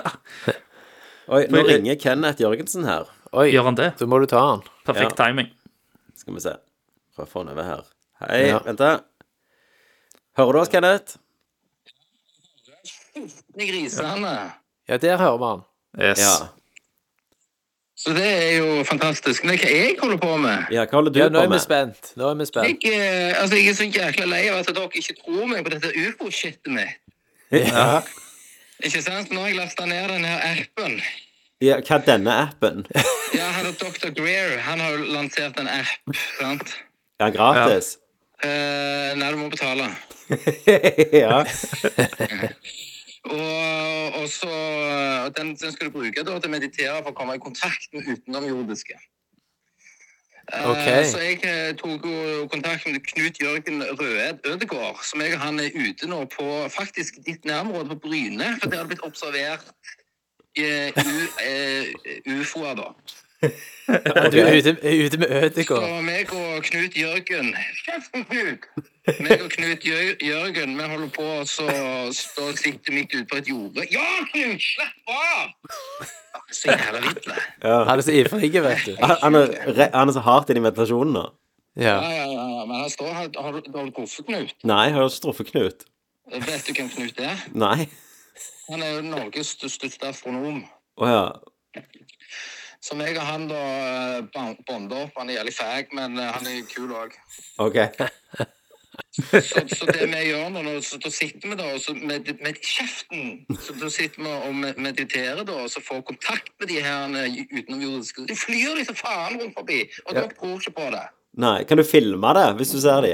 Speaker 3: Oi, nå
Speaker 4: For-
Speaker 3: ringer Kenneth Jørgensen her.
Speaker 5: Oi,
Speaker 4: Gjør han det?
Speaker 5: da må du ta han.
Speaker 4: Perfekt timing.
Speaker 3: Skal vi se. Prøv å få han over her. Hei,
Speaker 5: Ja.
Speaker 3: vent da. Hører du oss, Kenneth?
Speaker 1: i grisene.
Speaker 5: Ja, der hører vi han.
Speaker 4: Yes.
Speaker 3: Ja.
Speaker 1: Så det er jo fantastisk. Men hva jeg holder på med?
Speaker 3: ja hva holder du
Speaker 5: Ja, nå
Speaker 3: på
Speaker 5: er vi
Speaker 3: med?
Speaker 5: spent. Nå er vi
Speaker 1: Jeg,
Speaker 5: spent.
Speaker 1: eh, altså, jeg er så jækla lei av at dere ikke tror meg på dette ufo-shitet mitt.
Speaker 5: Ja.
Speaker 1: Ikke sant? Nå har jeg lasta ned den her appen.
Speaker 3: Ja, hva er denne appen? Er
Speaker 1: Ja, han er Dr. Greer. Han har jo lansert en app, sant?
Speaker 3: den gratis?
Speaker 1: Eh, nei, du må betale.
Speaker 3: Ja.
Speaker 1: Og, og så og den, den skal du bruke da, til å meditere for å komme i kontakt med utenomjordiske. Eh,
Speaker 5: Ok.
Speaker 1: Så jeg eh, tok jo kontakt med Knut Jørgen Røed Ødegård, som jeg og han er ute nå på faktisk ditt nærområde på Bryne, for det har blitt observert eh, u- eh, ufoer, da.
Speaker 5: Du er ute, er ute med
Speaker 1: Så
Speaker 5: Ødegård.
Speaker 1: meg og Knut Jørgen Kjeften, Knut! Meg og Knut Jør Jørgen, vi holder på, og så står siktet mitt ute på et jorde. Ja, Knut! Slapp av! Så jævla vidt, det.
Speaker 5: Han er så ivrig, vet du.
Speaker 3: Han, han, er, re- han er så hardt inne i meditasjonen nå.
Speaker 5: Ja.
Speaker 1: Ja, ja, ja, ja, men han står her. Har du, har du truffet Knut?
Speaker 3: Nei, jeg har ikke truffet Knut.
Speaker 1: Vet du hvem Knut er?
Speaker 3: Nei.
Speaker 1: Han er jo Norges største- største astronom.
Speaker 3: Å ja.
Speaker 1: Så jeg og han da eh, ban- bonder opp. Han er jævlig fæg, men eh, han er kul òg.
Speaker 3: OK.
Speaker 1: Så, så det vi gjør nå, nå, så da sitter vi da og så med, med kjeften så da sitter vi og med- mediterer da, og så får kontakt med de her eh, utenomjordiske De flyr liksom faen rundt forbi, og dere tror ikke på det.
Speaker 3: Nei, kan du filme det hvis du ser de?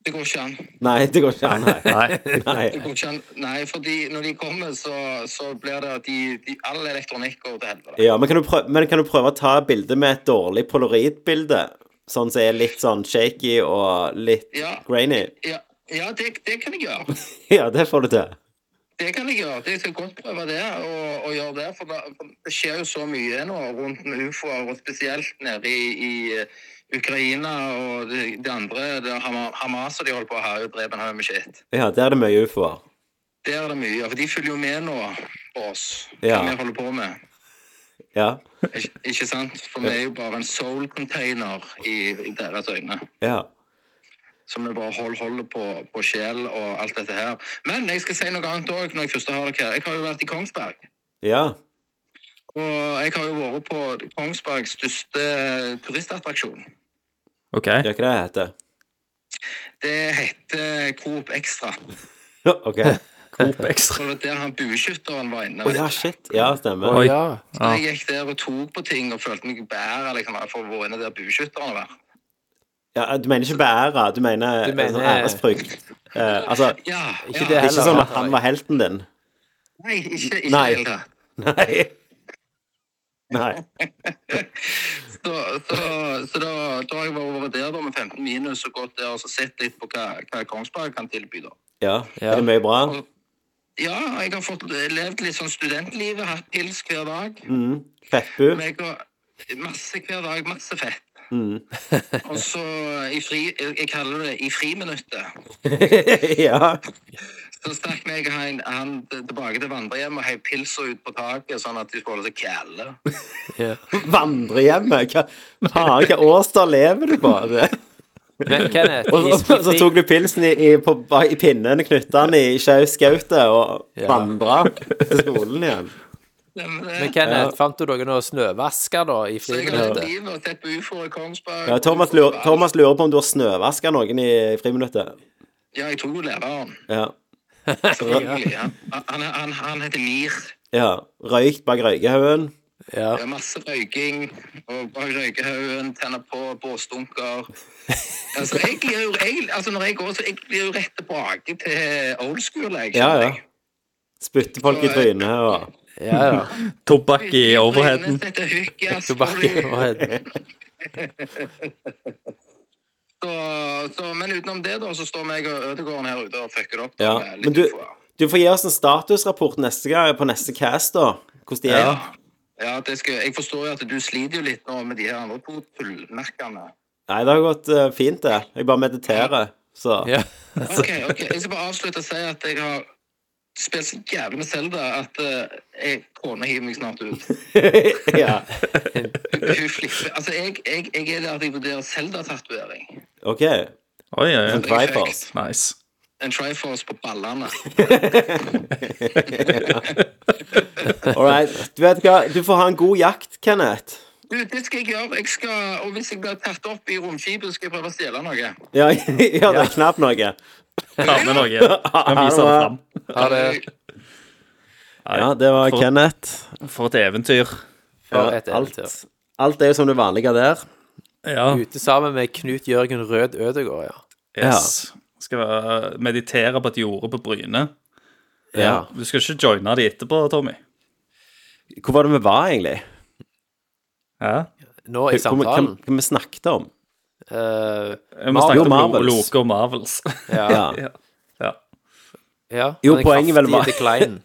Speaker 1: Det går ikke an.
Speaker 3: Nei, det går ikke an. Nei. Nei.
Speaker 1: Det går ikke an. Nei, fordi når de kommer, så, så blir det at de, de All elektronikk går til helvete.
Speaker 3: Ja, men kan, du prøve, men kan du prøve å ta et bilde med et dårlig polaroidbilde? Sånn som er litt sånn shaky og litt
Speaker 1: Ja.
Speaker 3: grainy?
Speaker 1: Ja, ja det, det kan jeg gjøre.
Speaker 3: Ja, det får du til.
Speaker 1: Det kan jeg gjøre. Jeg skal godt prøve det. Og, og gjøre det for, da, for det skjer jo så mye nå rundt med ufoer, og spesielt nede i, i Ukraina og det, det andre. Det er Hama- Hamas og de holder på å herje og drepe en haug med shit.
Speaker 3: Ja, der er det mye ufoer.
Speaker 1: Der er det mye. For de følger jo med nå på oss, hva
Speaker 3: Ja.
Speaker 1: vi holder på med.
Speaker 3: Ja.
Speaker 1: Ikke, ikke sant? For vi er jo bare en soul-container i, i deres øyne.
Speaker 3: ja.
Speaker 1: som vi bare hold, holder på, på sjel og alt dette her. Men jeg skal si noe annet òg når jeg først har dere her. Jeg har jo vært i Kongsberg.
Speaker 3: Ja.
Speaker 1: Og jeg har jo vært på Kongsbergs største turistattraksjon.
Speaker 4: OK.
Speaker 3: Det er ikke det det heter.
Speaker 1: eh, Det heter Coop Extra.
Speaker 3: OK.
Speaker 4: Coop Extra.
Speaker 1: For det var der han bueskytteren var inne.
Speaker 3: Å ja, shit. Ja, stemmer.
Speaker 5: Å
Speaker 4: Oi.
Speaker 5: ja.
Speaker 1: Så jeg gikk der og tok på ting og følte meg bedre liksom, for å være inne der bueskytteren var.
Speaker 3: Ja, eh, du mener ikke beæra, du mener,
Speaker 5: Du
Speaker 3: du
Speaker 5: mener-
Speaker 3: mener... æresfrykt. Eh, altså,
Speaker 1: Ja,
Speaker 5: Ikke det
Speaker 1: ja.
Speaker 3: ikke
Speaker 5: heller.
Speaker 3: sånn at han var helten din.
Speaker 1: Nei, ikke, ikke
Speaker 3: Nei.
Speaker 1: helt det.
Speaker 3: Nei. Nei.
Speaker 1: Så, så, så da, da jeg var over der da, med 15 minus og gått der og så sett litt på hva, hva Kongsberg kan tilby, da.
Speaker 3: Ja.
Speaker 5: Ja.
Speaker 3: Er det mye bra?
Speaker 1: Ja, jeg har fått levd litt sånn studentlivet, hatt pils hver dag.
Speaker 3: Mm. Fettbu?
Speaker 1: Jeg har masse hver dag, masse fett.
Speaker 3: Mm.
Speaker 1: Og så i fri, jeg kaller det i friminuttet.
Speaker 3: ja.
Speaker 1: Så stakk meg han, han tilbake til vandrehjemmet og heiv pilsa ut på taket, sånn at de skulle holde seg kæle.
Speaker 5: ja.
Speaker 3: Vandrehjemmet? Hva faen, hva årstid lever du på?
Speaker 5: Men Kenneth,
Speaker 3: Og
Speaker 5: i,
Speaker 3: så, så
Speaker 5: i,
Speaker 3: tok du pilsen i, i, på, i pinnen, knytta den i skjauskautet og
Speaker 5: Ja.
Speaker 3: vandra til skolen igjen.
Speaker 1: Stemmer det?
Speaker 5: men Kenneth, fant du noen å snøvaske da i
Speaker 1: Så eh, jeg har levd
Speaker 5: friminuttet?
Speaker 1: livet og sett på ufoer i Kongsberg.
Speaker 3: Ja, Thomas, lurer, Thomas lurer på om du har snøvaska noen i friminuttet.
Speaker 1: Ja, jeg tror jo læreren.
Speaker 3: Ja.
Speaker 1: Selvfølgelig. ja. Han, han, han heter Mir.
Speaker 3: ja. Røykt bak røykehaugen.
Speaker 5: Ja.
Speaker 1: Det er masse røyking og bak røykehaugen, tenner på båsdunker. Altså, jeg blir jo, jeg, altså, når jeg går, så jeg blir jo rett tilbake til old school. Jeg,
Speaker 3: Ja, ja.
Speaker 1: skjønner jeg.
Speaker 3: Spytte folk
Speaker 1: eh,
Speaker 3: i trynet og
Speaker 5: ja, ja.
Speaker 4: Tobakk i overheaden.
Speaker 1: Trynet setter hykk, ja, sorry.
Speaker 5: Tilbake.
Speaker 1: Så, så, men utenom det, da, så står meg og Ødegården her ute og fucker det opp.
Speaker 3: Ja,
Speaker 1: med litt
Speaker 3: men du,
Speaker 1: ufoer.
Speaker 3: du får gi oss en statusrapport neste gang på neste cast, da. Hvordan de er.
Speaker 4: Ja.
Speaker 1: ja, det skal, jeg forstår jo at du sliter jo litt nå med de her andre to tullmerkene.
Speaker 3: Nei, det har gått eh, fint, det. Jeg bare mediterer, så
Speaker 5: Ja.
Speaker 1: Ok, ok, Jeg skal bare avslutte og si at jeg har spilt så jævlig med Selda at eh, jeg kona hiver meg snart ut.
Speaker 3: ja.
Speaker 1: Hun flipper. Altså, jeg, jeg, jeg er der at jeg vurderer Selda-tatovering.
Speaker 3: OK.
Speaker 4: Oi, oi, oi.
Speaker 3: Triforce.
Speaker 4: Nice.
Speaker 1: En Triforce på ballene.
Speaker 3: All right. Du vet hva, du får ha en god jakt, Kenneth.
Speaker 1: Du, det skal jeg gjøre. Jeg skal, og hvis jeg blir tatt opp i romskipet, skal jeg prøve å stjele noe.
Speaker 3: Ja, ja det er knapt noe.
Speaker 4: Ta med noe. Kan vise det fram.
Speaker 5: Ha det.
Speaker 3: Ja, det var
Speaker 4: for,
Speaker 3: Kenneth.
Speaker 4: for et eventyr.
Speaker 5: For et
Speaker 3: alt,
Speaker 5: eventyr.
Speaker 3: alt er jo som det vanlige der.
Speaker 4: Ja.
Speaker 5: Ute sammen med Knut Jørgen Rød Ødegård, ja.
Speaker 4: Yes. Skal eh, meditere på et jorde på Bryne.
Speaker 3: Ja.
Speaker 4: Du skal ikke joine de etterpå, Tommy?
Speaker 3: Hvor var det vi var, egentlig?
Speaker 4: Ja.
Speaker 5: Nå i
Speaker 3: Hvor, hva,
Speaker 5: samtalen.
Speaker 3: hva vi snakket om?
Speaker 5: eh,
Speaker 4: Vi snakket om Lo-
Speaker 3: Marvels.
Speaker 4: Loke og Marvels.
Speaker 5: ja.
Speaker 3: Ja.
Speaker 4: ja.
Speaker 5: ja.
Speaker 3: Jo,
Speaker 5: den
Speaker 3: poenget vel var-
Speaker 5: kraftige declinen.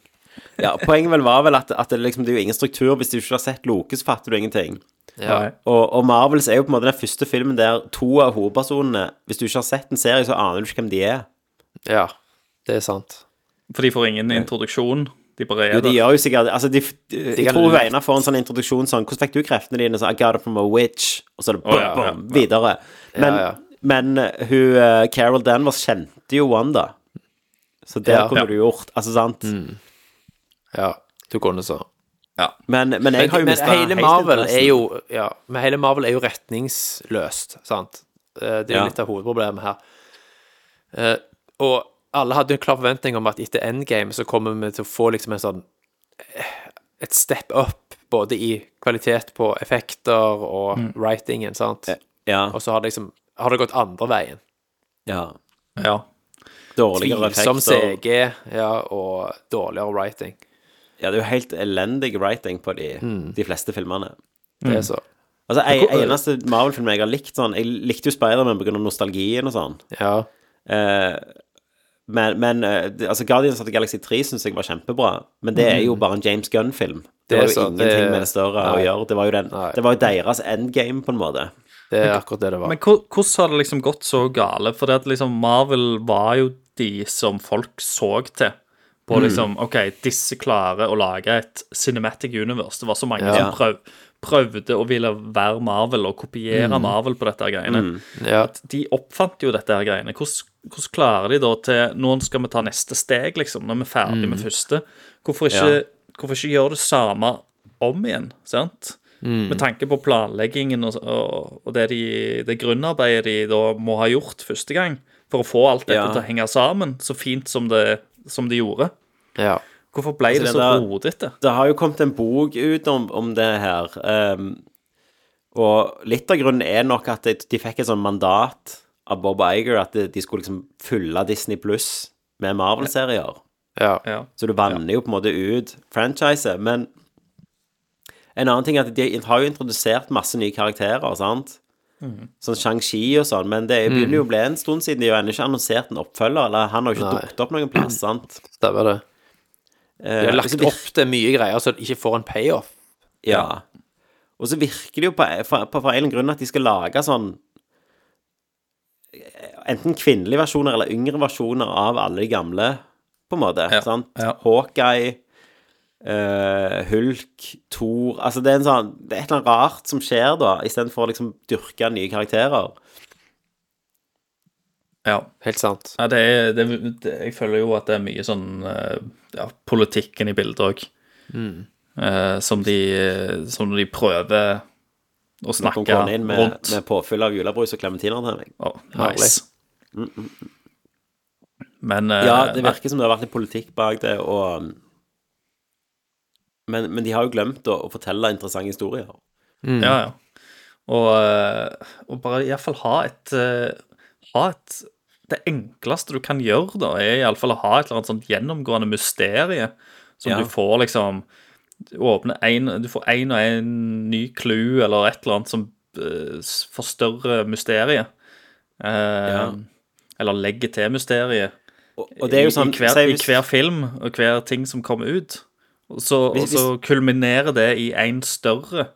Speaker 3: ja Poenget vel var vel at, at det, liksom, det er jo ingen struktur. Hvis du ikke har sett Loke, så fatter du ingenting.
Speaker 5: Ja.
Speaker 4: Nei.
Speaker 3: Og, og Marvels er jo på en måte den første filmen der to av hovedpersonene Hvis du ikke har sett en serie, så aner du ikke hvem de er.
Speaker 5: ja. Det er sant.
Speaker 4: For de får ingen introduksjon. De bare
Speaker 3: Jo,
Speaker 4: er
Speaker 3: de
Speaker 4: der.
Speaker 3: gjør jo sikkert altså de, de, Jeg
Speaker 5: kan
Speaker 3: tror
Speaker 5: lett-
Speaker 3: Einar får en sånn introduksjon sånn 'Hvordan fikk du kreftene dine?' Så 'I got it from a witch', og så er det bom,
Speaker 4: ja, ja,
Speaker 3: bom, videre. Men,
Speaker 5: Ja, ja.
Speaker 3: men eh, hun eh, Carol Danvers kjente jo Wanda, så der
Speaker 5: Ja. Mm.
Speaker 3: kunne
Speaker 4: Ja.
Speaker 3: du gjort Altså, sant?
Speaker 5: Ja. Du kunne så.
Speaker 3: Men, men jeg
Speaker 5: Men,
Speaker 3: har jo
Speaker 5: men
Speaker 3: mista
Speaker 5: hele Marvel er jo ja, Men hele Marvel er jo retningsløst, sant? Eh, Det er jo
Speaker 3: Ja.
Speaker 5: litt av hovedproblemet her. Eh, Og alle hadde jo en klar forventning om at etter Endgame så kommer vi til å få liksom en sånn eh, Et step up både i kvalitet på effekter og writingen, sant?
Speaker 3: Mm. Ja.
Speaker 5: Og så har det liksom Har det gått andre veien.
Speaker 3: ja.
Speaker 4: Ja.
Speaker 3: Dårligere
Speaker 5: Tvilsom
Speaker 3: effekter.
Speaker 5: CG, ja, og dårligere writing.
Speaker 3: Ja, det er jo helt elendig writing på de,
Speaker 5: Hmm.
Speaker 3: de fleste filmene.
Speaker 5: Det er så.
Speaker 3: Altså, en, eneste Marvel-film jeg har likt sånn Jeg likte jo Spider-Man på grunn av nostalgien og sånn.
Speaker 5: Ja.
Speaker 3: Eh, men men eh, det- altså Guardians of the Galaxy 3 syns jeg var kjempebra, men det er jo bare en James Gunn-film. Det,
Speaker 5: Hmm. Det er
Speaker 3: var jo
Speaker 5: sant,
Speaker 3: ingenting
Speaker 5: det-
Speaker 3: med det større å
Speaker 5: Nei.
Speaker 3: gjøre. Det var jo, den,
Speaker 5: Nei.
Speaker 3: det var jo deres endgame, på en måte.
Speaker 5: Det er akkurat det det var.
Speaker 4: Men hvor- hvordan har det liksom gått så gale? For det at liksom Marvel var jo de som folk så til. På liksom OK, disse klarer å lage et cinematic universe. Det var så mange
Speaker 3: Ja.
Speaker 4: som prøv, prøvde å ville være Marvel og kopiere Marvel på dette her greiene.
Speaker 5: Ja.
Speaker 4: At de oppfant jo dette her greiene. Hvordan, hvordan klarer de da til Nå skal vi ta neste steg, liksom, når vi er ferdig
Speaker 3: Mm.
Speaker 4: med første. Hvorfor ikke, hvorfor ikke gjøre det samme om igjen, sant?
Speaker 3: Mm.
Speaker 4: Med tanke på planleggingen og, og, og det, de, det grunnarbeidet de da må ha gjort første gang for å få alt dette
Speaker 3: Ja.
Speaker 4: til å henge sammen så fint som det som de gjorde.
Speaker 5: Ja.
Speaker 4: Hvorfor ble det
Speaker 3: Altså, det
Speaker 4: så
Speaker 3: der-
Speaker 4: rodete?
Speaker 3: Det har jo kommet en bok ut om, om det her. ehm, og litt av grunnen er nok at de, de fikk et sånn mandat av Bob Iger at de, de skulle liksom fylle Disney Pluss med Marvel-serier.
Speaker 5: ja.
Speaker 4: Ja.
Speaker 3: Så du vanner jo på en måte ut franchiset. Men en annen ting er at de har jo introdusert masse nye karakterer, sant?
Speaker 5: Mhm.
Speaker 3: Sånn Shang-Chi og sånn, men det begynner jo å bli en stund siden de har ennå ikke annonsert en oppfølger, eller han har jo ikke
Speaker 5: Nei.
Speaker 3: dukket opp noen plass, sant?
Speaker 5: Stemmer det.
Speaker 3: Eh,
Speaker 5: De har
Speaker 3: og så
Speaker 5: lagt
Speaker 3: vir-
Speaker 5: opp til mye greier så det ikke får en payoff.
Speaker 3: Ja. Og så virker det jo på, på, på, på en eller annen grunn at de skal lage sånn Enten kvinnelige versjoner eller yngre versjoner av alle de gamle, på en måte.
Speaker 4: Ja,
Speaker 3: sant?
Speaker 4: ja.
Speaker 3: Hawkeye, eh, Hulk, Thor Altså det er, en sånn, det er et eller annet rart som skjer da, istedenfor å liksom dyrke nye karakterer.
Speaker 4: ja.
Speaker 5: Helt sant.
Speaker 4: Ja, det er, det, det, jeg føler jo at det er mye sånn eh, ja, politikken i bildet òg.
Speaker 3: Mm.
Speaker 4: som, de, som de prøver å
Speaker 3: Kom
Speaker 4: snakke
Speaker 3: kom inn med,
Speaker 4: rundt. Eh,
Speaker 3: med påfyll av julebrus og klementiner til meg.
Speaker 4: Å,
Speaker 5: Herlig.
Speaker 4: nice. Men eh,
Speaker 3: Mm, Ja, det
Speaker 4: nei,
Speaker 3: virker som det har vært litt politikk bak det, og Men, men de har jo glemt å, å fortelle interessante historier.
Speaker 4: Ja, ja. Og, eh, og bare iallfall ha et eh, Ha et Det enkleste du kan gjøre, da, er iallfall å ha et eller annet sånt gjennomgående mysterium som
Speaker 3: Ja.
Speaker 4: du får liksom Du åpner en, Du får én og én ny clue eller et eller annet som eh, s- forstørrer mysteriet. Eh, Eller legger til mysteriet.
Speaker 3: Og, og det er jo sånn
Speaker 4: I, i, hver,
Speaker 3: si
Speaker 4: I
Speaker 3: hvis-
Speaker 4: hver film og hver ting som kommer ut. Og så, og
Speaker 3: Hvis-
Speaker 4: så kulminerer det i en større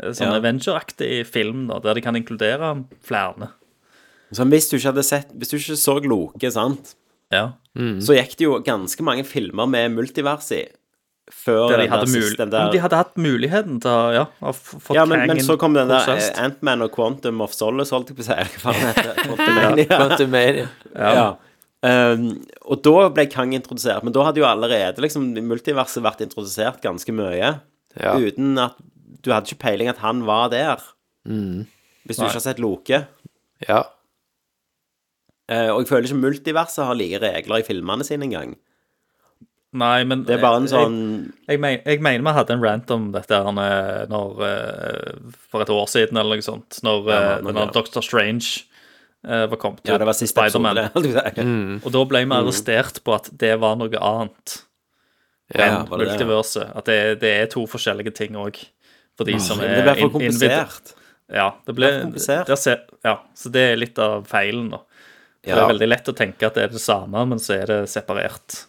Speaker 4: eh, sånn
Speaker 3: Ja.
Speaker 4: Avenger-aktig film, da, der de kan inkludere flere.
Speaker 3: sånn, hvis du ikke hadde sett Hvis du ikke så Loke, sant,
Speaker 4: Ja. Mhm.
Speaker 3: så gikk det jo ganske mange filmer med multivers i før
Speaker 4: Der de
Speaker 3: den
Speaker 4: hadde,
Speaker 3: der
Speaker 4: mul
Speaker 3: siste den der,
Speaker 4: Men de hadde hatt muligheten til å ja, å f- få
Speaker 3: Ja, men, men
Speaker 4: tangen
Speaker 3: så kom den der
Speaker 4: prosessed.
Speaker 3: eh, Ant-Man og Quantum of Solace, holdt jeg på å si. Hva faen heter det? Quantumania.
Speaker 5: Quantumania.
Speaker 3: Ja. Um, og da ble Kang introdusert, men da hadde jo allerede liksom multiverset vært introdusert ganske mye.
Speaker 5: Ja.
Speaker 3: Uten at Du hadde ikke peiling at han var der.
Speaker 4: Mm.
Speaker 3: Hvis du ikke har sett Loke.
Speaker 5: Ja.
Speaker 3: Eh, og jeg føler ikke multiverset har like regler i filmene sine engang.
Speaker 4: Nei, men
Speaker 3: Det er bare en
Speaker 4: jeg-
Speaker 3: sånn
Speaker 4: Jeg, men, jeg mener vi hadde en rant om dette her når, når, eh, for et år siden, eller noe sånt, når
Speaker 3: Ja,
Speaker 4: eh,
Speaker 3: men-
Speaker 4: denne Doctor Strange eh, var kommet
Speaker 3: Ja, det var siste
Speaker 4: Spider-Man.
Speaker 3: episode. holdt jeg på å si.
Speaker 5: Mm.
Speaker 4: Og da
Speaker 3: Mhm.
Speaker 4: ble vi arrestert på at det var noe annet.
Speaker 3: Ja, var det det?
Speaker 4: multiverset. At det, er- det er to forskjellige ting òg. For de som
Speaker 3: Men
Speaker 4: er
Speaker 3: Ah. det ble for
Speaker 4: in- invid-
Speaker 3: komplisert.
Speaker 4: Ja, det ble,
Speaker 3: Det ble for komplisert.
Speaker 4: der ser- ja, så det er litt av feilen, da. For Det
Speaker 3: Ja.
Speaker 4: er veldig lett å tenke at det er det samme, men så er det separert.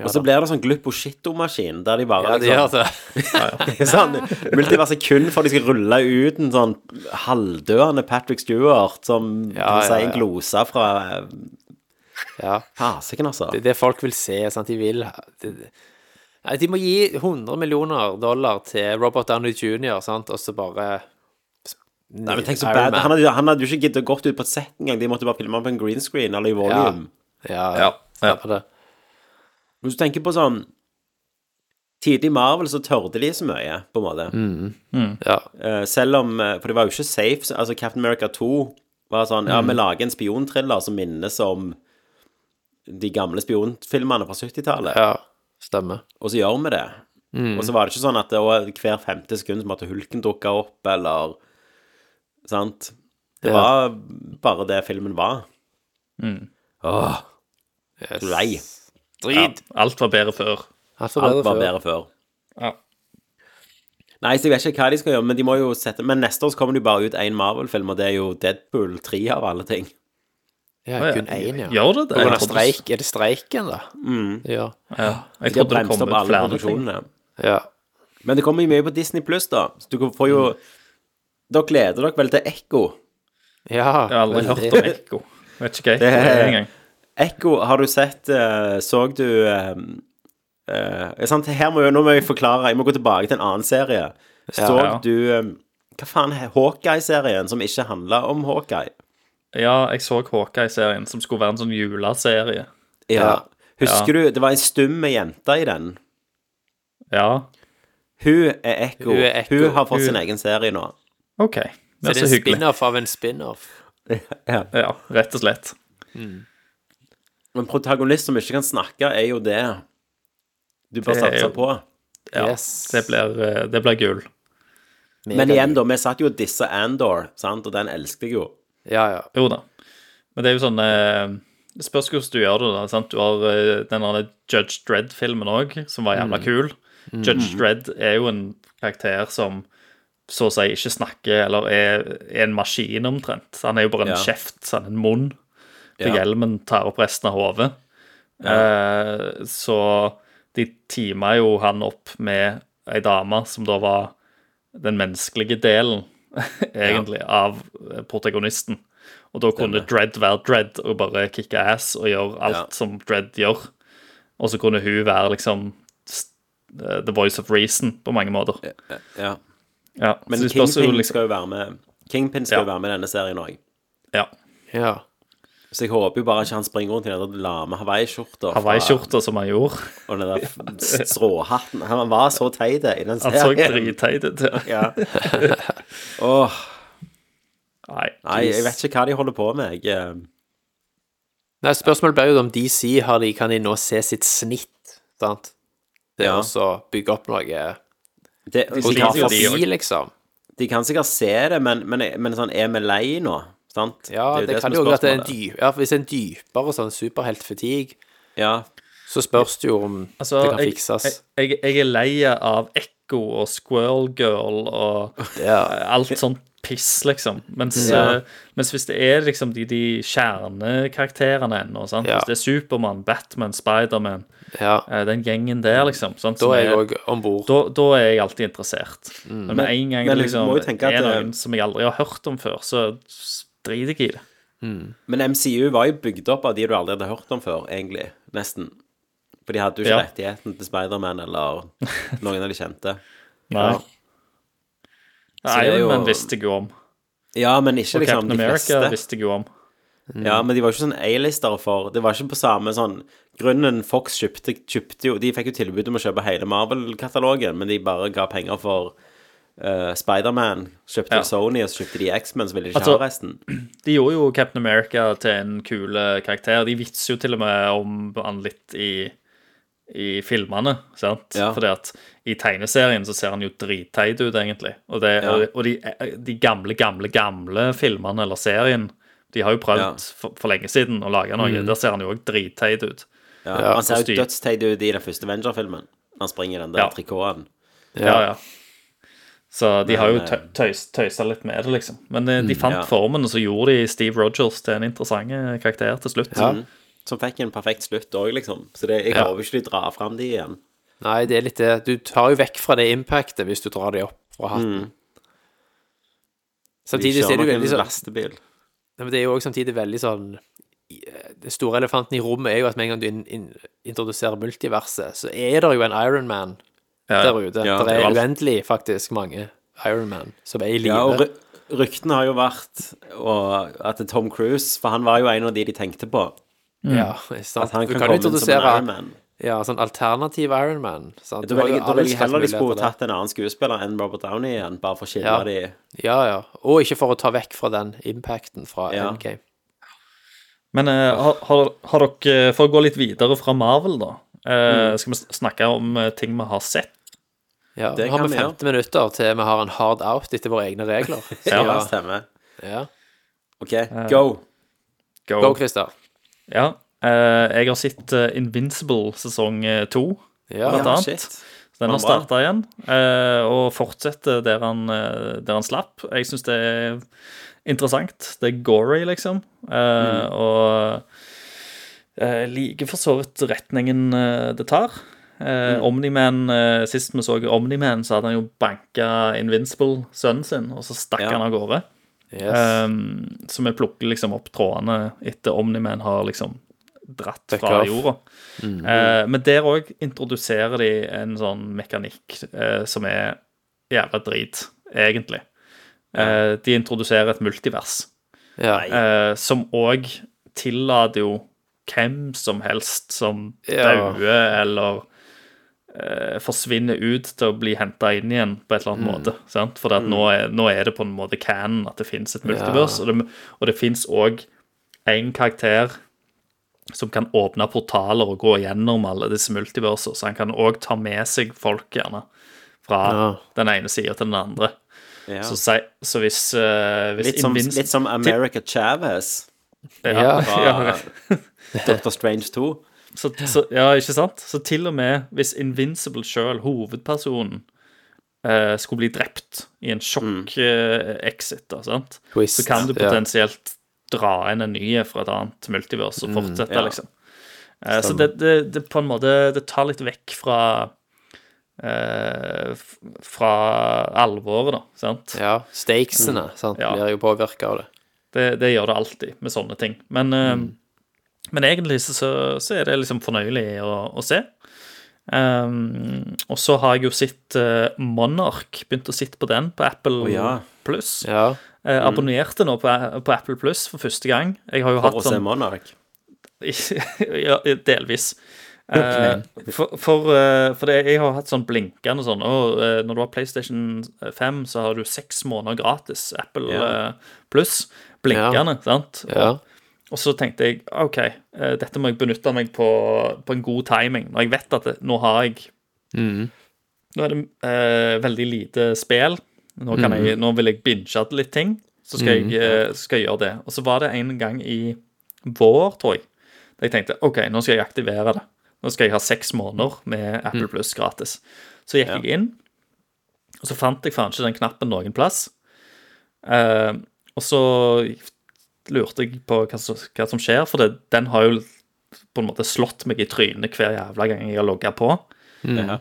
Speaker 3: Og så blir det sånn gluposjito-maskin, der de bare liksom-
Speaker 5: Ja, de gjør det. altså-
Speaker 3: sånn, Multiverset kun for de skal rulle ut en sånn halvdøende Patrick Stewart som
Speaker 5: Ja,
Speaker 3: kan si en
Speaker 5: ja, ja.
Speaker 3: glose fra eh,
Speaker 5: Ja.
Speaker 3: Fasiken, altså.
Speaker 5: Det er det folk vil se. Sant? De vil ha- det, det. Nei, De må gi 100 millioner dollar til Robert Downey jr., sant, og så bare
Speaker 3: Nei, men tenk så
Speaker 5: Iron
Speaker 3: bad.
Speaker 5: Man.
Speaker 3: Han hadde, han hadde jo ikke giddet å gått ut på et sett engang. De måtte bare filme på en green screen eller i volume.
Speaker 5: Ja,
Speaker 4: Ja, ja.
Speaker 5: stemmer det.
Speaker 3: Hvis du tenker på sånn Tidlig Marvel så tørde de så mye, på en måte.
Speaker 5: Ja.
Speaker 3: Eh, selv om eh, For det var jo ikke safe. så- Altså, Captain America 2 var sånn
Speaker 5: Mm.
Speaker 3: Ja, vi lager en spionthriller som minnes om de gamle spionfilmene fra 70-tallet,
Speaker 5: ja. Mm. Stemmer.
Speaker 3: og så gjør vi det. Og så var det ikke sånn at det var hver femte sekund så måtte Hulken dukke opp, eller Sant? Det
Speaker 5: Ja. Mm.
Speaker 3: var bare det filmen var. Åh,
Speaker 5: Yes.
Speaker 3: lei.
Speaker 4: Ja, alt var bedre før.
Speaker 5: Alt var
Speaker 3: Alt
Speaker 5: bedre
Speaker 3: var
Speaker 5: før.
Speaker 3: bedre før.
Speaker 4: Ja.
Speaker 3: Nei, så jeg vet ikke hva de skal gjøre, men de må jo sette Men neste år så kommer det jo bare ut én Marvel-film, og det er jo Deadpool 3 av alle ting.
Speaker 5: Ja, kun én, ja.
Speaker 4: Gjør det det?
Speaker 5: På grunn
Speaker 4: Jeg
Speaker 5: av
Speaker 4: trodde-
Speaker 5: streik. Er det streiken, da? Ja.
Speaker 4: Ja, jeg
Speaker 3: De har
Speaker 4: trodde det
Speaker 3: bremset
Speaker 4: kom
Speaker 3: opp
Speaker 4: ut
Speaker 3: alle
Speaker 4: flere ting.
Speaker 3: produksjonene.
Speaker 5: ja.
Speaker 3: Men det kommer jo mye på Disney Pluss, da. Så du får jo Dere gleder dere vel til Ekko.
Speaker 5: Ja.
Speaker 4: Jeg har aldri hørt om Ekko. Vet ikke hva Ekko
Speaker 3: Det-
Speaker 4: er engang.
Speaker 3: Ekko, har du sett eh, Så du eh, eh, sant? Her må jo, Nå må jeg forklare. Jeg må gå tilbake til en annen serie. Så
Speaker 4: Ja, ja.
Speaker 3: du eh, Hva faen er Hawkeye-serien som ikke handla om Hawkeye?
Speaker 4: Ja, jeg så Hawkeye-serien, som skulle være en sånn juleserie.
Speaker 3: Ja. Husker du? Det var ei stum jente i den.
Speaker 4: Ja,
Speaker 3: Hun er Ekko.
Speaker 5: Hun
Speaker 3: Hun,
Speaker 5: er Ekko.
Speaker 3: har fått
Speaker 4: Hun-
Speaker 3: sin egen serie nå.
Speaker 4: OK.
Speaker 5: Så
Speaker 4: Det er så
Speaker 5: det er en
Speaker 4: hyggelig.
Speaker 5: spin-off av en spin-off.
Speaker 3: Ja.
Speaker 4: Ja, rett og slett.
Speaker 3: Men protagonist som ikke kan snakke, er jo det du bør
Speaker 4: Det er
Speaker 3: satse
Speaker 4: jo-
Speaker 3: på.
Speaker 4: Ja,
Speaker 5: Yes.
Speaker 4: det blir, eh, det blir gull.
Speaker 3: Men igjen, da, vi satt jo og dissa Andor, sant, og den elsket jeg jo.
Speaker 5: Ja, ja.
Speaker 4: Jo da. Men det er jo sånn eh, det Spørs hvordan du gjør det. da, sant? Du har eh, den der Judge Dredd-filmen òg, som var
Speaker 3: Mm.
Speaker 4: jævla kul. Judge Dredd er jo en karakter som så å si ikke snakker, eller er, er en maskin omtrent. Så Han er jo bare en
Speaker 3: Ja.
Speaker 4: kjeft, så han er en munn. For
Speaker 3: Ja.
Speaker 4: hjelmen tar opp resten av hodet. Eh, så de tima jo han opp med ei dame som da var den menneskelige delen, egentlig, av protagonisten. Og da kunne Dredd være Dredd og bare kicke ass og gjøre alt
Speaker 3: Ja.
Speaker 4: som Dredd gjør. Og så kunne hun være liksom s- eh, the voice of reason på mange måter.
Speaker 3: Ja.
Speaker 4: Ja.
Speaker 3: Men
Speaker 4: så det spørs jo
Speaker 3: Kingpin
Speaker 4: liksom
Speaker 3: skal jo være med Kingpin skal
Speaker 4: Ja.
Speaker 3: jo være med i denne serien òg.
Speaker 4: ja,
Speaker 5: ja.
Speaker 3: Så jeg håper jo bare ikke han springer rundt i den der lame hawaiiskjorta. fra-
Speaker 4: Hawaii-skjorta som han gjorde.
Speaker 3: Og den der f- stråhatten. Han var så teit i den
Speaker 4: Han så
Speaker 3: serien.
Speaker 4: dritteit ut. ja.
Speaker 3: Ja. Åh,
Speaker 4: Nei,
Speaker 3: nei, jeg vet ikke hva de holder på med. Jeg, eh,
Speaker 5: Nei, spørsmålet blir jo om DC har de, kan de nå se sitt snitt, sant? Det
Speaker 3: Ja.
Speaker 5: å så bygge opp noe eh,
Speaker 3: det,
Speaker 5: Og
Speaker 3: de, kan
Speaker 5: ta
Speaker 4: sliter jo,
Speaker 3: sikkert,
Speaker 5: forbi,
Speaker 4: de også.
Speaker 5: liksom.
Speaker 3: de kan sikkert se det, men, men, men sånn, er vi lei nå? Sant?
Speaker 5: Ja,
Speaker 3: er
Speaker 5: det,
Speaker 3: som
Speaker 5: kan jo være at det er en
Speaker 3: spørsmålet.
Speaker 5: dyp, ja, for hvis det er en dypere sånn superheltfatigue,
Speaker 3: Ja,
Speaker 5: så spørs det jo om
Speaker 4: Altså,
Speaker 5: det kan
Speaker 4: jeg,
Speaker 5: fikses.
Speaker 4: jeg, jeg er lei av Ekko og Squirrel Girl og eh, alt sånt piss, liksom. Mens,
Speaker 5: Ja.
Speaker 4: eh, mens hvis det er liksom de, de kjernekarakterene ennå, sant?
Speaker 5: Ja.
Speaker 4: hvis det er Supermann, Batman, Spiderman,
Speaker 5: ja,
Speaker 4: eh, den gjengen der, liksom sant,
Speaker 5: da
Speaker 4: som
Speaker 5: er jeg òg om bord.
Speaker 4: da, da er jeg alltid interessert.
Speaker 3: Mm.
Speaker 4: Men med en
Speaker 3: men
Speaker 4: gang det
Speaker 3: du
Speaker 4: liksom
Speaker 3: må jo tenke
Speaker 4: er
Speaker 3: at, eh,
Speaker 4: noen som jeg aldri har hørt om før, så driter jeg i det.
Speaker 3: Men MCU var jo bygd opp av de du aldri hadde hørt om før, egentlig. Nesten. For de hadde jo ikke
Speaker 4: Ja.
Speaker 3: rettigheten til Spiderman eller noen av de kjente.
Speaker 4: Nei.
Speaker 3: Ja.
Speaker 4: Nei,
Speaker 3: det er jo-
Speaker 4: men visste jeg jo om.
Speaker 3: Ja, men ikke
Speaker 4: Og
Speaker 3: liksom
Speaker 4: Captain
Speaker 3: de
Speaker 4: America Mm.
Speaker 3: fleste.
Speaker 4: visste jeg jo om.
Speaker 3: Ja, men de var jo ikke sånn A-listere for Det var ikke på samme sånn Grunnen Fox kjøpte, kjøpte jo De fikk jo tilbud om å kjøpe hele Marvel-katalogen, men de bare ga penger for eh, Spiderman. Kjøpte
Speaker 4: Ja.
Speaker 3: jo Sony, og så kjøpte de X-Men, så ville de ikke ha
Speaker 4: Altså-
Speaker 3: resten.
Speaker 4: De gjorde jo Captain America til en kul eh, karakter. De vitser jo til og med om han litt i, i filmene, sant?
Speaker 3: Ja.
Speaker 4: Fordi at i tegneserien så ser han jo dritteit ut, egentlig. Og, det,
Speaker 3: Ja.
Speaker 4: og, og de, de gamle, gamle, gamle filmene eller serien, de har jo prøvd
Speaker 3: Ja. Mm.
Speaker 4: for, for lenge siden å lage noe. Der ser han jo òg dritteit ut.
Speaker 3: Ja,
Speaker 5: Ja,
Speaker 3: han ser jo
Speaker 4: kostyme.
Speaker 3: dødsteit ut i den første Avenger-filmen. Han springer i den der
Speaker 4: Ja.
Speaker 3: trikoten.
Speaker 4: Ja, ja. Så de har jo
Speaker 3: Men, eh, mm,
Speaker 4: tø- tøys, tøysa litt med det, liksom. Men eh, de fant
Speaker 3: Ja.
Speaker 4: formen, og så gjorde de Steve Rogers til en interessant eh, karakter til slutt.
Speaker 5: Ja.
Speaker 3: Som fikk en perfekt slutt òg, liksom. Så det, jeg
Speaker 4: Ja.
Speaker 3: håper ikke de drar fram de igjen.
Speaker 5: Nei, det er litt det. Du tar jo vekk fra det impactet hvis du drar det opp fra hatten.
Speaker 3: De
Speaker 5: Samtidig så
Speaker 3: kjører
Speaker 5: er det jo
Speaker 3: nok en
Speaker 5: veldig sånn
Speaker 3: lastebil.
Speaker 5: Nei, men det er jo også samtidig veldig sånn eh, Den store elefanten i rommet er jo at med en gang du inn, inn, introduserer multiverset, så er det jo en Ironman
Speaker 4: Ja.
Speaker 5: der ute.
Speaker 3: Ja,
Speaker 5: det
Speaker 3: det er
Speaker 5: er
Speaker 3: alt.
Speaker 5: uendelig faktisk mange Ironman som er i live.
Speaker 3: Ja, og ry- ryktene har jo vært og at det er Tom Cruise For han var jo en av de de tenkte på.
Speaker 5: ja, ikke sant?
Speaker 3: Mm. At han
Speaker 5: du
Speaker 3: kan,
Speaker 5: kan jo
Speaker 3: komme inn som en
Speaker 5: introdusere
Speaker 3: Iron Man.
Speaker 5: ja, sånn alternativ Ironman. sant?
Speaker 3: Da
Speaker 5: Du har jo
Speaker 3: velger, da
Speaker 5: alle
Speaker 3: velger jeg
Speaker 5: slags
Speaker 3: heller de
Speaker 5: muligheter
Speaker 3: skulle
Speaker 5: der.
Speaker 3: tatt en annen skuespiller enn Robert Downey igjen, bare for å skille
Speaker 5: Ja.
Speaker 3: de
Speaker 5: Ja, ja. Og ikke for å ta vekk fra den impacten fra
Speaker 3: Ja.
Speaker 5: Endgame.
Speaker 4: Men eh, har, har, har dere, eh, for å gå litt videre fra Marvel, da eh, Skal vi sn- snakke om eh, ting vi har sett?
Speaker 5: Ja,
Speaker 3: Det
Speaker 5: Nå har
Speaker 3: kan
Speaker 5: vi
Speaker 3: vi
Speaker 5: 15 minutter til vi har en hard out etter våre egne regler. Så,
Speaker 3: Ja,
Speaker 5: ja.
Speaker 3: stemmer.
Speaker 5: ja.
Speaker 3: OK, go.
Speaker 5: Go, Christer.
Speaker 4: Ja. eh, jeg har sett eh, Invincible sesong eh, to.
Speaker 5: Ja.
Speaker 4: Blant
Speaker 3: Ja,
Speaker 4: annet.
Speaker 3: shit.
Speaker 4: Så Den har
Speaker 3: Den var bra.
Speaker 4: starta igjen, eh, og fortsetter der han, eh, der han slapp. Jeg syns det er interessant. Det er gory, liksom. Eh,
Speaker 3: Mm.
Speaker 4: Og eh, liker for så vidt retningen eh, det tar. Eh,
Speaker 3: Mm.
Speaker 4: Omni-Man, eh, Sist vi så Omni-Man, så hadde han jo banka Invincible, sønnen sin, og så stakk
Speaker 3: Ja.
Speaker 4: han av gårde.
Speaker 3: Eh,
Speaker 5: Yes.
Speaker 4: Um, så vi plukker liksom opp trådene etter Omniman har liksom dratt
Speaker 5: Take
Speaker 4: fra
Speaker 5: off.
Speaker 4: jorda. Eh, men der òg introduserer de en sånn mekanikk eh, som er jævla drit, egentlig. Eh, de introduserer et multivers
Speaker 5: Ja.
Speaker 4: eh, som òg tillater jo hvem som helst som
Speaker 5: Ja.
Speaker 4: dauer eller eh, forsvinner ut til å bli henta inn igjen på et eller annet
Speaker 3: Mm.
Speaker 4: måte. Sant? For at nå, er, nå er det på en måte canon at det fins et multivers, og det, og det fins òg én karakter som kan åpne portaler og gå gjennom alle disse multiverser. Så han kan òg ta med seg folk, gjerne, fra
Speaker 3: Ja.
Speaker 4: den ene sida til den andre.
Speaker 3: Ja.
Speaker 4: Så, si, så hvis, eh, hvis
Speaker 3: Litt som,
Speaker 4: Invinci-
Speaker 3: litt som America Chavez
Speaker 4: ja,
Speaker 3: fra-
Speaker 4: ja,
Speaker 3: Doctor Strange 2.
Speaker 4: så, så, ja, ikke sant? Så til og med hvis Invincible sjøl, hovedpersonen, eh, skulle bli drept i en sjokk-exit, da, sant?
Speaker 5: Twist,
Speaker 4: så kan du
Speaker 5: ja.
Speaker 4: potensielt dra inn en ny fra et annet multivers
Speaker 5: Mm,
Speaker 4: og fortsette,
Speaker 3: ja.
Speaker 4: liksom. Eh, så det, det, det på en måte Det tar litt vekk fra eh, f- Fra alvoret, da, sant?
Speaker 5: Ja, stakesene sant,
Speaker 4: Mm. Ja.
Speaker 5: blir jo påvirka av det.
Speaker 4: Det, det gjør det alltid med sånne ting. Men, eh,
Speaker 3: Mm.
Speaker 4: men egentlig så, så- så er det liksom fornøyelig å, å se. Ehm, og så har jeg jo sett eh, Monarch, begynt å sitte på den på Apple
Speaker 3: ja. Mm.
Speaker 4: Pluss.
Speaker 5: Ja,
Speaker 4: Eh, abonnerte nå på, eh, på Apple Pluss for første gang. Jeg har jo
Speaker 3: For å
Speaker 4: hatt
Speaker 3: se
Speaker 4: sånn
Speaker 3: Monarch.
Speaker 4: ja, delvis. Eh, for for, eh, for det, jeg har hatt sånn blinkende sånn «Å, eh, Når du har PlayStation 5, så har du seks måneder gratis Apple
Speaker 3: Ja.
Speaker 4: eh, pluss. Blinkende, sant?
Speaker 5: ja.
Speaker 4: Og så tenkte jeg OK, eh, dette må jeg benytte meg på, på en god timing. Når jeg vet at det, nå har jeg Nå er det eh, veldig lite spill. Nå, kan jeg, nå vil jeg binge litt ting. Så skal, jeg, eh, skal jeg gjøre det. Og så var det en gang i vår, tror jeg, da jeg tenkte OK, nå skal jeg aktivere det. Nå skal jeg ha seks måneder med Apple Plus gratis. Så gikk jeg inn, og så fant jeg faen ikke den knappen noen plass. Eh, og så lurte jeg på hva som, hva som skjer, for det, den har jo på en måte slått meg i trynet hver jævla gang jeg har logga på.
Speaker 5: Mm.
Speaker 3: Ja.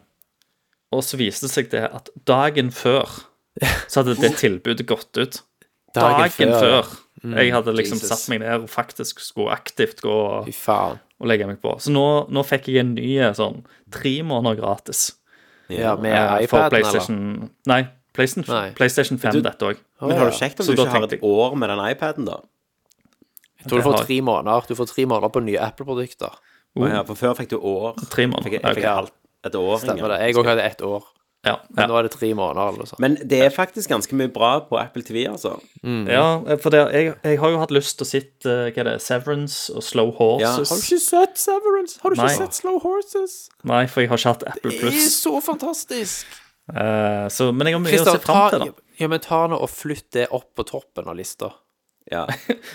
Speaker 4: Og så viste det seg det at dagen før så hadde det tilbudet gått ut. Dagen, før.
Speaker 5: Mm.
Speaker 4: jeg hadde liksom
Speaker 3: Jesus.
Speaker 4: satt meg ned og faktisk skulle aktivt gå og,
Speaker 5: Fy faen.
Speaker 4: og legge meg på. Så nå, nå fikk jeg en ny sånn tre måneder gratis
Speaker 5: Ja, med
Speaker 4: eh, for
Speaker 5: iPaden, eller?
Speaker 4: PlayStation Nei, PlayStation,
Speaker 5: Nei.
Speaker 4: PlayStation 5,
Speaker 3: Du-
Speaker 4: dette òg.
Speaker 3: Men har du sjekket om du
Speaker 4: Så da
Speaker 3: ikke har
Speaker 4: tenkte
Speaker 3: et år med den iPaden, da?
Speaker 5: Jeg tror du får
Speaker 4: har-
Speaker 5: tre måneder. Du får tre måneder på nye Apple-produkter.
Speaker 3: Å ja, for før fikk du år.
Speaker 4: Tre
Speaker 3: Fikk,
Speaker 4: måneder.
Speaker 3: jeg fikk
Speaker 4: Ok.
Speaker 3: alt, et år.
Speaker 5: Stemmer
Speaker 3: Inger.
Speaker 5: det. Jeg òg hadde ett år.
Speaker 4: Ja,
Speaker 5: Men
Speaker 4: ja.
Speaker 5: nå er det tre måneder, eller noe sånt.
Speaker 3: Men det er faktisk ganske mye bra på Apple TV, altså.
Speaker 5: Mm.
Speaker 4: Ja, eh, for det, jeg, jeg har jo hatt lyst til å sitte eh, hva er det, Severance og Slow
Speaker 3: Ja,
Speaker 4: Horses.
Speaker 5: ikke sett Severance? Har du
Speaker 4: ikke Nei. sett
Speaker 5: Slow Horses?
Speaker 4: Nei, for jeg har ikke hatt Apple
Speaker 5: Det er
Speaker 4: Plus.
Speaker 5: så fantastisk!
Speaker 4: Eh, så, men jeg har mye å
Speaker 5: Christer,
Speaker 4: se fram til,
Speaker 5: ta,
Speaker 4: da.
Speaker 5: ja, men ta nå og flytt det opp på toppen av lista.
Speaker 3: Ja.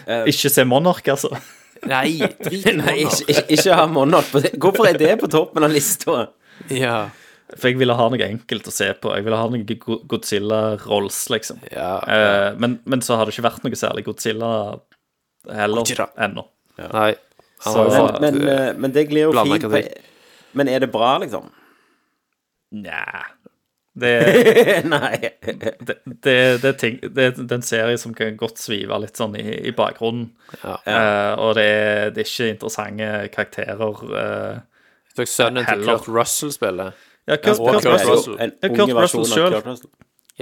Speaker 5: eh,
Speaker 4: Ikke se Monark, altså.
Speaker 5: Nei, drit i
Speaker 3: Nei,
Speaker 5: det.
Speaker 3: ikke, ikke, ikke ha Monarch på det. Hvorfor er det på toppen av lista?
Speaker 5: Ja.
Speaker 4: For jeg ville ha noe enkelt å se på. Jeg ville ha noe Go- Godzilla-rolls, liksom.
Speaker 5: Ja.
Speaker 4: Eh, men, men så har det ikke vært noe særlig Godzilla heller
Speaker 5: Godzilla.
Speaker 4: ennå.
Speaker 5: Nei. Han
Speaker 4: Så-
Speaker 5: har jo
Speaker 3: Men,
Speaker 5: fått,
Speaker 3: men,
Speaker 5: eh,
Speaker 3: eh, men det glir jo
Speaker 5: Blanda
Speaker 3: fint på
Speaker 5: kritikk.
Speaker 3: Men er det bra, liksom?
Speaker 4: Nja det,
Speaker 3: Nei.
Speaker 4: det, det, det, er ting, det, det er en serie som kan godt svive litt sånn i, i bakgrunnen. Eh, og det er, det er ikke interessante karakterer. eh,
Speaker 5: Så sønnen til
Speaker 4: Heller.
Speaker 5: Kurt Russell spiller.
Speaker 4: ja, Kurt,
Speaker 5: og
Speaker 4: Kurt
Speaker 5: Kurt
Speaker 4: Russell.
Speaker 5: Russell.
Speaker 3: En
Speaker 4: Ja, Kurt
Speaker 3: unge
Speaker 4: Russell
Speaker 3: versjon av
Speaker 4: selv.
Speaker 3: Kurt Russell.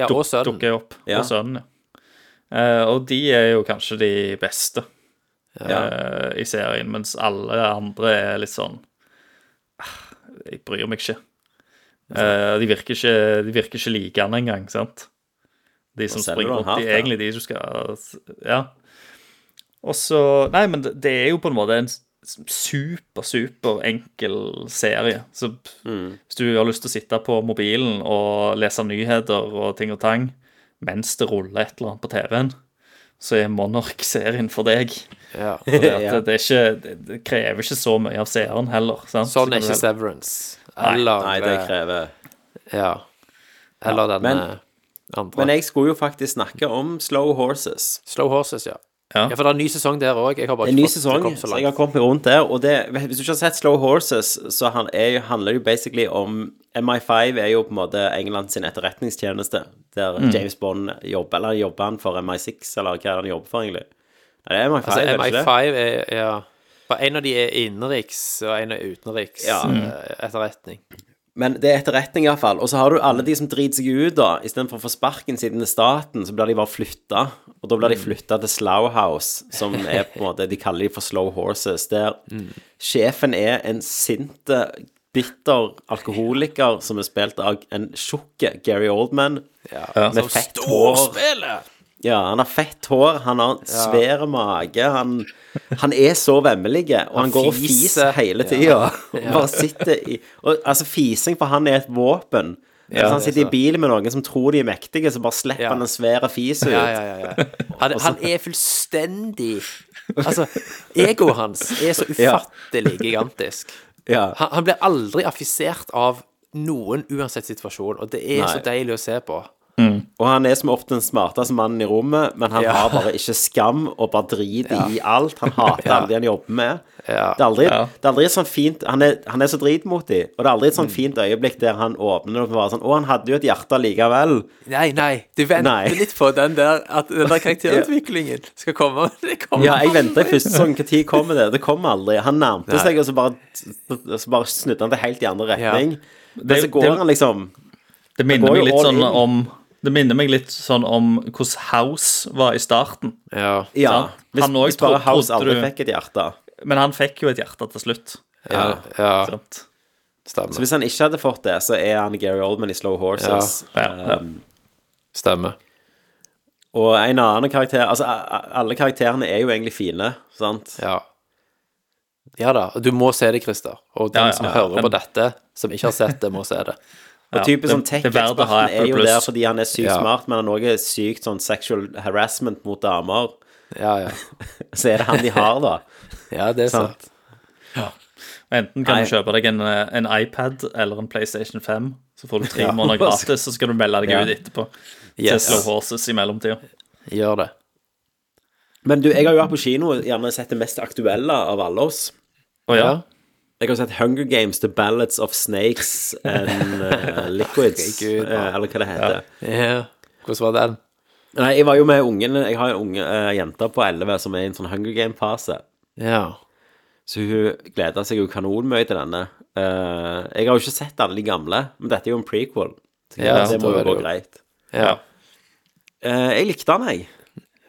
Speaker 5: Ja, og sønnen.
Speaker 4: dukker opp.
Speaker 3: Ja.
Speaker 4: Og sønnen, ja. Eh, og de er jo kanskje de beste eh, i serien, mens alle andre er litt sånn «Ah, Jeg bryr meg ikke. Eh, de, virker ikke de virker ikke likende engang, sant? De
Speaker 3: selger
Speaker 4: som
Speaker 3: du
Speaker 4: springer
Speaker 3: den
Speaker 4: rundt.
Speaker 3: hardt,
Speaker 4: De
Speaker 3: ja.
Speaker 4: er egentlig de som skal Ja. Og så Nei, men det det er jo på en måte en s- super, super enkel serie. Så
Speaker 3: Mm.
Speaker 4: hvis du har lyst til å sitte på mobilen og lese nyheter og ting og tang mens det ruller et eller annet på TV-en, så er Monark-serien for deg.
Speaker 5: Ja.
Speaker 4: For det, at det, er ikke, det, det krever ikke så mye av seeren heller. Sant?
Speaker 5: Sånn er
Speaker 4: Så kan du
Speaker 5: ikke
Speaker 4: heller-
Speaker 5: Severance. Eller
Speaker 3: Nei, det krever
Speaker 5: Ja. Eller den
Speaker 3: men-
Speaker 5: eh, andre.
Speaker 3: Men jeg skulle jo faktisk snakke om Slow Horses.
Speaker 5: Slow Horses, ja.
Speaker 4: Ja.
Speaker 5: ja. For det er en ny sesong der òg. Jeg har bare
Speaker 3: En ny
Speaker 5: ikke fått det
Speaker 3: sesong,
Speaker 5: kommet så
Speaker 3: så jeg har
Speaker 5: langt.
Speaker 3: kommet meg rundt der. Og det, hvis du ikke har sett Slow Horses, så han er, handler det jo basically om MI5 er jo på en måte England sin etterretningstjeneste, der
Speaker 5: Mm.
Speaker 3: James Bond jobber, eller jobber han for MI6, eller hva er det han jobber for, egentlig? Nei, det er MI5,
Speaker 5: Altså,
Speaker 3: er det ikke det?
Speaker 5: MI5 er ja. Bare en av de er innenriks, og en er utenriks
Speaker 3: Ja. Mm.
Speaker 5: eh, etterretning.
Speaker 3: Men det er etterretning, iallfall. Og så har du alle de som driter seg ut, da. Istedenfor å få sparken siden det er staten, så blir de bare flytta. Og da blir de flytta til Slowhouse, som er på en måte De kaller de for Slow Horses. Der sjefen er en sinte, bitter alkoholiker som er spilt av en tjukk Gary Oldman.
Speaker 5: Ja.
Speaker 3: Med fett hår. Ja, han har fett hår, han har svær mage, han, han er så vemmelig, og han, går og
Speaker 5: fiser.
Speaker 3: fiser hele tida. Bare sitter i og, Altså, fising for han er et våpen. Hvis han
Speaker 5: det er
Speaker 3: sitter i
Speaker 5: så.
Speaker 3: bil med noen som tror de er mektige, så bare slipper
Speaker 5: altså. Ja.
Speaker 3: han en svær fis ut.
Speaker 5: Ja, ja, ja, ja. Han, han er fullstendig Altså, egoet hans er så ufattelig gigantisk.
Speaker 3: Ja.
Speaker 5: Han, han blir aldri affisert av noen uansett situasjon, og det er så
Speaker 3: Nei.
Speaker 5: deilig å se på.
Speaker 3: Og han er som ofte den smarteste mannen i rommet, men han
Speaker 5: Ja.
Speaker 3: har bare ikke skam og bare driter i alt. Han hater alle de han jobber med.
Speaker 5: Ja.
Speaker 3: Det er aldri,
Speaker 4: Ja.
Speaker 3: det er aldri et sånt fint Han er, han er så dritmodig, og det er aldri et
Speaker 4: Mm.
Speaker 3: sånt fint øyeblikk der han åpner og bare sånn Å, han hadde jo et hjerte likevel.
Speaker 5: Nei, nei, du venter
Speaker 3: Nei.
Speaker 5: litt på den der At den der karakterutviklingen skal komme. Det kommer
Speaker 3: Ja, jeg venta i første sesong. Når kommer det? Det kom aldri. Han nærmte
Speaker 5: Nei.
Speaker 3: seg, og så bare, så bare snudde han det helt i andre retning.
Speaker 4: Det-
Speaker 3: Men så går
Speaker 4: det-
Speaker 3: han liksom
Speaker 4: Det minner
Speaker 3: går jo
Speaker 4: meg litt
Speaker 3: all
Speaker 4: sånn
Speaker 3: in.
Speaker 4: om Det minner meg litt sånn om hvordan House var i starten.
Speaker 5: Ja.
Speaker 3: Ja.
Speaker 4: Sant?
Speaker 3: Hvis,
Speaker 4: Han også
Speaker 3: hvis bare
Speaker 4: tro-
Speaker 3: House
Speaker 4: trodde
Speaker 3: aldri
Speaker 4: du-
Speaker 3: fikk et hjerte.
Speaker 4: Men han fikk jo et hjerte til slutt.
Speaker 5: ja, ja
Speaker 4: Sant?
Speaker 3: Så
Speaker 5: stemmer.
Speaker 3: hvis han ikke hadde fått det, så er han Gary Oldman i Slow Horses.
Speaker 4: Ja, ja.
Speaker 3: Um,
Speaker 5: Stemmer.
Speaker 3: Og en annen karakter Altså, a- a- alle karakterene er jo egentlig fine, sant?
Speaker 5: Ja. Ja da. Du må se det, Christer. Og den
Speaker 4: Ja, ja,
Speaker 5: som
Speaker 4: ja,
Speaker 5: hører
Speaker 4: den-
Speaker 5: på dette, som ikke har sett det, må se det.
Speaker 3: Og typisk
Speaker 4: det-
Speaker 3: sånn
Speaker 4: det er verdt å ha
Speaker 3: tech-eksperten er
Speaker 4: Apple
Speaker 3: jo
Speaker 4: Plus.
Speaker 3: der fordi han er sykt
Speaker 5: Ja.
Speaker 3: smart, men han også er sykt sånn sexual harassment mot damer.
Speaker 5: Ja, ja.
Speaker 3: Så er det han de har, da.
Speaker 5: Ja, det er
Speaker 3: Sant.
Speaker 5: sant.
Speaker 4: Enten kan
Speaker 3: Nei.
Speaker 4: du kjøpe deg en, eh, en iPad eller en PlayStation 5, så får du tre måneder
Speaker 3: Hva
Speaker 4: gratis, så skal du melde deg
Speaker 3: Ja.
Speaker 4: ut etterpå. Til
Speaker 5: Yes.
Speaker 4: Slow Horses i mellomtida.
Speaker 5: Gjør det.
Speaker 3: Men du, jeg har jo vært på kino og gjerne sett det mest aktuelle av alle oss.
Speaker 4: Å ja.
Speaker 3: Jeg har sett Hunger Games, The Ballads of Snakes and eh, Liquids,
Speaker 5: Herregud,
Speaker 3: eh, eller hva det heter.
Speaker 5: Ja. Hvordan var den?
Speaker 3: Nei, jeg var jo med ungen Jeg har en unge eh, jente på 11 som er i en sånn Hunger Game-fase.
Speaker 5: Ja.
Speaker 3: Så hun gleda seg jo kanonmye til denne. Eh, jeg har jo ikke sett alle de gamle, men dette er jo en prequel. Så
Speaker 5: Ja,
Speaker 3: det
Speaker 5: så
Speaker 3: må
Speaker 5: da
Speaker 3: jo
Speaker 5: er det
Speaker 3: gå
Speaker 5: jo-
Speaker 3: greit.
Speaker 5: ja.
Speaker 3: Eh, jeg likte den, jeg.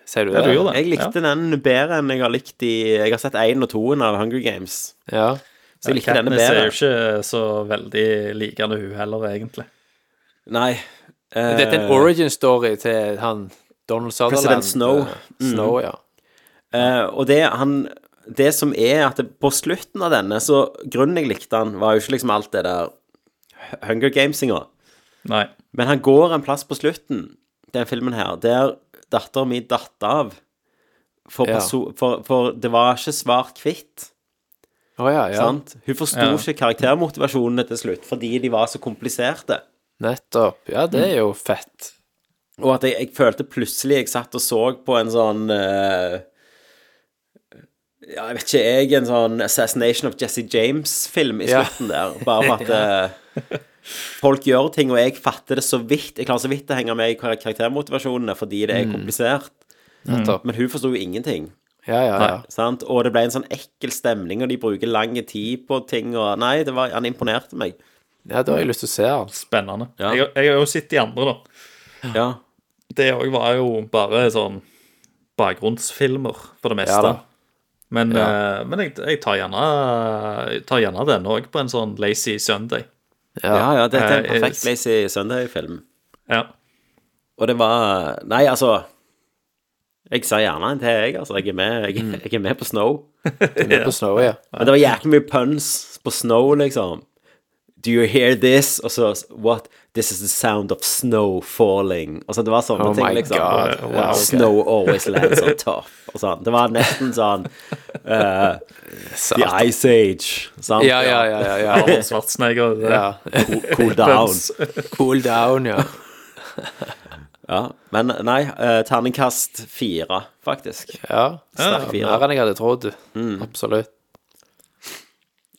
Speaker 5: Sier du
Speaker 4: Ja,
Speaker 5: det?
Speaker 4: du gjorde det.
Speaker 3: Jeg likte den bedre enn jeg har likt de Jeg har sett én og toen av Hunger Games.
Speaker 5: Ja.
Speaker 3: Så jeg likte denne
Speaker 4: Katniss er
Speaker 3: bedre.
Speaker 4: jo ikke eh, så veldig likende hun heller, egentlig.
Speaker 3: Nei. eh,
Speaker 5: Dette er en origin story til han Donald Sutherland.
Speaker 3: President Snow. Mm.
Speaker 5: Eh, Snow, ja.
Speaker 3: Eh, og det han Det som er at det, på slutten av denne, så grunnen jeg likte han, var jo ikke liksom alt det der Hunger Gamesinga.
Speaker 4: Nei.
Speaker 3: Men han går en plass på slutten, den filmen her, der datteren min datt av. For,
Speaker 5: Ja.
Speaker 3: perso for, for det var ikke svart-hvitt.
Speaker 5: Å ja, ja.
Speaker 3: sant? Hun forsto
Speaker 4: Ja.
Speaker 3: ikke karaktermotivasjonene til slutt fordi de var så kompliserte.
Speaker 5: Nettopp. Ja, det er jo fett.
Speaker 3: Og at jeg, jeg følte plutselig jeg satt og så på en sånn eh, Ja, jeg vet ikke, jeg, en sånn Assassination of Jesse James-film i
Speaker 5: Ja.
Speaker 3: slutten der. Bare for at eh, folk gjør ting, og jeg fatter det så vidt. Jeg klarer så vidt å henge med i kar- karaktermotivasjonene fordi det er komplisert. Mm.
Speaker 5: Nettopp.
Speaker 3: Men hun forsto jo ingenting.
Speaker 5: Ja, ja, ja.
Speaker 3: Sant? Og det ble en sånn ekkel stemning, og de bruker lang tid på ting, og Nei, det var, han imponerte meg.
Speaker 5: Ja, da har jeg lyst til å se han.
Speaker 4: Spennende.
Speaker 3: Ja.
Speaker 4: Jeg, jeg har jo sett de andre, da.
Speaker 3: Ja.
Speaker 4: Det òg var jo bare sånn bakgrunnsfilmer, for det meste.
Speaker 5: da.
Speaker 4: men eh, men jeg, jeg tar gjerne Jeg tar gjerne denne òg på en sånn lazy Sunday.
Speaker 5: Ja.
Speaker 3: ja, ja, dette er en
Speaker 4: Eh,
Speaker 3: perfekt Lazy Sunday-film.
Speaker 4: Ja.
Speaker 3: Og det var Nei, altså Jeg ser gjerne en til, jeg. Altså, jeg er med, jeg,
Speaker 5: Mm.
Speaker 3: jeg er med på Snow.
Speaker 5: Med på Snow, ja.
Speaker 3: Men det var jæklig mye puns på Snow, liksom. Do you hear this? Og så What? This is the sound of snow falling. Altså, det var sånne
Speaker 5: Oh
Speaker 3: ting,
Speaker 5: my
Speaker 3: liksom.
Speaker 5: God.
Speaker 3: Wow,
Speaker 5: Ja, ok.
Speaker 3: Snow always lands on top. Og sånn. Det var nesten sånn eh, The
Speaker 5: Satan.
Speaker 3: Ice Age, sant?
Speaker 5: Ja, ja, ja, ja, ja.
Speaker 4: Arnold Schwarzenegger. eh, det.
Speaker 5: ja.
Speaker 3: Cool down.
Speaker 5: Cool down, ja.
Speaker 3: Ja. Men nei, eh, terningkast fire, faktisk,
Speaker 5: ja.
Speaker 3: Sterk fire.
Speaker 5: Mer enn jeg hadde trodd.
Speaker 3: Mm.
Speaker 5: Absolutt.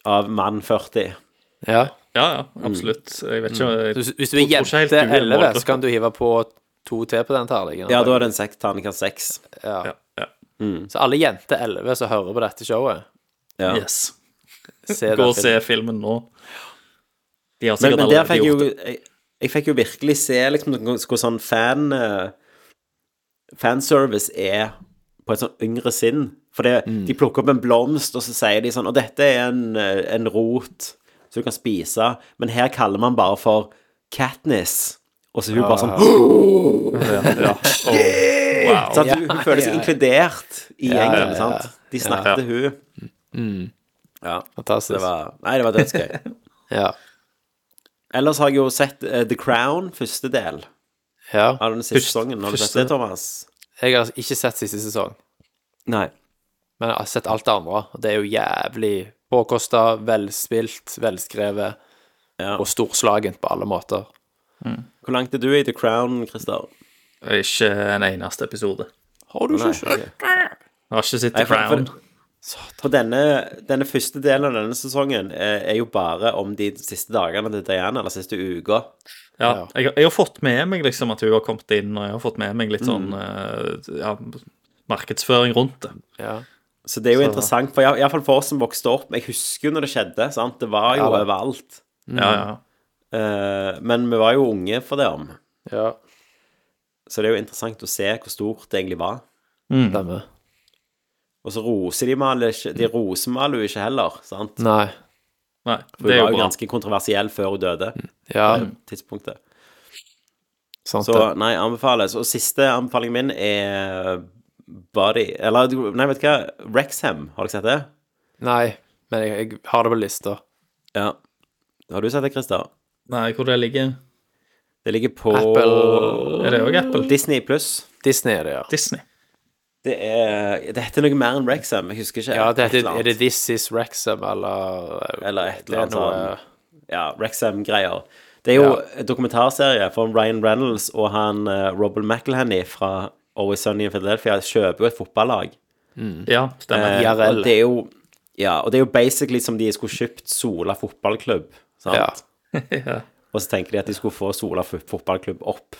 Speaker 3: av mann 40.
Speaker 5: Ja.
Speaker 4: Ja, ja, absolutt. Jeg vet ikke
Speaker 3: Mm.
Speaker 4: jeg,
Speaker 5: Hvis, hvis du
Speaker 4: tror
Speaker 5: er
Speaker 4: ikke helt
Speaker 5: jente
Speaker 4: du er
Speaker 5: 11,
Speaker 4: målgruppe.
Speaker 5: så kan du hive på to til på den terningen.
Speaker 3: Ja, da er det en seks, terningkast seks.
Speaker 5: Ja.
Speaker 4: ja, ja.
Speaker 5: Så alle jenter 11 som hører på dette showet,
Speaker 3: Ja.
Speaker 4: Yes.
Speaker 5: se
Speaker 4: Gå
Speaker 5: den
Speaker 4: og se
Speaker 5: filmen.
Speaker 4: filmen nå. De har
Speaker 3: Men,
Speaker 4: sikkert
Speaker 3: men der
Speaker 4: allerede
Speaker 3: fikk jeg
Speaker 4: gjort
Speaker 3: jo
Speaker 4: det.
Speaker 3: jeg, jeg fikk jo virkelig se liksom hvor sånn fan eh, Fanservice er på et sånn yngre sinn. For det, de plukker opp en blomst, og så sier de sånn Og dette er en, eh, en rot som du kan spise, men her kaller man bare Ah. for Katniss. Og så er hun bare sånn
Speaker 4: Ja.
Speaker 3: Så at hun, hun føler seg inkludert i
Speaker 5: Ja,
Speaker 3: gjengen,
Speaker 5: ja, ja.
Speaker 3: sant? De snakket til hun. Ja, så
Speaker 5: Fantastisk.
Speaker 3: det var Nei, det var dødsgøy.
Speaker 5: Ja.
Speaker 3: Ellers har jeg jo sett eh, The Crown, første del
Speaker 5: ja.
Speaker 3: av den siste sesongen. Har du sett
Speaker 4: første-
Speaker 3: det, Thomas?
Speaker 5: Jeg har ikke sett siste sesong,
Speaker 3: Nei.
Speaker 5: men jeg har sett alt det andre. og Det er jo jævlig påkosta, velspilt, velskrevet
Speaker 3: Ja.
Speaker 5: og storslagent på alle måter.
Speaker 3: Hvor langt er du i The Crown, Christer?
Speaker 4: Ikke en eneste episode.
Speaker 5: Har du ikke sett?
Speaker 4: Jeg har ikke sett
Speaker 3: Nei,
Speaker 4: The
Speaker 3: for- for-
Speaker 4: Crown.
Speaker 3: For denne, denne første delen av denne sesongen eh, er jo bare om de siste dagene til Diana, eller siste uka.
Speaker 4: Ja, jeg, jeg har fått med meg liksom at hun har kommet inn, og jeg har fått med meg litt sånn eh, ja, markedsføring rundt det.
Speaker 5: Ja.
Speaker 3: Så det er jo interessant, for jeg- iallfall for oss som vokste opp Jeg husker jo når det skjedde, sant? Det var jo
Speaker 5: Ja, da.
Speaker 3: overalt.
Speaker 4: Ja, ja.
Speaker 3: Eh, men vi var jo unge for det om.
Speaker 5: ja.
Speaker 3: Så det er jo interessant å se hvor stort det egentlig var.
Speaker 5: Stemmer.
Speaker 3: Og så roser de maler ikke De rosemaler jo ikke heller, sant?
Speaker 5: Nei.
Speaker 4: Nei,
Speaker 3: For
Speaker 4: det er jo bra. Mm.
Speaker 3: ganske kontroversiell før hun døde.
Speaker 5: Ja,
Speaker 3: Tidspunktet.
Speaker 5: sant
Speaker 3: Så
Speaker 5: det.
Speaker 3: nei, anbefales. Og siste anbefalingen min er Body Eller nei, vet du hva? Rexham, har dere sett det?
Speaker 5: Nei, men jeg, jeg har det på lista.
Speaker 3: Ja. Har du sett det, Christer?
Speaker 4: Nei, hvor det ligger
Speaker 3: Det ligger på
Speaker 5: Apple
Speaker 4: Er det òg Apple?
Speaker 3: Disney pluss.
Speaker 5: Disney er det, ja.
Speaker 4: Disney.
Speaker 3: Det er Det heter noe mer enn Rexham, jeg husker ikke.
Speaker 5: Ja, det
Speaker 3: Et
Speaker 5: heter,
Speaker 3: eller
Speaker 5: Er det
Speaker 3: annet.
Speaker 5: This Is Rexham, eller eh,
Speaker 3: Eller et
Speaker 5: Det
Speaker 3: eller
Speaker 5: er
Speaker 3: annet
Speaker 5: noe- eh,
Speaker 3: sånn Ja, Rexham-greier. Det er jo
Speaker 5: Ja.
Speaker 3: en dokumentarserie for Ryan Reynolds og han eh, Robert McElhenny fra Always Sunny in Philadelphia kjøper jo et fotballag.
Speaker 4: Ja,
Speaker 3: Eh,
Speaker 4: stemmer.
Speaker 5: IRL.
Speaker 3: Og det er jo Ja, og det er jo basically som de skulle kjøpt Sola fotballklubb, sant?
Speaker 5: Ja.
Speaker 4: Ja.
Speaker 3: Og så tenker de at de skulle få Sola fo- fotballklubb opp.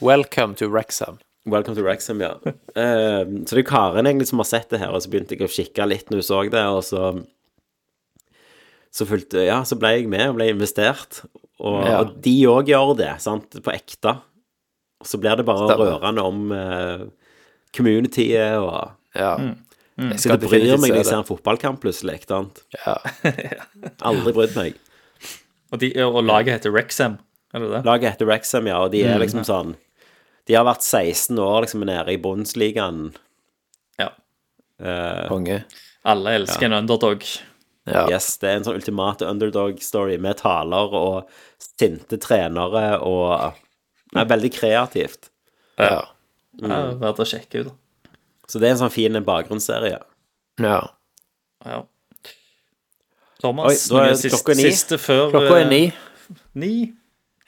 Speaker 5: Welcome to Rexham.
Speaker 3: Welcome to Wrexham, ja. Eh, så det er Karen egentlig som har sett det her, og så begynte jeg å kikke litt når hun så det, og så så fulgte, ja, så ble jeg med og ble investert. Og,
Speaker 5: Ja.
Speaker 3: og de òg gjør det, sant, på ekte. Og så blir det bare
Speaker 5: Stemmer.
Speaker 3: rørende om eh, communityet og
Speaker 5: Ja. Jeg
Speaker 3: Mm. Så det bryr meg liksom. når jeg
Speaker 5: se
Speaker 3: ser en fotballkamp plutselig, ikke sant?
Speaker 5: Ja.
Speaker 3: Aldri brydd meg.
Speaker 4: Og, de, og laget heter Rexham, er det det?
Speaker 3: Laget heter Wrexham, ja, og de er liksom sånn De har vært 16 år liksom nede i Bundesligaen.
Speaker 4: Ja.
Speaker 5: Konge.
Speaker 4: Alle elsker en underdog.
Speaker 5: Ja.
Speaker 3: Yes, det er en sånn ultimate underdog-story med taler og sinte trenere og Nei, veldig kreativt.
Speaker 5: Ja.
Speaker 4: Ja, Verdt å sjekke ut.
Speaker 3: Så det er en sånn fin bakgrunnsserie.
Speaker 5: ja.
Speaker 4: Ja. Thomas,
Speaker 3: Oi, da er
Speaker 4: noe sist-
Speaker 3: klokka ni.
Speaker 4: siste før
Speaker 5: Klokka er ni.
Speaker 4: eh, ni.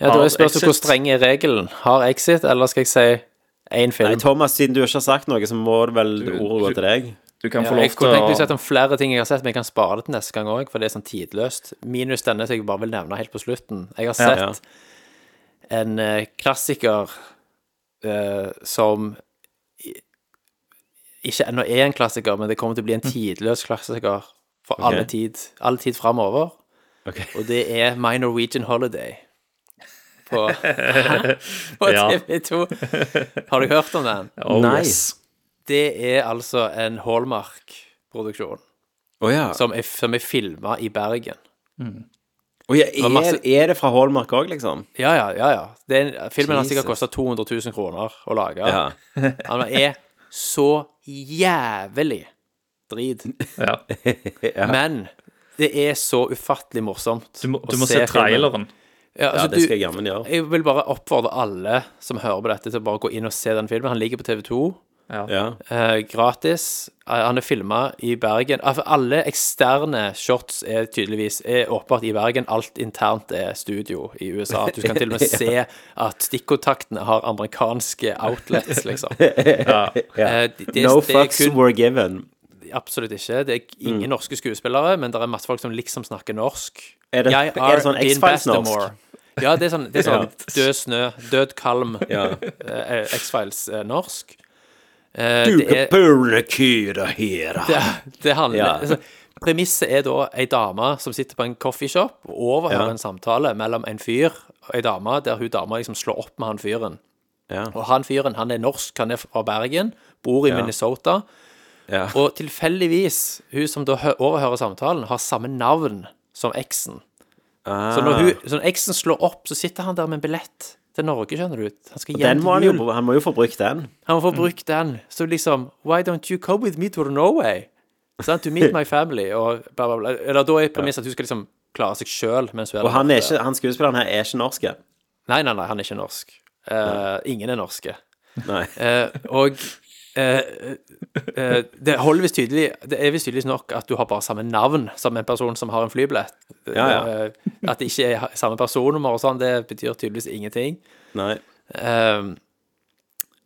Speaker 5: Ja, da
Speaker 4: Har
Speaker 5: er spørsmålet
Speaker 4: Exit-
Speaker 5: hvor streng er regelen. Har Exit, eller skal jeg si én
Speaker 3: Nei,
Speaker 5: film?
Speaker 3: Thomas, siden du ikke har sagt noe, så må det vel ordet gå til deg.
Speaker 4: Du kan
Speaker 5: Ja,
Speaker 4: få lov
Speaker 5: jeg kunne
Speaker 4: til
Speaker 5: tenkt meg å
Speaker 4: å
Speaker 5: sette om flere ting jeg har sett, men jeg kan spare det til neste gang òg, for det er sånn tidløst. Minus denne som jeg bare vil nevne helt på slutten. Jeg har sett
Speaker 3: Ja,
Speaker 5: en eh, klassiker eh, som i- ikke ennå er en klassiker, men det kommer til å bli
Speaker 3: Mm.
Speaker 5: en tidløs klassiker for alle tid, all tid framover.
Speaker 3: Ok.
Speaker 5: Og det er My Norwegian Holiday på, på
Speaker 4: Ja.
Speaker 5: TV2. Har du hørt om den?
Speaker 4: Oh,
Speaker 3: Nei.
Speaker 4: yes.
Speaker 5: Det er altså en Hallmark-produksjon
Speaker 3: Å ja.
Speaker 5: som er, som er filma i Bergen.
Speaker 3: Å Oh, ja,
Speaker 5: var
Speaker 3: er,
Speaker 5: masse-
Speaker 3: er det fra Hallmark òg, liksom?
Speaker 5: Ja, ja, ja. ja. Det er en, filmen har sikkert
Speaker 3: Jesus.
Speaker 5: kosta 200 000 kroner å lage.
Speaker 3: Ja.
Speaker 5: Han er så jævlig drit.
Speaker 4: Ja.
Speaker 5: Men det er så ufattelig morsomt.
Speaker 4: Du må,
Speaker 5: å
Speaker 4: du må se
Speaker 5: filmen.
Speaker 4: traileren.
Speaker 5: Ja, altså,
Speaker 3: ja, det skal
Speaker 5: du,
Speaker 3: jeg jammen gjøre.
Speaker 5: jeg vil bare oppfordre alle som hører på dette, til å bare gå inn og se den filmen. Han ligger på TV2.
Speaker 3: Ja.
Speaker 5: eh, gratis. Eh, han er filma i Bergen. Altså, alle eksterne shots er tydeligvis er åpenbart i Bergen. Alt internt er studio i USA. Du kan til og med se at stikkontaktene har amerikanske outlets, liksom. Eh, det- det-
Speaker 3: No
Speaker 5: det er
Speaker 3: fucks
Speaker 5: kun-
Speaker 3: were given.
Speaker 5: Absolutt ikke. Det er ingen
Speaker 3: Mm.
Speaker 5: norske skuespillere, men det er masse folk som liksom snakker norsk.
Speaker 3: Er det-
Speaker 5: Jeg
Speaker 3: er det sånn
Speaker 5: Dean
Speaker 3: X-Files-norsk?
Speaker 5: Bastamore. Ja, det er sånn, det er sånn
Speaker 3: Ja.
Speaker 5: død snø, død kalm,
Speaker 3: Ja.
Speaker 5: eh, X-Files-norsk. Eh,
Speaker 3: Du
Speaker 5: det er-
Speaker 3: kan pule kyra hera.
Speaker 5: det, det handler
Speaker 3: Ja.
Speaker 5: altså, Premisset er da ei dame som sitter på en coffeeshop og overhører
Speaker 3: Ja.
Speaker 5: en samtale mellom en fyr og ei dame, der hun dama liksom slår opp med han fyren.
Speaker 3: Ja.
Speaker 5: Og han fyren han er norsk, han er fra Bergen, bor i Minnesota.
Speaker 3: Ja.
Speaker 5: Og tilfeldigvis, hun som da hø- overhører samtalen, har samme navn som eksen. Så når hun, så når eksen slår opp, så sitter han der med en billett til Norge, skjønner du. Han skal hjem
Speaker 3: Den må han,
Speaker 5: til jul.
Speaker 3: jo, Mm. han må jo få brukt den.
Speaker 5: Han får brukt den. Så liksom Why don't you come with me to Norway? Sant? To meet my family, og bla, bla, bla. Eller da er premisset at hun skal liksom klare seg sjøl mens hun er
Speaker 3: Og han, er
Speaker 5: borte.
Speaker 3: ikke, han skuespilleren her er ikke norsk.
Speaker 5: Nei, nei, nei, han er ikke norsk. Eh, ingen er norske.
Speaker 3: Nei.
Speaker 5: Eh, og eh, eh, det holder visst tydelig Det er visst tydelig nok at du har bare samme navn som en person som har en flybillett.
Speaker 3: Ja, ja.
Speaker 5: Eh, at det ikke er samme personnummer og sånn, det betyr tydeligvis ingenting.
Speaker 3: Nei.
Speaker 5: Ehm,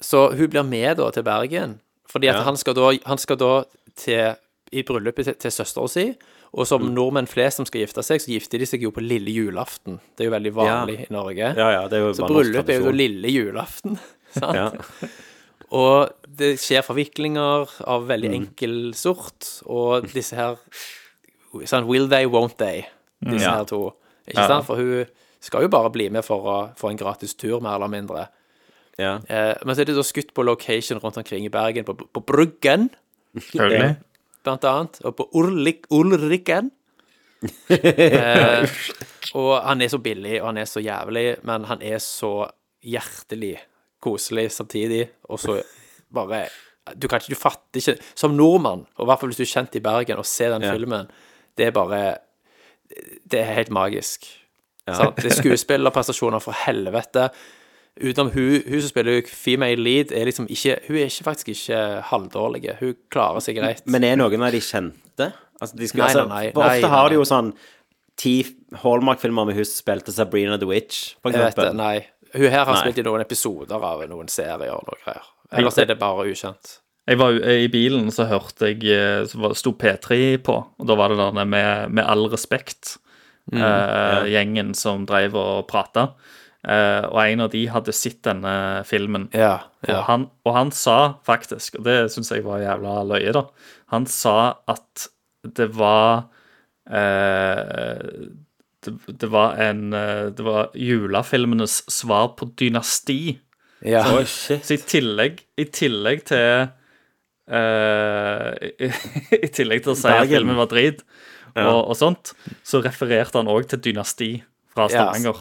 Speaker 5: så hun blir med da til Bergen, fordi at
Speaker 3: Ja.
Speaker 5: han skal da, han skal da til, i bryllupet til, til søsteren sin, og som
Speaker 3: Mm.
Speaker 5: nordmenn flest som skal gifte seg, så gifter de seg jo på lille julaften. Det er jo veldig vanlig i Norge.
Speaker 3: Ja, ja, det er jo
Speaker 5: så
Speaker 3: bare norsk
Speaker 5: bryllup er jo da
Speaker 3: tradisjon.
Speaker 5: lille julaften, sant?
Speaker 3: Ja.
Speaker 5: Og det skjer forviklinger av veldig
Speaker 3: Mm.
Speaker 5: enkel sort, og disse her sånn, Will they, won't they? Disse
Speaker 3: Ja.
Speaker 5: her to. Ikke sant? For hun skal jo bare bli med for å få en gratis tur, mer eller mindre.
Speaker 3: Ja.
Speaker 5: Eh, men så er det da skutt på location rundt omkring i Bergen, på, på Bruggen
Speaker 4: Selvfølgelig.
Speaker 5: blant annet, og på Ulrik, Ulriken. eh, og han er så billig, og han er så jævlig, men han er så hjertelig koselig samtidig, og så bare Du kan ikke, du fatter ikke Som nordmann, og i hvert fall hvis du er kjent i Bergen og ser den filmen, det er bare Det er helt magisk. Sant? Det er skuespillerprestasjoner for helvete. Utenom hun, hun som spiller female lead, er liksom ikke Hun er ikke, faktisk ikke halvdårlig. Hun klarer seg greit.
Speaker 3: Men er noen av de kjente? Altså, de skulle,
Speaker 5: Nei,
Speaker 3: altså,
Speaker 5: nei, nei,
Speaker 3: for ofte
Speaker 5: nei,
Speaker 3: har
Speaker 5: nei.
Speaker 3: de jo sånn ti Hallmark-filmer med hun som spilte Sabrina the Witch, for
Speaker 5: Jeg vet det,
Speaker 3: eksempel.
Speaker 5: nei. Hun her har
Speaker 3: Nei.
Speaker 5: spilt i noen episoder av noen serier og noe greier. Ellers er det bare ukjent.
Speaker 4: Jeg var jo- eh, I bilen så hørte jeg eh, Så var- sto P3 på, og da var det denne med, med all respekt
Speaker 5: Mm,
Speaker 4: eh, gjengen som drev og prata. Eh, og en av de hadde sett denne filmen.
Speaker 5: Ja, ja.
Speaker 4: Og, han, og han sa faktisk, og det syns jeg var jævla løye, da Han sa at det var eh, det, det var en eh, Det var julefilmenes svar på dynasti.
Speaker 5: Ja,
Speaker 4: Så i tillegg, i tillegg til eh, i, I tillegg til å si at
Speaker 3: Bergen.
Speaker 4: filmen var drit og, og sånt, så refererte han òg til Dynasti fra
Speaker 5: Ja.
Speaker 4: Stavanger.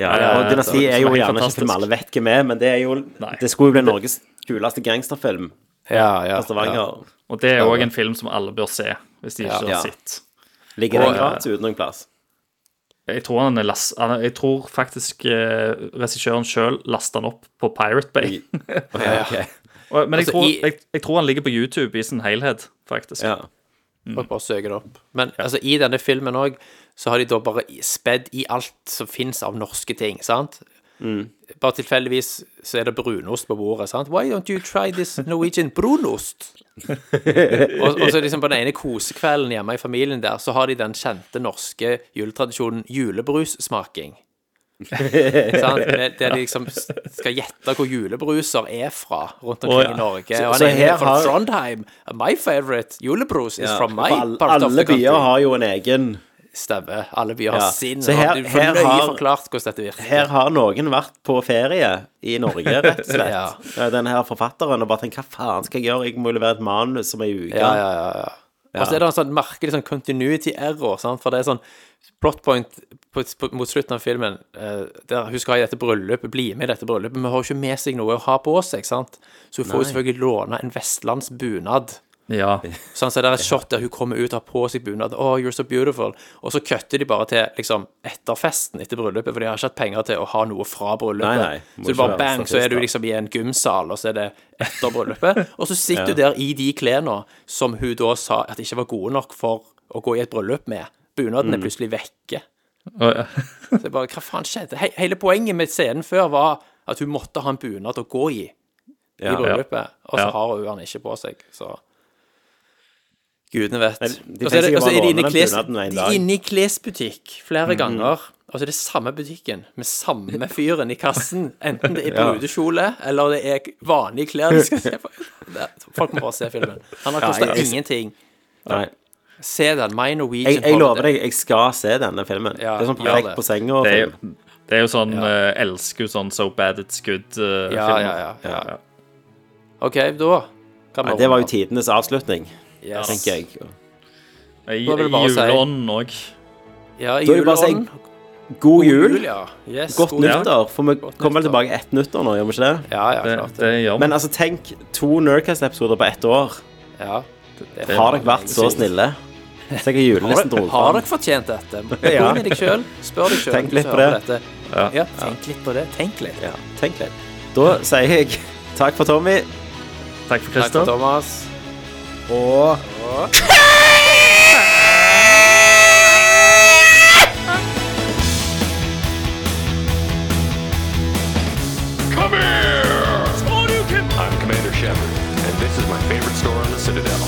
Speaker 3: Ja,
Speaker 4: Ja,
Speaker 3: og
Speaker 4: ja,
Speaker 3: Dynasti
Speaker 4: det er
Speaker 3: er jo
Speaker 5: liksom
Speaker 4: helt
Speaker 3: gjerne ikke
Speaker 4: fantastisk.
Speaker 3: film alle vet hvem er, men det er jo
Speaker 4: Nei.
Speaker 3: Det skulle jo bli Norges kuleste gangsterfilm
Speaker 5: ja, ja,
Speaker 3: fra Stavanger.
Speaker 4: Og det er òg en film som alle bør se, hvis de ikke
Speaker 3: Ja.
Speaker 4: har sett.
Speaker 3: Ligger den
Speaker 5: Og-
Speaker 3: gratis uten noen plass?
Speaker 4: Jeg tror, han er las, han, jeg tror faktisk eh, regissøren sjøl lasta han opp på Pirate Bay.
Speaker 3: Ja, ok.
Speaker 4: Og, men jeg,
Speaker 5: Altså,
Speaker 4: tror,
Speaker 5: i-
Speaker 4: jeg, jeg tror han ligger på YouTube i sin helhet, faktisk.
Speaker 3: ja. Mm.
Speaker 5: Folk bare søker det opp. Men altså, i denne filmen òg, så har de da bare i- spedd i alt som fins av norske ting, sant?
Speaker 3: Mm.
Speaker 5: Bare tilfeldigvis så er det brunost på bordet, sant? Why don't you try this Norwegian brunost? og, og så liksom på den ene kosekvelden hjemme i familien der, så har de den kjente norske juletradisjonen julebrussmaking. sant? Det, det de liksom s- skal gjette hvor julebruser er fra rundt omkring
Speaker 4: Å, ja.
Speaker 5: i Norge.
Speaker 3: Så-
Speaker 5: Og han
Speaker 3: så
Speaker 5: er
Speaker 3: her
Speaker 5: fra
Speaker 3: har-
Speaker 5: Trondheim. My favorite julebrus is
Speaker 3: Ja.
Speaker 5: from my
Speaker 3: For alle,
Speaker 5: part of
Speaker 3: alle
Speaker 5: the country.
Speaker 3: byer har jo en egen
Speaker 5: Stemmer. Alle byer har
Speaker 3: Ja.
Speaker 5: sin.
Speaker 3: Så
Speaker 5: og
Speaker 3: her-
Speaker 5: du får
Speaker 3: her
Speaker 5: nøye
Speaker 3: har-
Speaker 5: forklart hvordan dette virker.
Speaker 3: Her har noen vært på ferie i Norge, rett og slett.
Speaker 5: Ja.
Speaker 3: Eh, Den her forfatteren og bare tenkt 'hva faen skal jeg gjøre', jeg må jo levere et manus om ei uke.
Speaker 5: Ja, ja, ja, ja. Og så er det en sånn merkelig sånn continuity error, sant? for det er sånn plot point på, på, mot slutten av filmen eh, der hun skal i dette bryllupet, bli med i dette bryllupet, men hun har jo ikke med seg noe å ha på seg, sant? Så hun får jo selvfølgelig låne en vestlandsbunad.
Speaker 4: Ja.
Speaker 5: Sånn, så det er et shot der hun kommer ut og har på seg bunad. Oh, you're so beautiful. Og så kutter de bare til liksom, etter festen, etter bryllupet, for de har ikke hatt penger til å ha noe fra bryllupet.
Speaker 3: Nei, nei. Må
Speaker 5: så
Speaker 3: ikke
Speaker 5: du bare
Speaker 3: være
Speaker 5: bang, så er du
Speaker 3: statist,
Speaker 5: liksom i en gymsal, og så er det etter bryllupet. Og så sitter du der i de klærne som hun da sa at ikke var gode nok for å gå i et bryllup med. Bunaden
Speaker 3: Mm.
Speaker 5: er plutselig vekke.
Speaker 4: Og, eh, ja.
Speaker 5: Så jeg bare, hva faen skjedde? He hele poenget med scenen før var at hun måtte ha en bunad å gå i i bryllupet, og så
Speaker 4: Ja.
Speaker 5: har hun den ikke på seg, så Gudene vet.
Speaker 3: de
Speaker 5: Og så
Speaker 3: tenker
Speaker 5: er det,
Speaker 3: sikkert
Speaker 5: og så
Speaker 3: bare
Speaker 5: er de
Speaker 3: å
Speaker 5: inne i
Speaker 3: ordne den
Speaker 5: kles,
Speaker 3: bunaden en
Speaker 5: de
Speaker 3: dag.
Speaker 5: er inne i klesbutikk flere ganger, og så er det samme butikken med samme fyren i kassen, enten det er brudekjole eller det er vanlige klær de skal se på. Det- Folk må bare se filmen. Han har kosta
Speaker 3: jeg- jeg-
Speaker 5: ingenting.
Speaker 3: Nei.
Speaker 5: Se den. My Norwegian
Speaker 3: Jeg, jeg
Speaker 5: Holiday.
Speaker 3: lover deg, jeg skal se denne filmen.
Speaker 5: Ja,
Speaker 3: det er sånn
Speaker 5: gjør
Speaker 3: perfekt
Speaker 5: det.
Speaker 3: på senga.
Speaker 4: Det er
Speaker 3: film.
Speaker 4: jo, det er jo sånn eh, Elsker jo sånn So Bad It's eh, Good-filmer.
Speaker 5: Ja, ja, ja, ja. OK, da kan vi
Speaker 3: Nei, det var jo tidenes avslutning,
Speaker 5: Yes.
Speaker 3: tenker jeg.
Speaker 4: I,
Speaker 5: Da er det
Speaker 4: i
Speaker 5: bare å si-
Speaker 4: juleånden òg.
Speaker 5: Ja, i
Speaker 3: Da er det bare å si
Speaker 5: juleånden.
Speaker 3: God jul.
Speaker 5: ja. Yes,
Speaker 3: Godt
Speaker 5: god jul.
Speaker 3: nyttår. For vi kommer vel
Speaker 5: nyttår.
Speaker 3: tilbake ett nyttår nå, gjør vi ikke det?
Speaker 5: Ja, ja,
Speaker 4: Det,
Speaker 5: klart det.
Speaker 4: det gjør vi.
Speaker 3: Men altså, tenk to Nerdcast-episoder på ett år.
Speaker 5: Ja.
Speaker 4: Det
Speaker 3: Har dere vært så snille? Så jeg har julenissen
Speaker 5: Har,
Speaker 3: drukket fram.
Speaker 5: har dere fortjent dette?
Speaker 3: Ja.
Speaker 5: Gå med deg sjøl. Spør deg sjøl.
Speaker 3: Tenk litt på det.
Speaker 5: Ja. ja, tenk litt på det. Tenk litt.
Speaker 3: Ja, tenk litt. Da sier jeg takk for Tommy
Speaker 4: Takk for
Speaker 5: Takk for
Speaker 4: Christer.
Speaker 5: Thomas.
Speaker 3: og
Speaker 6: Come here! I'm Commander Shepard, and this is my favorite store on the Citadel.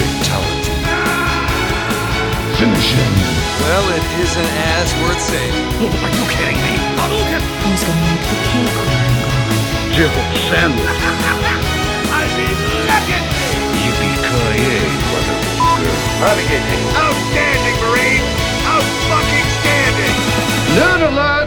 Speaker 6: Fatality. Finish him.
Speaker 2: Well, it isn't as worth saying.
Speaker 6: Are you kidding me?
Speaker 7: Who's gonna make the cake?
Speaker 6: Jibble sandwich. I mean, legacy! Yippee-ki-yay, motherfucker. Outstanding, Marine! Out-fucking-standing! Noodler!